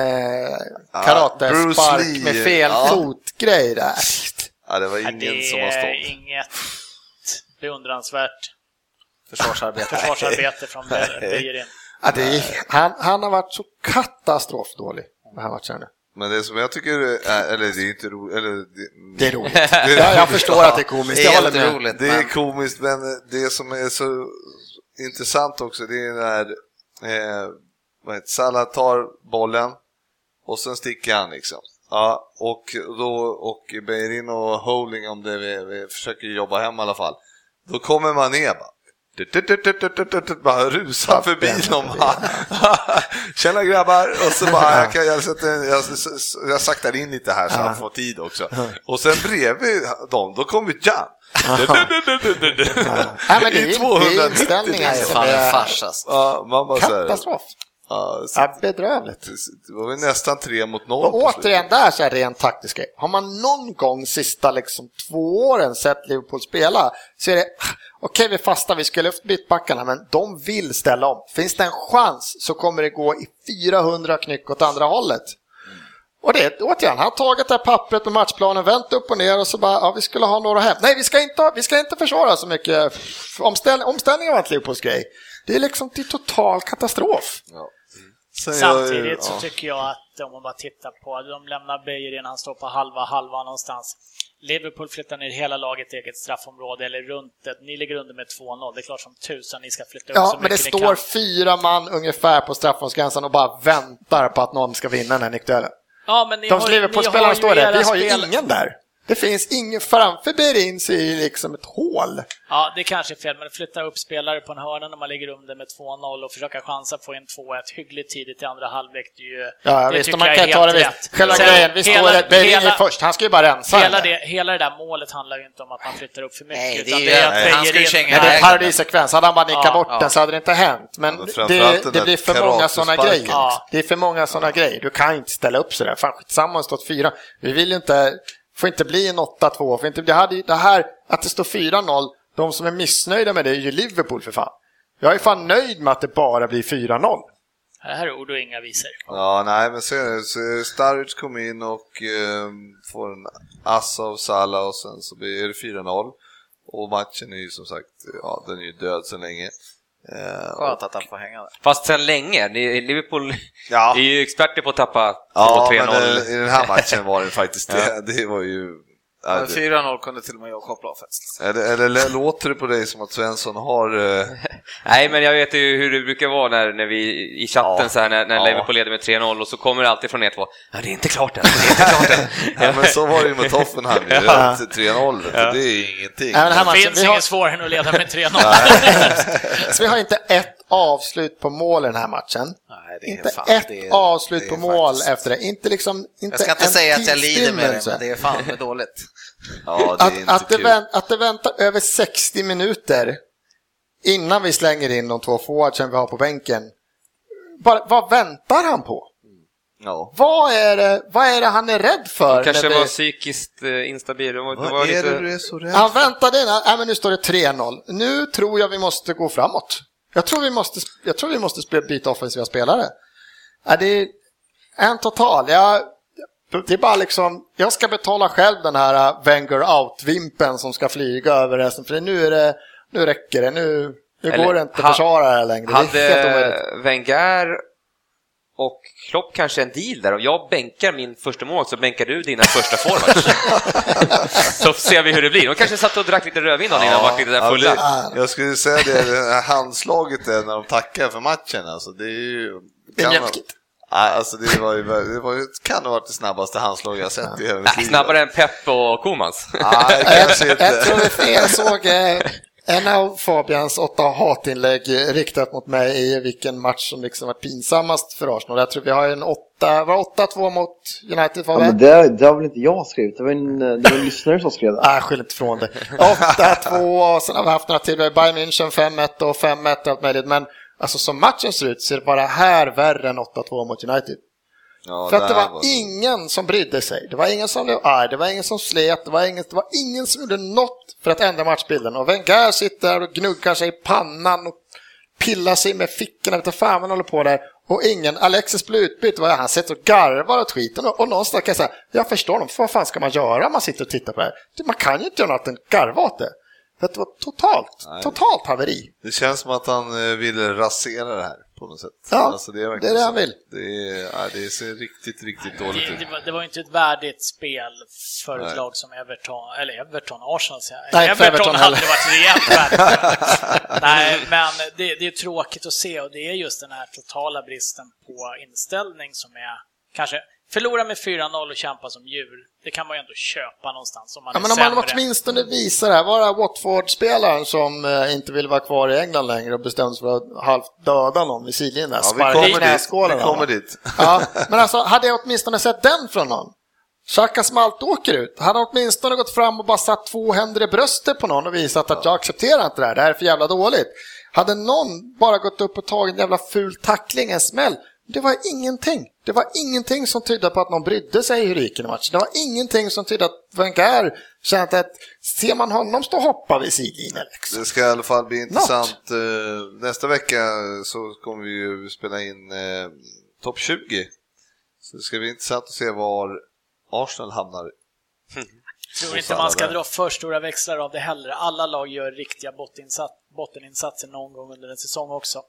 [SPEAKER 2] Ja,
[SPEAKER 7] karatespark
[SPEAKER 2] Bruce Lee.
[SPEAKER 7] med fel
[SPEAKER 2] Ja.
[SPEAKER 7] fotgrej där.
[SPEAKER 2] Ja, det var
[SPEAKER 3] Nej,
[SPEAKER 2] ingen
[SPEAKER 3] det
[SPEAKER 2] som var
[SPEAKER 3] är
[SPEAKER 2] stolt.
[SPEAKER 3] inget
[SPEAKER 2] [laughs]
[SPEAKER 3] beundransvärt
[SPEAKER 4] Försvarsarbete.
[SPEAKER 3] försvarsarbete från Be- Beijerin.
[SPEAKER 7] Ja, det är, han, han har varit så katastrofdålig. Den här matchen. nu.
[SPEAKER 2] Men det som jag tycker, är, eller det är inte roligt, eller
[SPEAKER 7] [laughs]
[SPEAKER 2] det,
[SPEAKER 7] Det är roligt. Jag, jag förstår att det är komiskt.
[SPEAKER 4] Det
[SPEAKER 7] Jag
[SPEAKER 4] är
[SPEAKER 7] håller
[SPEAKER 4] helt
[SPEAKER 7] med.
[SPEAKER 4] roligt.
[SPEAKER 2] Det är
[SPEAKER 4] Men
[SPEAKER 2] komiskt, men det som är så intressant också det är när eh, vad heter, Salah tar bollen och sen sticker han liksom. Ja, och då och Beirin och Holding om det vi, vi försöker jobba hem i alla fall. Då kommer man ner bara. Tut, tut, tut, tut, tut, tut, tut, Bara rusar förbi dem. bara. Tjena grabbar! Och så bara, jag, kan, jag, sätter, jag, jag saktar in lite här så han får tid också. Och sen bredvid dem, då kommer Jan.
[SPEAKER 7] Nej, men det är,
[SPEAKER 2] I
[SPEAKER 7] ju- det
[SPEAKER 2] 290.
[SPEAKER 7] är inställningar
[SPEAKER 4] det är
[SPEAKER 7] som
[SPEAKER 4] fan en
[SPEAKER 7] är
[SPEAKER 4] fars alltså.
[SPEAKER 2] Ja, man bara så här,
[SPEAKER 7] katastrof.
[SPEAKER 2] ja, så,
[SPEAKER 7] Ja, bedrövligt.
[SPEAKER 2] det var väl nästan tre mot noll.
[SPEAKER 7] Och
[SPEAKER 2] på slutet.
[SPEAKER 7] återigen, där så är det rent taktiska. Har man någon gång sista liksom, två åren sett Liverpool spela så är det "Ah, okej, vi fastar, vi ska lyfta mittbackarna, men de vill ställa om. Finns det en chans så kommer det gå i 400 knyck åt andra hållet. Och det återigen, han har tagit det här pappret med matchplanen, vänt upp och ner och så bara, ja vi skulle ha några hem. Nej, vi ska inte, ha- vi ska inte försvara så mycket. Omställ, omställningen var inte Liverpools grej. Det är liksom till total katastrof.
[SPEAKER 2] Sen jag-
[SPEAKER 3] Samtidigt
[SPEAKER 2] ja.
[SPEAKER 3] så tycker jag att om man bara tittar på, de lämnar Beijerin, han står på halva, halva någonstans. Liverpool flyttar ner hela laget i eget straffområde eller runt det. Ni ligger under med 2-0. Det är klart som tusan ni ska flytta upp
[SPEAKER 7] Ja,
[SPEAKER 3] så
[SPEAKER 7] men det
[SPEAKER 3] mycket ni
[SPEAKER 7] står
[SPEAKER 3] kan.
[SPEAKER 7] fyra man ungefär på straffområdesgränsen och bara väntar på att någon ska vinna den här nickduellen.
[SPEAKER 3] Ja, men ni
[SPEAKER 7] De
[SPEAKER 3] har- ni har
[SPEAKER 7] Liverpool-spelarna
[SPEAKER 3] ju
[SPEAKER 7] står där,
[SPEAKER 3] era
[SPEAKER 7] vi har ju
[SPEAKER 3] spel-
[SPEAKER 7] ingen där. Det finns ingen, framför Berins är ju liksom ett hål.
[SPEAKER 3] Ja, det kanske är fel, men flytta upp spelare på en hörna när man ligger under med 2-0 och försöka chansa på en 2-1 hyggligt tidigt i andra halvlek. Det, är ju,
[SPEAKER 7] Ja,
[SPEAKER 3] det
[SPEAKER 7] visst,
[SPEAKER 3] tycker
[SPEAKER 7] man
[SPEAKER 3] jag
[SPEAKER 7] kan
[SPEAKER 3] är
[SPEAKER 7] ta det
[SPEAKER 3] helt
[SPEAKER 7] visst.
[SPEAKER 3] rätt.
[SPEAKER 7] Själva
[SPEAKER 3] Sen,
[SPEAKER 7] grejen, vi står där, Berin
[SPEAKER 3] hela-
[SPEAKER 7] är först, han ska ju bara rensa.
[SPEAKER 3] Hela
[SPEAKER 7] den där.
[SPEAKER 3] det, hela det där målet handlar ju inte om att man flyttar upp för mycket,
[SPEAKER 4] Nej, det är
[SPEAKER 3] utan
[SPEAKER 4] ju-
[SPEAKER 3] det är att
[SPEAKER 4] nej, han ska ju
[SPEAKER 3] Beijerin-
[SPEAKER 4] känga
[SPEAKER 7] Nej, det är en
[SPEAKER 4] Nej,
[SPEAKER 7] parodisekvens, hade han bara nickat
[SPEAKER 3] Ja,
[SPEAKER 7] bort
[SPEAKER 4] ja.
[SPEAKER 7] den så hade det inte hänt. Men
[SPEAKER 2] Ja, men framförallt
[SPEAKER 7] det,
[SPEAKER 2] den
[SPEAKER 7] det
[SPEAKER 2] där
[SPEAKER 7] blir för många sådana
[SPEAKER 2] karatesparken.
[SPEAKER 7] grejer.
[SPEAKER 3] Ja.
[SPEAKER 7] Det är för många sådana grejer. Du kan inte ställa upp sådär. Fan skitsamma om det stått fyra. Vi vill ju inte, får inte bli en 8-2. Får inte, det, hade, ju- det här, att det står 4-0, de som är missnöjda med det är ju Liverpool för fan. Jag är fan nöjd med att det bara blir 4-0.
[SPEAKER 3] Det här är ord och inga visor.
[SPEAKER 2] Ja, nej, men sen så Sturridge kom in och eh, får en ass av Salah och sen så blir det 4-0. Och matchen är ju som sagt, ja den är ju död sedan länge. Eh,
[SPEAKER 4] Skönt att han får hänga där.
[SPEAKER 5] Fast sen länge, ni- Liverpool
[SPEAKER 2] Ja.
[SPEAKER 5] är ju experter på att tappa 2-3-0.
[SPEAKER 2] ja, men eh, i den
[SPEAKER 5] [laughs]
[SPEAKER 2] här matchen var det faktiskt det. [laughs] Det var ju... Ja,
[SPEAKER 4] Men
[SPEAKER 2] det,
[SPEAKER 4] 4-0 kunde till och med jag koppla av liksom. faktiskt.
[SPEAKER 2] eller, eller låter det på dig som att Svensson har...
[SPEAKER 5] [laughs]
[SPEAKER 2] Eh,
[SPEAKER 5] Nej, men jag vet ju hur det brukar vara när, när vi i chatten
[SPEAKER 2] Ja.
[SPEAKER 5] så här, när, när
[SPEAKER 2] Ja.
[SPEAKER 5] Liverpool leder med 3-0 och så kommer det alltid från er två. Ja, det är inte klart än, det är inte klart än.
[SPEAKER 2] ja, men så var det ju med Toffenheim,
[SPEAKER 5] [laughs]
[SPEAKER 2] ju.
[SPEAKER 7] Ja.
[SPEAKER 2] 3-0, vet du, det är ingenting.
[SPEAKER 7] Även den här
[SPEAKER 3] Det
[SPEAKER 7] matchen,
[SPEAKER 3] finns
[SPEAKER 7] alltså, vi,
[SPEAKER 3] inget
[SPEAKER 7] har,
[SPEAKER 3] svårare än att leda med 3-0.
[SPEAKER 4] [laughs]
[SPEAKER 7] så vi har inte ett avslut på mål i den här matchen.
[SPEAKER 4] Nej, det är
[SPEAKER 7] Inte
[SPEAKER 4] fan,
[SPEAKER 7] ett
[SPEAKER 4] det är,
[SPEAKER 7] avslut
[SPEAKER 4] det
[SPEAKER 7] på
[SPEAKER 4] är
[SPEAKER 7] mål
[SPEAKER 4] faktiskt-
[SPEAKER 7] efter det. Inte liksom, inte
[SPEAKER 4] Jag ska inte
[SPEAKER 7] en
[SPEAKER 4] säga att jag lider med det,
[SPEAKER 7] tillstymmelse.
[SPEAKER 4] men det är fan
[SPEAKER 7] [laughs]
[SPEAKER 4] med dåligt.
[SPEAKER 2] Ja, det är
[SPEAKER 7] att,
[SPEAKER 2] inte
[SPEAKER 7] att, det
[SPEAKER 2] kul.
[SPEAKER 7] vänt, att det väntar över 60 minuter innan vi slänger in de två forwardsen vi har på bänken. Bara, vad väntar han på?
[SPEAKER 2] Ja.
[SPEAKER 7] Vad är det, vad är det han är rädd för?
[SPEAKER 5] kanske
[SPEAKER 7] när
[SPEAKER 5] var
[SPEAKER 7] vi-
[SPEAKER 5] psykiskt eh, instabil. Det var, det var
[SPEAKER 2] Vad är det
[SPEAKER 5] lite...
[SPEAKER 2] du är så rädd
[SPEAKER 7] Han väntade innan, nej men nu står det 3-0. Nu tror jag vi måste gå framåt. Jag tror vi måste, jag tror vi måste sp- byta offensiva spelare. Ja, det är en total. Jag, det är bara liksom, jag ska betala själv den här äh, Wenger out-vimpen som ska flyga över resten. För nu, är det, nu räcker det, nu, nu
[SPEAKER 5] Eller,
[SPEAKER 7] går det inte att
[SPEAKER 5] ha-
[SPEAKER 7] försvara det här längre. Det är helt omöjligt.
[SPEAKER 5] Hade Wenger och Klopp kanske en deal där? Om jag bänkar min första mål så bänkar du dina första forwards. så ser vi hur det blir. De kanske satt och drack lite rödvin dagen innan och vart lite där fulla.
[SPEAKER 2] det- jag skulle säga det, det här handslaget där när de tackar för matchen alltså, det är ju...
[SPEAKER 7] Det är
[SPEAKER 2] kan-
[SPEAKER 7] mjäkigt.
[SPEAKER 2] Nej, alltså det var ju, det var ju, kan ha varit det snabbaste handslag jag sett i hela mitt
[SPEAKER 5] Äh,
[SPEAKER 2] liv.
[SPEAKER 5] snabbare än Pep och Komans.
[SPEAKER 2] Nej, kanske
[SPEAKER 7] [laughs] Jag
[SPEAKER 2] inte.
[SPEAKER 7] tror det är- jag såg eh, en av Fabians åtta hatinlägg eh, riktat mot mig i vilken match som liksom var pinsammast för Arsenal. Jag tror vi har en åtta, var det 8-2 mot United
[SPEAKER 6] Ja, men
[SPEAKER 7] Fabian?
[SPEAKER 6] det, det har väl inte jag skrivit? Det var en, det var en lyssnare som skrev det.
[SPEAKER 7] Nej, Äh, skyll inte ifrån dig. 8-2 och sen har vi haft några till. Vi har Bayern München 5-1 och 5-1 och allt möjligt. Men alltså som matchen ser ut så är det bara här värre än 8-2 mot United.
[SPEAKER 2] Ja,
[SPEAKER 7] För att det
[SPEAKER 2] där
[SPEAKER 7] var ingen som brydde sig. Det var ingen som blev arg, det var ingen som slet, det var ingen, det var ingen som gjorde något för att ändra matchbilden. Och Wenger sitter där och gnuggar sig i pannan och pillar sig med fickorna, vet inte fan vad han håller på där. Och ingen, Alexis blir utbytt, vad är det? han sitter och garvar åt skiten. Och, och någonstans kan jag säga, jag förstår dem, för vad fan ska man göra om man sitter och tittar på det här? Du, Man kan ju inte göra något annat än garva åt det. För att det var totalt, totalt haveri.
[SPEAKER 2] Det känns som att han eh, ville rasera det här på något sätt. Alltså,
[SPEAKER 7] Ja,
[SPEAKER 2] verkligen
[SPEAKER 7] det är det
[SPEAKER 2] så.
[SPEAKER 7] han vill.
[SPEAKER 2] Det, är, ja, det ser riktigt, riktigt dåligt
[SPEAKER 3] Det, det,
[SPEAKER 2] ut.
[SPEAKER 3] var, det var ju inte ett värdigt spel för ett
[SPEAKER 2] Nej.
[SPEAKER 3] lag som Everton, eller Everton, Arsenal säger jag.
[SPEAKER 7] Nej, inte för
[SPEAKER 3] Everton,
[SPEAKER 7] Everton
[SPEAKER 3] hade
[SPEAKER 7] heller.
[SPEAKER 3] varit rejält värdigt.
[SPEAKER 7] [laughs]
[SPEAKER 3] Nej, men det, det är tråkigt att se och det är just den här totala bristen på inställning som är kanske Förlora med 4-0 och kämpa som djur, det kan man ju ändå köpa någonstans om man
[SPEAKER 7] Ja,
[SPEAKER 3] är
[SPEAKER 7] men om man
[SPEAKER 3] sämre.
[SPEAKER 7] åtminstone visar det här, var det här Watford-spelaren som eh, inte vill vara kvar i England längre och bestämde sig för att halvt döda någon vid sidlinjen där,
[SPEAKER 2] Ja, vi
[SPEAKER 7] sparka i
[SPEAKER 2] kommer dit.
[SPEAKER 7] knäskålen.
[SPEAKER 2] Vi kommer dit.
[SPEAKER 7] Ja, men alltså, hade jag åtminstone sett den från någon? Xhaka Smalt åker ut. Hade han åtminstone gått fram och bara satt två händer i bröstet på någon och visat att jag accepterar inte det här, det här är för jävla dåligt. Hade någon bara gått upp och tagit en jävla ful tackling, en smäll, det var ingenting. Det var ingenting som tydde på att någon brydde sig i Riken i matchen. Det var ingenting som tydde att Wenger kände att ser man honom stå och hoppa vid sidlinjen liksom.
[SPEAKER 2] Det ska i alla fall bli intressant. Eh, Nästa vecka så kommer vi ju spela in eh, topp 20. Så det ska bli intressant att se var Arsenal hamnar.
[SPEAKER 3] Jag tror inte man ska dra för stora växlar av det heller. Alla lag gör riktiga botteninsats, botteninsatser någon gång under en säsong också.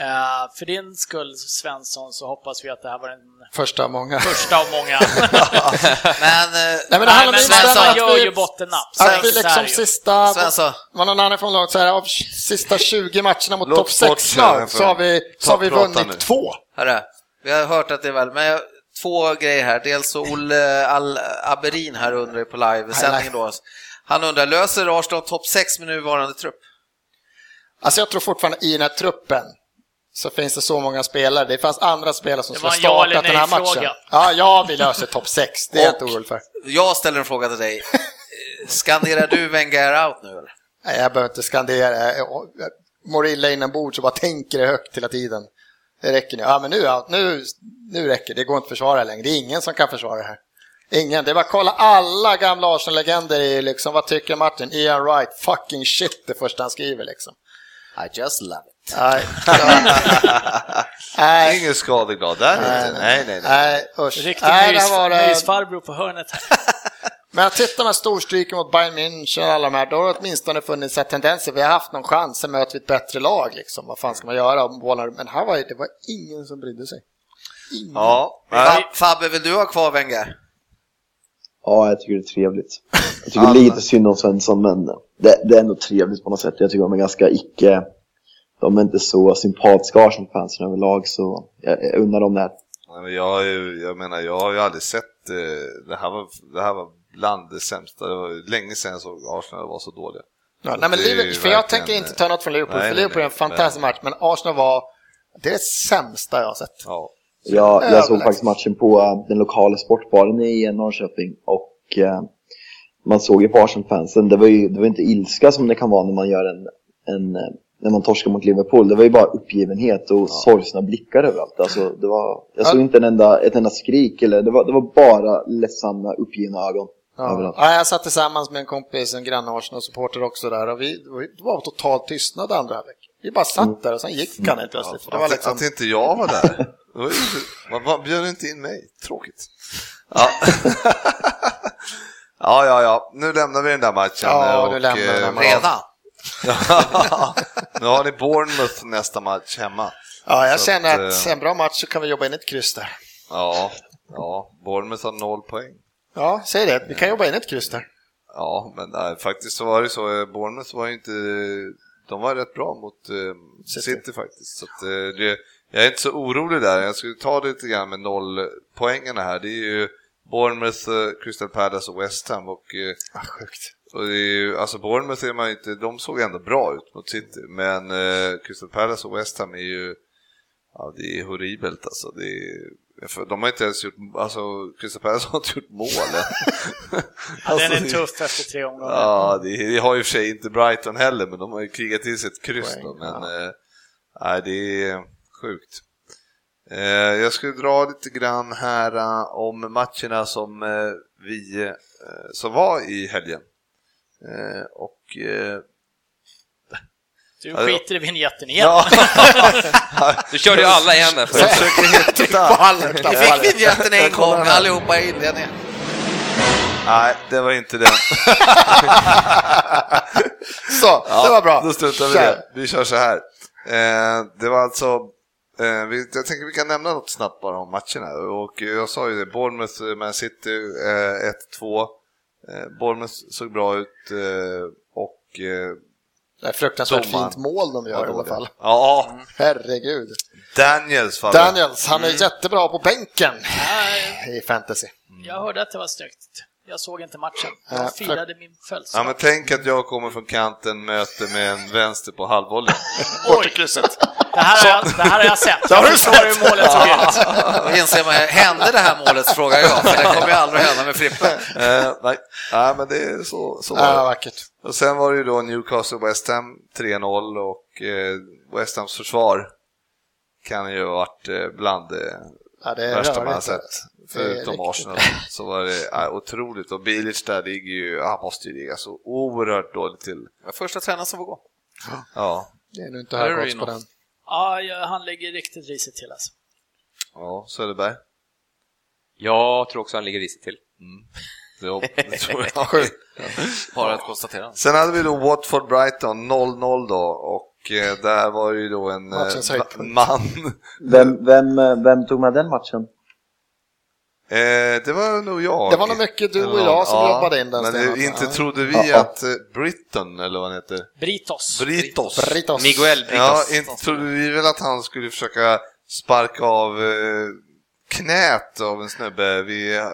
[SPEAKER 3] Eh, för din skull Svensson så hoppas vi att det här var den
[SPEAKER 7] Första många.
[SPEAKER 3] första av många.
[SPEAKER 4] Men, eh,
[SPEAKER 7] Nej, men
[SPEAKER 3] Nej,
[SPEAKER 7] det handlar
[SPEAKER 3] men
[SPEAKER 7] om inställning,
[SPEAKER 3] man
[SPEAKER 7] att
[SPEAKER 3] gör
[SPEAKER 7] vi-
[SPEAKER 3] ju bottennapp. Så
[SPEAKER 7] Att vi
[SPEAKER 3] enkelt är
[SPEAKER 7] liksom
[SPEAKER 3] det ju.
[SPEAKER 7] sista...
[SPEAKER 4] Svensson.
[SPEAKER 7] Man har annan från laget så här, av sista 20 matcherna mot
[SPEAKER 2] Låt
[SPEAKER 7] topp
[SPEAKER 2] bort
[SPEAKER 7] 6 lag
[SPEAKER 2] Sören för-
[SPEAKER 7] så har vi, så har vi
[SPEAKER 2] prata
[SPEAKER 7] vunnit
[SPEAKER 2] nu.
[SPEAKER 7] två.
[SPEAKER 4] Hörru, vi har hört att det är väl, men jag, två grejer här. Dels så Olle Al Aberin här undrar ju på live-sändningen då. Han undrar, löser Arsenal topp 6 med nuvarande trupp?
[SPEAKER 7] Alltså jag tror fortfarande i den här truppen så finns det så många spelare. Det fanns andra spelare som
[SPEAKER 3] Det
[SPEAKER 7] skulle
[SPEAKER 3] var en ja
[SPEAKER 7] startat
[SPEAKER 3] eller
[SPEAKER 7] den här
[SPEAKER 3] nej-fråga.
[SPEAKER 7] matchen. Ja, jag vill lösa topp 6, det är jag inte orolig för.
[SPEAKER 4] Jag ställer en fråga
[SPEAKER 7] [laughs]
[SPEAKER 4] till dig. Eh, Skanderar du Wenger out nu eller?
[SPEAKER 7] Nej, jag behöver inte skandera. Jag jag mår illa inombords och bara tänker det högt hela tiden. Det räcker nu. Ja, men nu, är allt- nu, nu räcker det. Det går inte att försvara längre. Det är ingen som kan försvara det här. Ingen. Det är bara att kolla alla gamla Arsenal-legender i liksom, vad tycker Martin? Ian Wright, fucking shit, det första han skriver liksom.
[SPEAKER 4] I just love it. [laughs]
[SPEAKER 7] Nej, nej,
[SPEAKER 2] Ingen skadeglad där inte. Nej, nej, nej.
[SPEAKER 7] nej, usch.
[SPEAKER 3] Riktig
[SPEAKER 7] Nej,
[SPEAKER 3] mys,
[SPEAKER 7] där var det.
[SPEAKER 3] mysfarbror på hörnet. här.
[SPEAKER 7] Men jag tittar med storstryken mot Bayern München och alla de här, då har det åtminstone funnits så här tendenser. Vi har haft någon chans, sen möter vi ett bättre lag liksom. Vad fan ska man göra? om bollar- Men här var ju- det var ingen som brydde sig.
[SPEAKER 2] Ja, men-
[SPEAKER 4] Fa- Fabbe, vill du ha kvar Wenger?
[SPEAKER 6] Ja, jag tycker det är trevligt. Jag tycker lite synd om Svensson, men det, det är ändå trevligt på något sätt. Jag tycker de är ganska icke... De är inte så sympatiska Arsenal-fansen överlag, så jag, jag undrar dem det här.
[SPEAKER 2] Nej, men jag, har ju- jag menar, jag har ju aldrig sett eh, det här var, det här var bland det sämsta. Det var ju länge sedan jag såg Arsenal var så dåliga.
[SPEAKER 7] nej, men
[SPEAKER 2] det är ju
[SPEAKER 7] Liverpool, för jag
[SPEAKER 2] verkligen-
[SPEAKER 7] tänker inte ta något från Liverpool,
[SPEAKER 2] Nej,
[SPEAKER 7] för
[SPEAKER 2] nej,
[SPEAKER 7] Liverpool är en
[SPEAKER 2] nej,
[SPEAKER 7] fantastisk match, men Arsenal var det är det sämsta jag har sett.
[SPEAKER 2] Ja.
[SPEAKER 6] Jag, jag såg
[SPEAKER 7] Överlägset.
[SPEAKER 6] faktiskt matchen på eh, den lokala sportbaren i Norrköping och eh, man såg ju på Arsenal-fansen, det var ju det var inte ilska som det kan vara när man gör en, en eh, när man torskar mot Liverpool, det var ju bara uppgivenhet och sorgsna blickar överallt. Alltså, det var, jag såg inte en enda, ett enda skrik, eller, det, var, det var bara ledsamma, uppgivna ögon
[SPEAKER 7] Ja.
[SPEAKER 6] överallt.
[SPEAKER 7] Ja, jag satt tillsammans med en kompis, en granne Arsenal-supporter också där, och vi, det var total tystnad andra halvlek. Vi bara satt där och sen gick han helt plötsligt. för Det var
[SPEAKER 2] Mm. att,
[SPEAKER 7] liksom...
[SPEAKER 2] att inte jag var
[SPEAKER 7] [laughs]
[SPEAKER 2] där. Det var ju- Man, man bjöd inte in mig. Tråkigt.
[SPEAKER 7] [laughs]
[SPEAKER 2] Ja. ja, ja, ja. Nu lämnar vi den där matchen.
[SPEAKER 7] Ja, nu lämnar vi den där
[SPEAKER 2] eh,
[SPEAKER 7] matchen.
[SPEAKER 2] ja.
[SPEAKER 4] Redan?
[SPEAKER 2] [laughs] nu har ni Bournemouth nästa match hemma.
[SPEAKER 7] Ja, jag
[SPEAKER 2] Så
[SPEAKER 7] känner
[SPEAKER 2] att,
[SPEAKER 7] att
[SPEAKER 2] eh,
[SPEAKER 7] en bra match så kan vi jobba in ett kryss där.
[SPEAKER 2] Ja, ja. Bournemouth har noll poäng.
[SPEAKER 7] Ja, säg det. Vi kan jobba in ett kryss där.
[SPEAKER 2] Ja, men nej, faktiskt så var det så. eh, Bournemouth var ju inte... De var rätt bra mot eh, City.
[SPEAKER 7] City
[SPEAKER 2] faktiskt. Så att, eh, det, Jag är inte så orolig där. Jag skulle ta det lite grann med nollpoängarna här. Det är ju Bournemouth, eh, Crystal Palace och West Ham. Och, eh, Och det är ju, alltså Bournemouth är man ju inte, de såg ändå bra ut mot City, men eh, Crystal Palace och West Ham är ju, ja det är horribelt alltså. Det är, för de har inte ens gjort, alltså Crystal Palace har inte gjort
[SPEAKER 3] [laughs]
[SPEAKER 2] mål än.
[SPEAKER 3] Den
[SPEAKER 2] Alltså,
[SPEAKER 3] är
[SPEAKER 2] det-
[SPEAKER 3] tuff efter tre omgångar.
[SPEAKER 2] Ja, det, det har ju i och för sig inte Brighton heller, men de har ju krigat till sig ett kryss då, men eh, nej, det är sjukt. Eh, jag skulle dra lite grann här eh, om matcherna som eh, vi, eh, som var i helgen. Eh, och eh,
[SPEAKER 3] Du
[SPEAKER 2] Ja, det-
[SPEAKER 3] skiter i vinjetten igen. [laughs]
[SPEAKER 2] Ja,
[SPEAKER 5] Du körde ju alla i en
[SPEAKER 2] [laughs]
[SPEAKER 5] där
[SPEAKER 2] jag
[SPEAKER 5] förut.
[SPEAKER 2] försöker hitta.
[SPEAKER 4] Vi fick vinjetten en gång allihopa i inledningen.
[SPEAKER 2] Nej, det var inte
[SPEAKER 7] [laughs]
[SPEAKER 2] den.
[SPEAKER 7] Så, det var bra.
[SPEAKER 2] Då struntar vi i
[SPEAKER 7] Kör.
[SPEAKER 2] det. Vi kör så här. Eh, det var alltså, eh, vi, jag tänker vi kan nämna något snabbt bara om matcherna. Och eh, jag sa ju det, Bournemouth, eh, Man City eh, 1-2. Eh, Bournemouth såg bra ut eh, och eh,
[SPEAKER 7] Det är ett fruktansvärt
[SPEAKER 2] Domaren.
[SPEAKER 7] fint mål de gör
[SPEAKER 2] var
[SPEAKER 7] i alla
[SPEAKER 2] dåliga.
[SPEAKER 7] fall.
[SPEAKER 2] Ja,
[SPEAKER 7] Herregud.
[SPEAKER 2] Daniels fall.
[SPEAKER 7] Daniels, han är
[SPEAKER 2] Mm.
[SPEAKER 7] jättebra på bänken i fantasy.
[SPEAKER 3] Eh, Jag hörde att det var snyggt. Jag såg inte matchen.
[SPEAKER 7] Ja,
[SPEAKER 3] Jag firade min
[SPEAKER 2] Ja,
[SPEAKER 3] födelsedag.
[SPEAKER 2] men tänk att jag kommer från kanten, möter med en vänster på halvvolley.
[SPEAKER 3] Oj!
[SPEAKER 4] [laughs]
[SPEAKER 3] Det här, har jag, det här har jag sett. Jag förstår hur målet såg ut.
[SPEAKER 4] [laughs] Då inser man, hände det här målet frågar jag, för det kommer ju aldrig att hända
[SPEAKER 7] [laughs]
[SPEAKER 4] med Frippe.
[SPEAKER 2] [laughs] eh, nej. nej, men det är så, så var det.
[SPEAKER 7] Ja, vackert.
[SPEAKER 2] Och sen var det ju då Newcastle West Ham 3-0 och eh, West Hams försvar kan ju ha varit eh, bland det
[SPEAKER 7] Ja, det är
[SPEAKER 2] värsta man har
[SPEAKER 7] rörigt.
[SPEAKER 2] sett. Förutom
[SPEAKER 7] riktigt.
[SPEAKER 2] Arsenal så var det eh, otroligt och Bilic där ligger ju, han måste ju ligga så oerhört dåligt till.
[SPEAKER 4] Det var första tränaren som får gå.
[SPEAKER 2] Ja,
[SPEAKER 7] Det är nu inte hög odds på
[SPEAKER 4] Rino.
[SPEAKER 7] den.
[SPEAKER 3] Ja, jag- han ligger riktigt risigt till alltså.
[SPEAKER 2] ja Söderberg.
[SPEAKER 5] Jag tror också han ligger risigt till.
[SPEAKER 2] Det hopp- det
[SPEAKER 7] [laughs]
[SPEAKER 2] tror jag.
[SPEAKER 4] Bara att konstatera.
[SPEAKER 2] Sen hade vi då Watford Brighton 0-0 då och eh, där var det ju då en eh,
[SPEAKER 7] Matchens höjdpunkt.
[SPEAKER 2] man.
[SPEAKER 6] Vem, vem, eh, vem tog med den matchen?
[SPEAKER 2] Eh, det var nog jag.
[SPEAKER 7] Det var nog mycket du och jag som jobbade in den,
[SPEAKER 2] Men
[SPEAKER 7] Stenmark.
[SPEAKER 2] det, inte
[SPEAKER 7] Ja.
[SPEAKER 2] trodde vi
[SPEAKER 6] Ja.
[SPEAKER 2] att eh, Britton, eller vad han heter,
[SPEAKER 3] Britos.
[SPEAKER 2] Britos.
[SPEAKER 7] Britos.
[SPEAKER 5] Miguel Britos.
[SPEAKER 2] Ja, inte trodde vi väl att han skulle försöka sparka av eh, knät av en snubbe vid eh,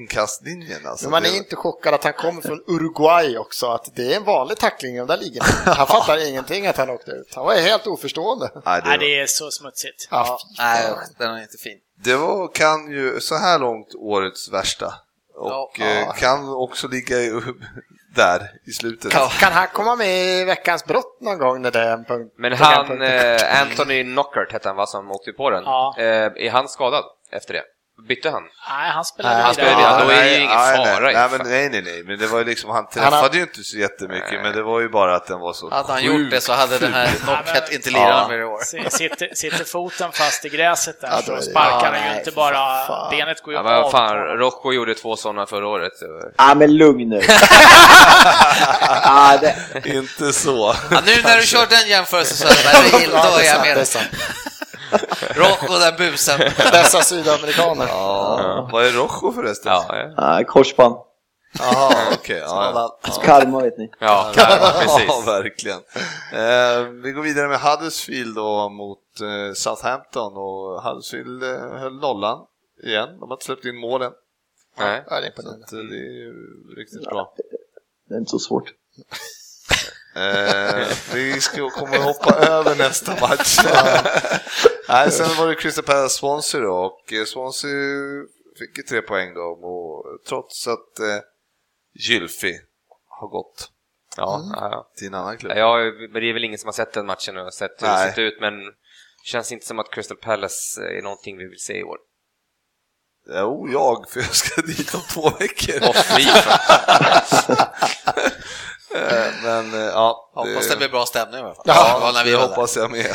[SPEAKER 2] inkastlinjen. Alltså.
[SPEAKER 7] Men man
[SPEAKER 2] Det-
[SPEAKER 7] är inte chockad att han kommer från Uruguay också, att det är en vanlig tackling i den där ligan. Han fattar ingenting att han åkte ut. Han var helt oförstående.
[SPEAKER 2] Nej, det,
[SPEAKER 3] Nej, det är så smutsigt.
[SPEAKER 7] Ja,
[SPEAKER 4] Nej, den är inte fin.
[SPEAKER 2] det var, kan ju, så här långt, årets värsta. Och
[SPEAKER 4] Ja.
[SPEAKER 2] eh, kan också ligga i, [laughs] där i slutet.
[SPEAKER 7] kan, kan han komma med i veckans brott någon gång när det är en punkt?
[SPEAKER 5] Men
[SPEAKER 7] på den
[SPEAKER 5] han,
[SPEAKER 7] punkten?
[SPEAKER 5] eh, Anthony Knockert hette han va, som åkte på den.
[SPEAKER 3] Ja.
[SPEAKER 5] Eh, är han skadad efter det? Bytte han?
[SPEAKER 3] Nej, han spelar
[SPEAKER 7] Nej,
[SPEAKER 3] vidare.
[SPEAKER 7] han
[SPEAKER 5] spelar vidare. Ja, då är det ju ingen fara
[SPEAKER 2] nej,
[SPEAKER 5] i
[SPEAKER 2] nej,
[SPEAKER 5] fall.
[SPEAKER 2] men, nej, nej, nej, men det var ju liksom, han träffade
[SPEAKER 7] har-
[SPEAKER 2] ju inte så jättemycket, men det var ju bara att den var så
[SPEAKER 4] Hade han
[SPEAKER 2] sjukt
[SPEAKER 4] gjort det så hade den här knockhet inte lirat
[SPEAKER 2] Ja.
[SPEAKER 4] mer i år.
[SPEAKER 5] [laughs]
[SPEAKER 3] S- Sitter, sitter foten fast i gräset där
[SPEAKER 7] Ja, då är
[SPEAKER 3] så
[SPEAKER 7] det-
[SPEAKER 3] sparkar
[SPEAKER 7] ja,
[SPEAKER 3] den ju
[SPEAKER 7] nej,
[SPEAKER 3] inte
[SPEAKER 7] för
[SPEAKER 3] bara...
[SPEAKER 7] fan.
[SPEAKER 3] Benet går ju
[SPEAKER 5] Ja,
[SPEAKER 3] upp
[SPEAKER 5] men vad
[SPEAKER 3] av.
[SPEAKER 5] fan, Rocco gjorde två sådana förra året.
[SPEAKER 6] Ah, men lugn
[SPEAKER 7] [laughs]
[SPEAKER 6] nu. ah, det,
[SPEAKER 2] Inte så.
[SPEAKER 4] Ja, nu när du kör den jämförelsen så är det illa, då är jag med. Rocco den busen.
[SPEAKER 7] Dessa sydamerikaner.
[SPEAKER 2] Ja. Vad är Rojo förresten?
[SPEAKER 5] Ja, ja.
[SPEAKER 6] ah, korsband.
[SPEAKER 2] Jaha, okej. ja,
[SPEAKER 4] Skadad.
[SPEAKER 6] Karma vet ni.
[SPEAKER 5] ja
[SPEAKER 2] ja. [laughs] ja,
[SPEAKER 5] [laughs] precis.
[SPEAKER 2] verkligen. Eh, vi går vidare med Huddersfield då mot eh, Southampton och Huddersfield eh, höll nollan igen. De har inte släppt in målen.
[SPEAKER 5] Nej.
[SPEAKER 7] Ja, det är
[SPEAKER 2] Så
[SPEAKER 7] imponerande.
[SPEAKER 2] att, eh, det är ju riktigt bra.
[SPEAKER 6] Det är inte så svårt.
[SPEAKER 2] Eh, vi ska, kommer hoppa över nästa
[SPEAKER 4] [laughs]
[SPEAKER 2] match. Nej, sen var det Crystal Palace Swansea då och eh, Swansea fick ju tre poäng då och, trots att eh, Gylfi har gått Mm.
[SPEAKER 5] Ja, ja.
[SPEAKER 2] till en annan klubb.
[SPEAKER 5] Ja, Jag, men det är väl ingen som har sett den matchen och sett hur
[SPEAKER 2] Nej.
[SPEAKER 5] det sett ut, men det känns inte som att Crystal Palace eh, är någonting vi vill se i år. [laughs]
[SPEAKER 2] Jo, jag, för jag ska dit om två veckor.
[SPEAKER 5] Fy fan.
[SPEAKER 2] Eh, [laughs] Men eh, ja,
[SPEAKER 4] Hoppas det blir bra stämning i alla fall.
[SPEAKER 2] Ja,
[SPEAKER 4] Det var när vi
[SPEAKER 2] det
[SPEAKER 4] var där.
[SPEAKER 2] hoppas jag med.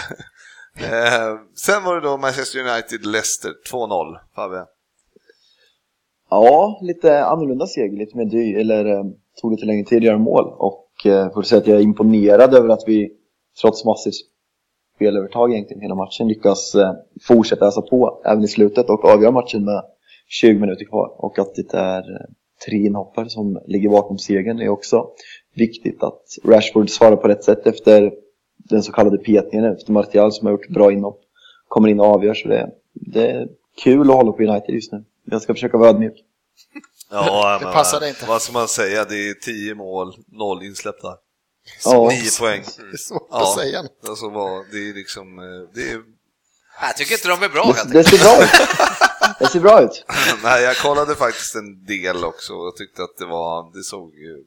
[SPEAKER 2] Eh, Sen var det då Manchester United-Leicester 2-0, Fabbe.
[SPEAKER 6] Ja, lite annorlunda seger, lite mer dyr, eller eh, tog lite längre tid att göra mål. Och eh, får säga att jag är imponerad över att vi, trots massivt spelövertag egentligen hela matchen, lyckas eh, fortsätta ösa på även i slutet och avgöra matchen med 20 minuter kvar. Och att det är eh, tre inhoppare som ligger bakom segern är också viktigt att Rashford svarar på rätt sätt efter den så kallade petningen efter Martial som har gjort bra inhopp. kommer in och avgör. Så det, det är kul att hålla på United just nu. Jag ska försöka vara ödmjuk.
[SPEAKER 2] Ja,
[SPEAKER 7] Det passade inte.
[SPEAKER 2] Vad ska man säga? Det är 10 mål, 0 insläppta.
[SPEAKER 6] Ja.
[SPEAKER 2] 9 poäng.
[SPEAKER 7] Det är svårt
[SPEAKER 2] Ja.
[SPEAKER 7] att säga.
[SPEAKER 2] Alltså, vad- det är liksom... eh, Det är [laughs]
[SPEAKER 4] Jag tycker inte de är bra helt
[SPEAKER 6] Det,
[SPEAKER 4] enkelt.
[SPEAKER 6] det ser bra ut. [laughs] Det ser bra ut.
[SPEAKER 2] Nej, jag kollade faktiskt en del också och tyckte att det var, det såg ju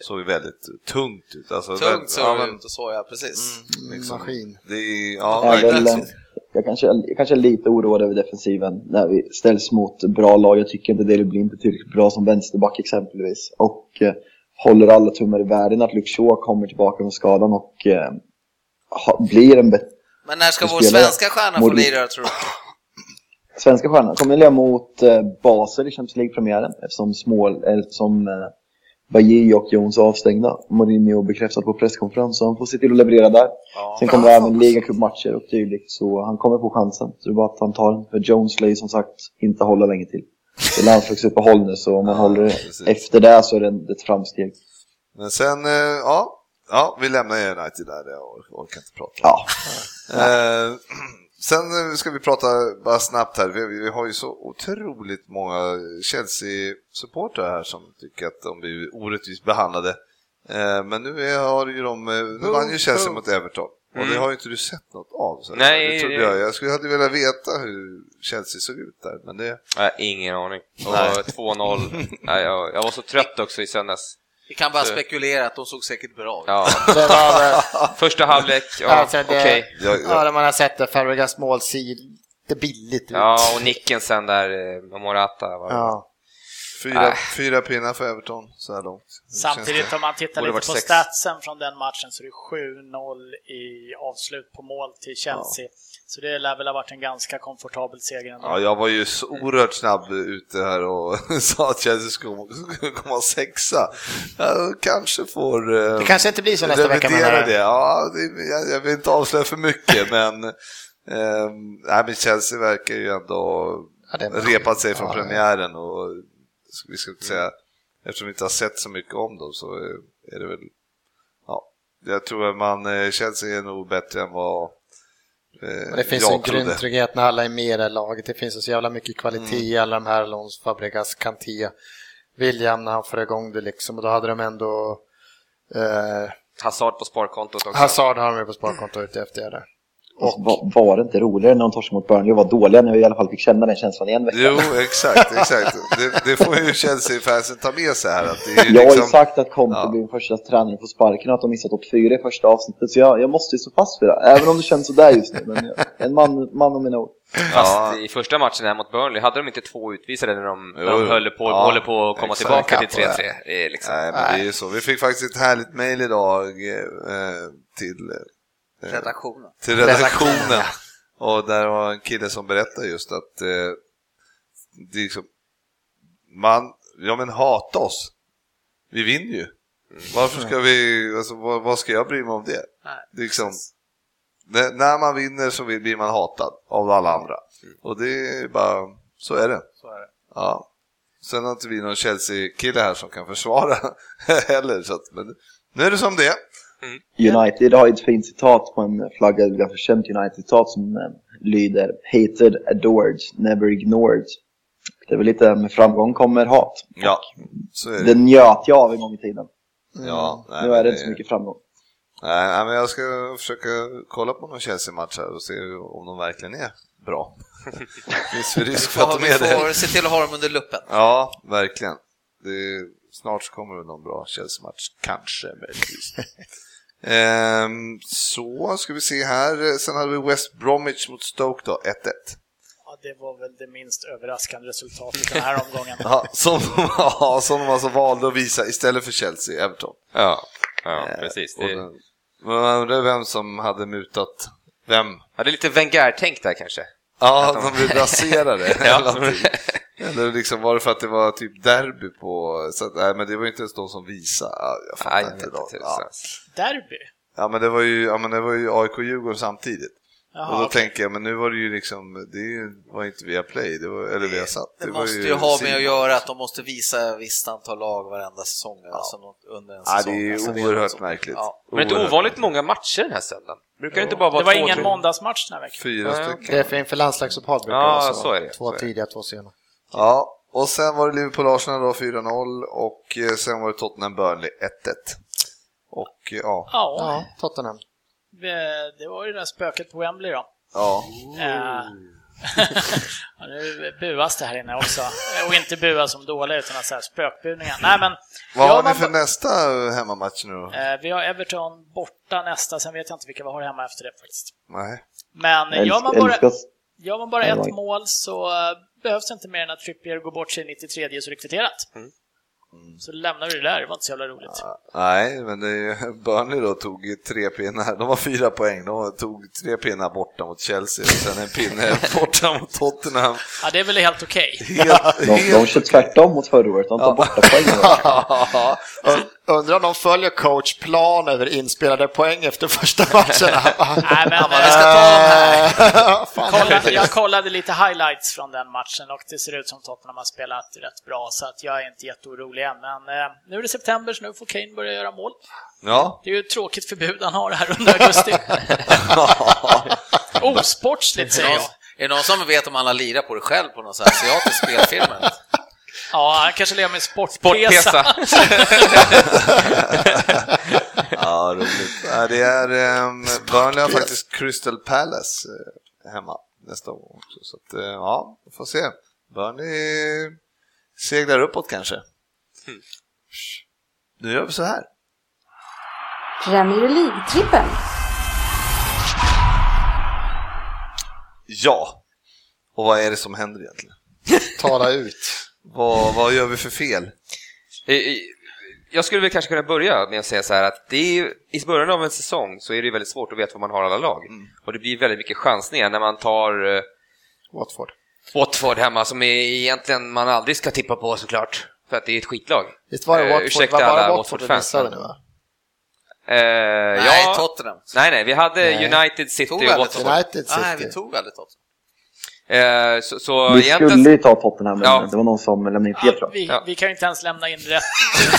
[SPEAKER 2] såg ju väldigt tungt ut. Alltså,
[SPEAKER 4] Tungt såg
[SPEAKER 2] ja,
[SPEAKER 4] det
[SPEAKER 2] men,
[SPEAKER 4] ut och så, ja precis.
[SPEAKER 2] liksom,
[SPEAKER 7] Maskin.
[SPEAKER 2] Det är, ja,
[SPEAKER 6] Jag, är
[SPEAKER 2] verkligen.
[SPEAKER 6] väl, eh, jag, kanske, jag kanske är lite oroad över defensiven när vi ställs mot bra lag. Jag tycker inte det blir inte tillräckligt bra som vänsterback exempelvis. Och eh, håller alla tummar i världen att Luxor kommer tillbaka från skadan och eh, ha, blir en bet-
[SPEAKER 4] Men när ska
[SPEAKER 6] Vi
[SPEAKER 4] vår
[SPEAKER 6] spelar-
[SPEAKER 4] svenska stjärna få
[SPEAKER 6] Modi-
[SPEAKER 4] lira tror du?
[SPEAKER 6] svenska stjärnan. Kommer lira mot eh, Basel i Champions League-premiären eftersom, Smål, eller eftersom eh, Bajé och Jones är avstängda. Mourinho bekräftat på presskonferens så han får se till att leverera där. Sen kommer det även ligacupmatcher och dylikt så han kommer få chansen. Så det är bara att han tar den. För Jones lär ju som sagt inte hålla länge till. Det är landslagsuppehåll nu så om man håller
[SPEAKER 2] precis.
[SPEAKER 6] efter det så är det en- ett framsteg.
[SPEAKER 2] Men sen, eh, ja, ja, vi lämnar United där, jag or- orkar inte prata.
[SPEAKER 6] Ja,
[SPEAKER 2] Eh, [clears throat] sen eh, ska vi prata bara snabbt här, vi, vi har ju så otroligt många Chelsea-supportrar här som tycker att de blir orättvist behandlade. Eh, men nu är, har ju de, eh, nu vann ju Chelsea mot Everton. Och det har ju inte du sett något av. Så
[SPEAKER 5] Nej,
[SPEAKER 2] det trodde
[SPEAKER 5] det-
[SPEAKER 2] jag. Jag skulle hade velat veta hur Chelsea såg ut där. Men det,
[SPEAKER 5] Jag har ingen aning. Och
[SPEAKER 2] Nej.
[SPEAKER 5] 2-0. Nej, jag, jag var så trött också i söndags.
[SPEAKER 4] Vi kan bara
[SPEAKER 5] Så-
[SPEAKER 4] spekulera att de såg säkert bra ut.
[SPEAKER 2] [laughs]
[SPEAKER 5] Ja.
[SPEAKER 7] Det var väl...
[SPEAKER 5] Första halvlek, ja,
[SPEAKER 7] Alltså,
[SPEAKER 5] okej.
[SPEAKER 7] det-
[SPEAKER 2] jag,
[SPEAKER 7] Ja,
[SPEAKER 2] jag,
[SPEAKER 7] när man har sett det, Fabregas mål ser lite billigt ut.
[SPEAKER 5] Ja, och nicken sen där, eh, Morata. Var...
[SPEAKER 7] Ja.
[SPEAKER 2] fyra,
[SPEAKER 5] Ah.
[SPEAKER 2] fyra pinnar för Everton så här långt. Hur känns
[SPEAKER 3] Samtidigt
[SPEAKER 2] det?
[SPEAKER 3] om man tittar
[SPEAKER 5] Borde
[SPEAKER 3] lite på
[SPEAKER 5] varit sex.
[SPEAKER 3] statsen från den matchen så är det 7-0 i avslut på mål till Chelsea. Så det lär väl ha varit en ganska komfortabel seger ändå.
[SPEAKER 2] Ja, jag var ju så oerhört snabb ute här och [laughs] sa att Chelsea skulle skulle komma sexa. Jag kanske får... eh,
[SPEAKER 7] Det kanske inte blir så nästa vecka
[SPEAKER 2] revidera
[SPEAKER 7] men
[SPEAKER 2] det. Ja, det, jag, jag vill inte avslöja för mycket, [laughs] men, eh, nej, men Chelsea verkar ju ändå
[SPEAKER 7] Ja, det är bra.
[SPEAKER 2] repat sig från
[SPEAKER 7] Ja, ja.
[SPEAKER 2] premiären. Och, vi ska inte säga, eftersom vi inte har sett så mycket om dem så eh, är det väl... Ja, jag tror att man, eh, Chelsea är nog bättre än vad eh,
[SPEAKER 7] Men det finns
[SPEAKER 2] jag
[SPEAKER 7] en grym
[SPEAKER 2] trodde.
[SPEAKER 7] trygghet när alla är med i det här laget. Det finns så jävla mycket kvalitet i
[SPEAKER 5] Mm.
[SPEAKER 7] alla de här Alonso, Fabregas, Kanté, William när han får igång det liksom. Och då hade de ändå... Eh,
[SPEAKER 5] Hazard på sparkontot också.
[SPEAKER 7] Hazard har de ju på sparkonto ute efter det. där.
[SPEAKER 6] och var, alltså, var det inte roligare när de torskade mot Burnley och var dåliga när vi i alla fall fick känna den känslan i en vecka?
[SPEAKER 2] Jo, exakt, exakt. Det, det får ju Chelsea-fansen ta med sig här. Att det är ju
[SPEAKER 6] Jag har ju
[SPEAKER 2] liksom,
[SPEAKER 6] sagt att Conte
[SPEAKER 2] Ja.
[SPEAKER 6] blir den första tränaren på sparken och att de missat topp fyra i första avsnittet, så jag, jag måste ju stå fast vid det. Även om det känns sådär just nu, men jag, en man, man av mina ord.
[SPEAKER 5] Fast i första matchen här mot Burnley, hade de inte två utvisade när de, när
[SPEAKER 2] Jo,
[SPEAKER 5] de
[SPEAKER 2] jo.
[SPEAKER 5] höll på,
[SPEAKER 2] Ja,
[SPEAKER 5] håller på att komma
[SPEAKER 2] exakt.
[SPEAKER 5] tillbaka till
[SPEAKER 2] Kapp på det.
[SPEAKER 5] 3-3? Det är liksom...
[SPEAKER 2] Nej, men det är ju så. Vi fick faktiskt ett härligt mejl idag eh, till, eh,
[SPEAKER 4] Redaktionen.
[SPEAKER 2] till redaktionen. [laughs] Och där var en kille som berättade just att eh, det är liksom, man, ja men hata oss. Vi vinner ju. Varför ska vi, alltså, vad, vad ska jag bry mig om det? det är liksom, när, när man vinner så vill- blir man hatad av alla andra. Och det är bara, Mm. så är det. Ja. Sen har inte vi någon Chelsea-kille här som kan försvara [laughs] heller, så att, men nu är det som det är.
[SPEAKER 6] United har ju ett fint citat på en flagga, ett ganska känt United-citat som eh, lyder “Hated, adored, never ignored”. Det är väl lite med framgång kommer hat.
[SPEAKER 2] Ja, så är
[SPEAKER 6] Det
[SPEAKER 2] det.
[SPEAKER 6] njöt jag av en gång i tiden.
[SPEAKER 2] Ja, Mm. nej,
[SPEAKER 6] nu är det
[SPEAKER 2] men
[SPEAKER 6] inte så mycket framgång.
[SPEAKER 2] Nej, nej, men jag ska försöka kolla på någon Chelsea-match här och se om de verkligen är [laughs] bra. Finns det risk
[SPEAKER 4] Vi
[SPEAKER 2] för att
[SPEAKER 4] får,
[SPEAKER 2] de är
[SPEAKER 4] vi får
[SPEAKER 2] det?
[SPEAKER 4] se till att ha dem under luppen.
[SPEAKER 2] Ja, verkligen. Det, snart så kommer det någon bra Chelsea-match, kanske, [laughs] möjligtvis. Ehm, så, ska vi se här. Sen hade vi West Bromwich mot Stoke då, 1-1.
[SPEAKER 3] Ja, det var väl det minst överraskande resultatet den här
[SPEAKER 7] [laughs]
[SPEAKER 3] omgången.
[SPEAKER 2] [laughs] Ja, som, ja, som de alltså valde att visa istället för Chelsea, Everton.
[SPEAKER 5] Ja, Eh, ja precis.
[SPEAKER 2] Och
[SPEAKER 5] Det,
[SPEAKER 2] den- Man undrar vem som hade mutat vem.
[SPEAKER 5] ja, det är lite Wenger-tänk där kanske.
[SPEAKER 2] Ja,
[SPEAKER 5] Att
[SPEAKER 2] de
[SPEAKER 5] de-
[SPEAKER 2] blev raserade.
[SPEAKER 5] [laughs] Ja.
[SPEAKER 2] Eller någonting. Eller liksom var det för att det var typ derby på... Så att, nej, men det var ju inte ens de som visade. Ja, Jag fattar
[SPEAKER 5] Nej,
[SPEAKER 2] inte.
[SPEAKER 5] inte
[SPEAKER 2] då.
[SPEAKER 5] tusan.
[SPEAKER 2] Ja.
[SPEAKER 3] Derby?
[SPEAKER 2] ja, men det var ju, ja, men det var ju AIK-Djurgården samtidigt. och då
[SPEAKER 3] Jaha,
[SPEAKER 2] tänker jag, men nu var det ju liksom, det var inte via play, det var, eller via satt.
[SPEAKER 4] Det,
[SPEAKER 2] var
[SPEAKER 4] måste ju ha med
[SPEAKER 2] Simon.
[SPEAKER 4] att göra att de måste visa visst antal lag varenda säsong. Alltså något under en säsong.
[SPEAKER 2] Ja, det är ju
[SPEAKER 4] alltså,
[SPEAKER 2] oerhört märkligt.
[SPEAKER 4] Ja.
[SPEAKER 5] Men det är inte
[SPEAKER 2] Oerhört.
[SPEAKER 5] ovanligt många matcher den här söndagen. Brukar det inte bara vara
[SPEAKER 3] det var
[SPEAKER 5] två,
[SPEAKER 3] ingen
[SPEAKER 5] tre?
[SPEAKER 3] måndagsmatch den här veckan.
[SPEAKER 2] Fyra
[SPEAKER 5] Ja.
[SPEAKER 2] stycken.
[SPEAKER 7] Det är för inför landslagsuppehåll brukar
[SPEAKER 5] Ja,
[SPEAKER 7] det vara
[SPEAKER 5] så är det,
[SPEAKER 7] Två
[SPEAKER 5] så är det.
[SPEAKER 7] tidiga, två sena.
[SPEAKER 2] Ja, och sen var det Liverpool-Arsenal då 4-0 och eh, sen var det Tottenham-Burnley 1-1. Och eh, ja,
[SPEAKER 3] Ja,
[SPEAKER 7] Ja, Tottenham.
[SPEAKER 3] eh, det var ju det där spöket på Wembley då.
[SPEAKER 2] ja.
[SPEAKER 3] Eh, [laughs] ja, nu buas det här inne också. Eh, Och inte buas som dåliga utan att säga spökbuningar. Nej men,
[SPEAKER 2] Vad
[SPEAKER 3] ja,
[SPEAKER 2] har ni
[SPEAKER 3] man-
[SPEAKER 2] för nästa hemmamatch nu då?
[SPEAKER 3] eh, vi har Everton borta nästa, sen vet jag inte vilka vi har hemma efter det faktiskt.
[SPEAKER 2] Nej.
[SPEAKER 3] Men eh, gör man
[SPEAKER 6] Älsk-
[SPEAKER 3] bara,
[SPEAKER 6] Älskas.
[SPEAKER 3] gör man bara
[SPEAKER 6] Nej, det var
[SPEAKER 3] ett
[SPEAKER 6] inte.
[SPEAKER 3] mål så eh, behövs det inte mer än att Trippier går bort sig i 93 så är det kvitterat.
[SPEAKER 2] Mm.
[SPEAKER 3] Så lämnar vi det där, det var inte så jävla roligt.
[SPEAKER 2] Ah. Nej, men det är ju, [laughs] Burnley då tog ju tre pinnar, de har fyra poäng, de tog tre pinnar borta mot Chelsea och sen en
[SPEAKER 3] [laughs]
[SPEAKER 2] pinne borta mot Tottenham.
[SPEAKER 3] Ja, det är väl helt okej.
[SPEAKER 2] Helt,
[SPEAKER 6] De, de kör tvärtom mot förra året, de tar borta
[SPEAKER 3] [laughs]
[SPEAKER 6] poäng.
[SPEAKER 7] [laughs] Undrar om de följer coach plan över inspelade poäng efter första
[SPEAKER 5] [laughs]
[SPEAKER 7] matchen.
[SPEAKER 3] Nej, men,
[SPEAKER 4] Vi ska ta de här.
[SPEAKER 7] [laughs]
[SPEAKER 3] kollade, jag kollade lite highlights från den matchen och det ser ut som Tottenham har spelat rätt bra så att jag är inte jätteorolig än. Men eh, nu är det september så nu får Kane börja göra mål.
[SPEAKER 2] Ja,
[SPEAKER 3] [laughs] Det är ju ett tråkigt förbud han har här under augusti. Osportsligt säger
[SPEAKER 4] Är det
[SPEAKER 3] jag.
[SPEAKER 4] någon- Är det någon som vet om han har lirat på det själv på någon sån här asiatisk
[SPEAKER 2] [laughs]
[SPEAKER 4] spelfilm? eller något?
[SPEAKER 3] Ja, han kanske lever med sportpesa.
[SPEAKER 5] Sportpesa.
[SPEAKER 3] [laughs]
[SPEAKER 2] ja roligt. Ja, Det är, ehm, Burnley har faktiskt Crystal Palace eh, hemma nästa gång också, så att, eh, ja, vi får se. Burnley seglar uppåt kanske.
[SPEAKER 3] Hmm.
[SPEAKER 2] Nu gör vi så här.
[SPEAKER 1] Premier League-trippen.
[SPEAKER 2] Ja, och vad är det som händer egentligen?
[SPEAKER 7] Tala ut.
[SPEAKER 2] Vad, vad gör vi för fel?
[SPEAKER 5] Eh, eh, Jag skulle väl kanske kunna börja med att säga så här att det är ju, i början av en säsong så är det ju väldigt svårt att veta vad man har alla lag.
[SPEAKER 2] Mm.
[SPEAKER 5] Och det blir väldigt mycket chansningar när man tar eh,
[SPEAKER 7] Watford.
[SPEAKER 5] Watford hemma som är egentligen man aldrig ska tippa på såklart. För att det är ett skitlag.
[SPEAKER 7] Visst var det
[SPEAKER 5] Eh,
[SPEAKER 7] Watford?
[SPEAKER 5] ursäkta
[SPEAKER 7] Var
[SPEAKER 5] alla
[SPEAKER 7] bara Watford du
[SPEAKER 5] Watford-fans.
[SPEAKER 7] missade nu va?
[SPEAKER 5] Eh,
[SPEAKER 4] Nej,
[SPEAKER 5] ja,
[SPEAKER 4] Tottenham.
[SPEAKER 5] nej, nej, vi hade
[SPEAKER 7] Nej.
[SPEAKER 5] United,
[SPEAKER 4] Tog
[SPEAKER 5] City och
[SPEAKER 4] vi aldrig
[SPEAKER 5] Watford.
[SPEAKER 4] Tottenham?
[SPEAKER 7] United City.
[SPEAKER 4] Nej, vi tog aldrig Tottenham.
[SPEAKER 5] Eh, så, så
[SPEAKER 6] Vi
[SPEAKER 5] egentligen...
[SPEAKER 6] skulle ju ta Tottenham, men
[SPEAKER 5] Ja.
[SPEAKER 6] det var någon som lämnade in fel
[SPEAKER 3] Ja,
[SPEAKER 6] tror jag.
[SPEAKER 3] vi,
[SPEAKER 5] Ja.
[SPEAKER 3] vi kan ju inte ens lämna in rätt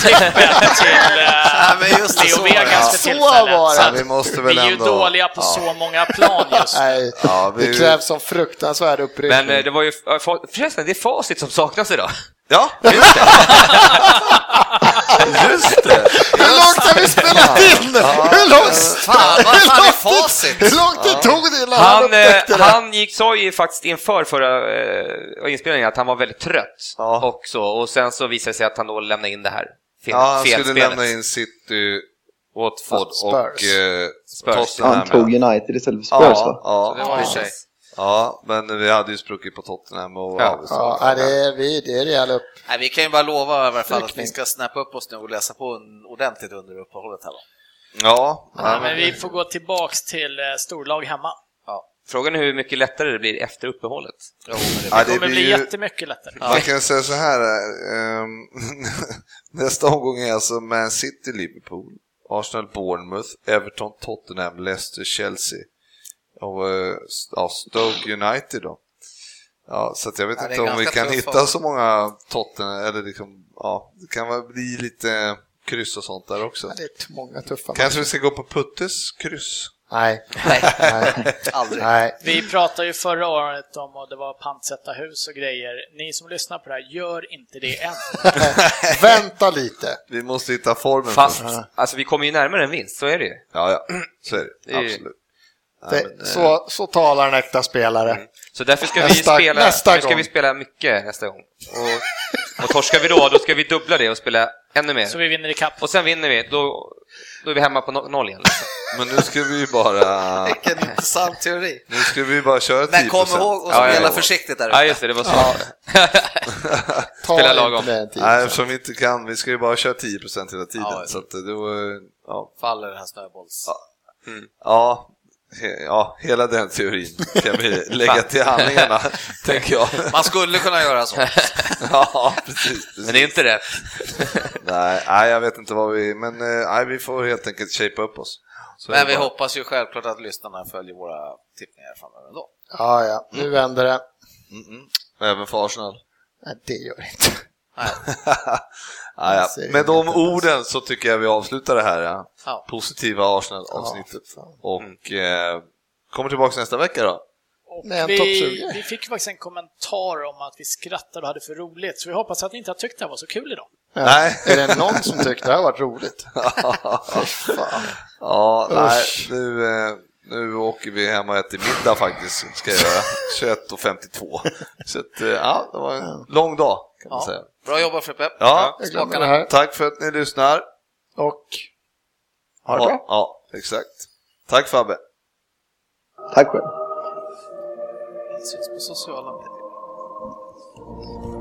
[SPEAKER 3] tippel till
[SPEAKER 4] Ja,
[SPEAKER 3] eh,
[SPEAKER 4] men just det,
[SPEAKER 3] Leo
[SPEAKER 4] så var det.
[SPEAKER 3] Vegas
[SPEAKER 7] Ja.
[SPEAKER 3] för
[SPEAKER 7] Så
[SPEAKER 3] tillfället.
[SPEAKER 7] var det.
[SPEAKER 3] Så
[SPEAKER 2] Alltså, Ja,
[SPEAKER 3] att
[SPEAKER 2] vi måste
[SPEAKER 3] vi
[SPEAKER 2] väl
[SPEAKER 3] är ju
[SPEAKER 2] ändå...
[SPEAKER 3] dåliga på så många plan just nu.
[SPEAKER 7] Nej,
[SPEAKER 2] Ja, vi-
[SPEAKER 7] det krävs som fruktansvärd uppryckning.
[SPEAKER 5] Men eh, det var ju... ja, fa- Förresten, det är facit som saknas idag.
[SPEAKER 2] Ja, just det! just det!
[SPEAKER 7] Hur långt har vi spelat in? Hur långt,
[SPEAKER 4] Fan, vad fan är
[SPEAKER 7] hur
[SPEAKER 4] facit?
[SPEAKER 7] långt det tog det innan han
[SPEAKER 5] Han, eh,
[SPEAKER 7] upptäckte det?
[SPEAKER 5] han gick, sa ju faktiskt inför förra eh, inspelningen att han var väldigt trött.
[SPEAKER 2] Ja.
[SPEAKER 5] Och, så, och sen så visade det sig att han då lämnade in det här fel,
[SPEAKER 2] Ja, han skulle
[SPEAKER 5] felspelet.
[SPEAKER 2] lämna in City, Watford
[SPEAKER 7] Spurs.
[SPEAKER 2] och eh,
[SPEAKER 5] Spurs.
[SPEAKER 2] Tottenham.
[SPEAKER 6] Han tog United istället för
[SPEAKER 2] ja,
[SPEAKER 6] Spurs
[SPEAKER 2] ja,
[SPEAKER 6] va?
[SPEAKER 5] Det
[SPEAKER 2] ja,
[SPEAKER 5] var i och för sig.
[SPEAKER 2] ja, men vi hade ju spruckit på Tottenham och
[SPEAKER 5] Ja.
[SPEAKER 2] Avesta.
[SPEAKER 7] Ja, nej, det är, vi, det är rejäl upp.
[SPEAKER 4] Nej, vi kan ju bara lova i alla fall att
[SPEAKER 7] Tryckning.
[SPEAKER 4] vi ska snappa upp oss nu och läsa på en ordentligt under uppehållet här va?
[SPEAKER 2] ja,
[SPEAKER 3] Ja, men vi får gå tillbaks till eh, storlag hemma.
[SPEAKER 5] Frågan är hur mycket lättare det blir efter uppehållet.
[SPEAKER 4] Jo, men det-
[SPEAKER 2] ja, det
[SPEAKER 3] Det kommer
[SPEAKER 2] blir
[SPEAKER 3] bli
[SPEAKER 2] ju...
[SPEAKER 3] jättemycket lättare.
[SPEAKER 2] Man kan säga så här, ehm, [laughs] nästa omgång är alltså Man City, Liverpool, Arsenal, Bournemouth, Everton, Tottenham, Leicester, Chelsea och eh, ja, Stoke United då. Ja, så att jag vet
[SPEAKER 4] Ja, det är
[SPEAKER 2] inte om vi
[SPEAKER 4] ganska
[SPEAKER 2] kan
[SPEAKER 4] tufft
[SPEAKER 2] hitta
[SPEAKER 4] folk.
[SPEAKER 2] så många Tottenham, eller liksom, ja, det kan väl bli lite kryss och sånt där också.
[SPEAKER 7] Ja, Det är många tuffa
[SPEAKER 2] Kanske vi ska gå på Puttes kryss?
[SPEAKER 7] Nej,
[SPEAKER 4] Nej,
[SPEAKER 7] nej,
[SPEAKER 4] aldrig.
[SPEAKER 7] nej.
[SPEAKER 3] Vi pratade ju förra året om att det var pantsätta hus och grejer. Ni som lyssnar på det här, gör inte det än.
[SPEAKER 7] [laughs] Vänta lite.
[SPEAKER 2] Vi måste hitta formen
[SPEAKER 7] Mm.
[SPEAKER 5] Fast,
[SPEAKER 2] först.
[SPEAKER 5] alltså vi kommer ju närmare en vinst, så är det ju.
[SPEAKER 2] Ja, ja, så är
[SPEAKER 5] Det
[SPEAKER 2] det.
[SPEAKER 5] är ju-
[SPEAKER 2] Absolut.
[SPEAKER 7] Det, så, så talar en äkta spelare.
[SPEAKER 5] Så därför ska
[SPEAKER 7] Nästa-
[SPEAKER 5] vi spela,
[SPEAKER 7] nästa
[SPEAKER 5] nu ska
[SPEAKER 7] gång.
[SPEAKER 5] vi spela mycket nästa gång. Och, och torskar vi då, då ska vi dubbla det och spela ännu mer.
[SPEAKER 3] Så vi vinner ikapp.
[SPEAKER 5] Och sen vinner vi, då, då är vi hemma på no- noll igen. liksom.
[SPEAKER 2] Men nu ska vi ju
[SPEAKER 4] [laughs]
[SPEAKER 2] bara...
[SPEAKER 4] Vilken intressant teori.
[SPEAKER 2] Nu ska vi bara köra 10%.
[SPEAKER 4] Men kom ihåg att
[SPEAKER 5] Ja, ja,
[SPEAKER 4] spela
[SPEAKER 5] ja.
[SPEAKER 4] försiktigt där
[SPEAKER 5] Ja,
[SPEAKER 4] ute.
[SPEAKER 5] just det, det var så.
[SPEAKER 7] Ta
[SPEAKER 5] Spela
[SPEAKER 7] inte
[SPEAKER 5] lagom.
[SPEAKER 7] med en tid.
[SPEAKER 2] Nej, eftersom vi inte kan. Vi ska ju bara köra 10% hela tiden.
[SPEAKER 4] Ja, ja.
[SPEAKER 2] så att det var... Ja.
[SPEAKER 4] Faller den här snöbolls...
[SPEAKER 2] ja. he- ja, hela den teorin kan
[SPEAKER 4] [laughs]
[SPEAKER 2] vi lägga till handlingarna, tänker jag.
[SPEAKER 4] Man skulle kunna göra så.
[SPEAKER 2] Ja, precis. precis.
[SPEAKER 5] Men det är inte rätt.
[SPEAKER 2] Nej, nej, jag vet inte vad vi... Men eh, nej, vi får helt enkelt shapea upp oss. Så är
[SPEAKER 4] Men
[SPEAKER 2] det
[SPEAKER 4] vi
[SPEAKER 2] bara.
[SPEAKER 4] hoppas ju självklart att lyssnarna följer våra tippningar framöver ändå.
[SPEAKER 7] Ja, ja, nu vänder det.
[SPEAKER 2] Även för
[SPEAKER 4] [laughs]
[SPEAKER 2] Arsenal.
[SPEAKER 7] Nej, det gör det inte.
[SPEAKER 2] Ja, ja.
[SPEAKER 7] Jag ser
[SPEAKER 2] Med de
[SPEAKER 7] inte ens.
[SPEAKER 2] orden så tycker jag vi avslutar det här ja.
[SPEAKER 4] Ja.
[SPEAKER 2] positiva Arsenal-avsnittet.
[SPEAKER 7] Ja, fan.
[SPEAKER 2] Och eh, kommer tillbaka nästa vecka då.
[SPEAKER 3] Och
[SPEAKER 7] Med en
[SPEAKER 3] vi,
[SPEAKER 7] toppsuga.
[SPEAKER 3] vi fick ju faktiskt en kommentar om att vi skrattade och hade för roligt, så vi hoppas att ni inte har tyckt det här var så kul idag.
[SPEAKER 7] Ja.
[SPEAKER 2] Nej.
[SPEAKER 7] Är det någon som tyckte det här varit roligt?
[SPEAKER 2] [laughs] Ja, nej,
[SPEAKER 7] Usch.
[SPEAKER 2] nu, eh, nu åker vi hem och äter middag faktiskt, ska jag göra. 21.52. Så att, eh, ja, det var en lång dag kan man säga.
[SPEAKER 4] Bra jobbat Frippe!
[SPEAKER 2] Ja,
[SPEAKER 7] Jag glömde det
[SPEAKER 4] Smakarna.
[SPEAKER 7] här.
[SPEAKER 2] tack för att ni lyssnar.
[SPEAKER 7] Och ha det bra.
[SPEAKER 2] Ja, ja, exakt. Tack Fabbe.
[SPEAKER 6] Tack själv.
[SPEAKER 4] Syns på sociala medier.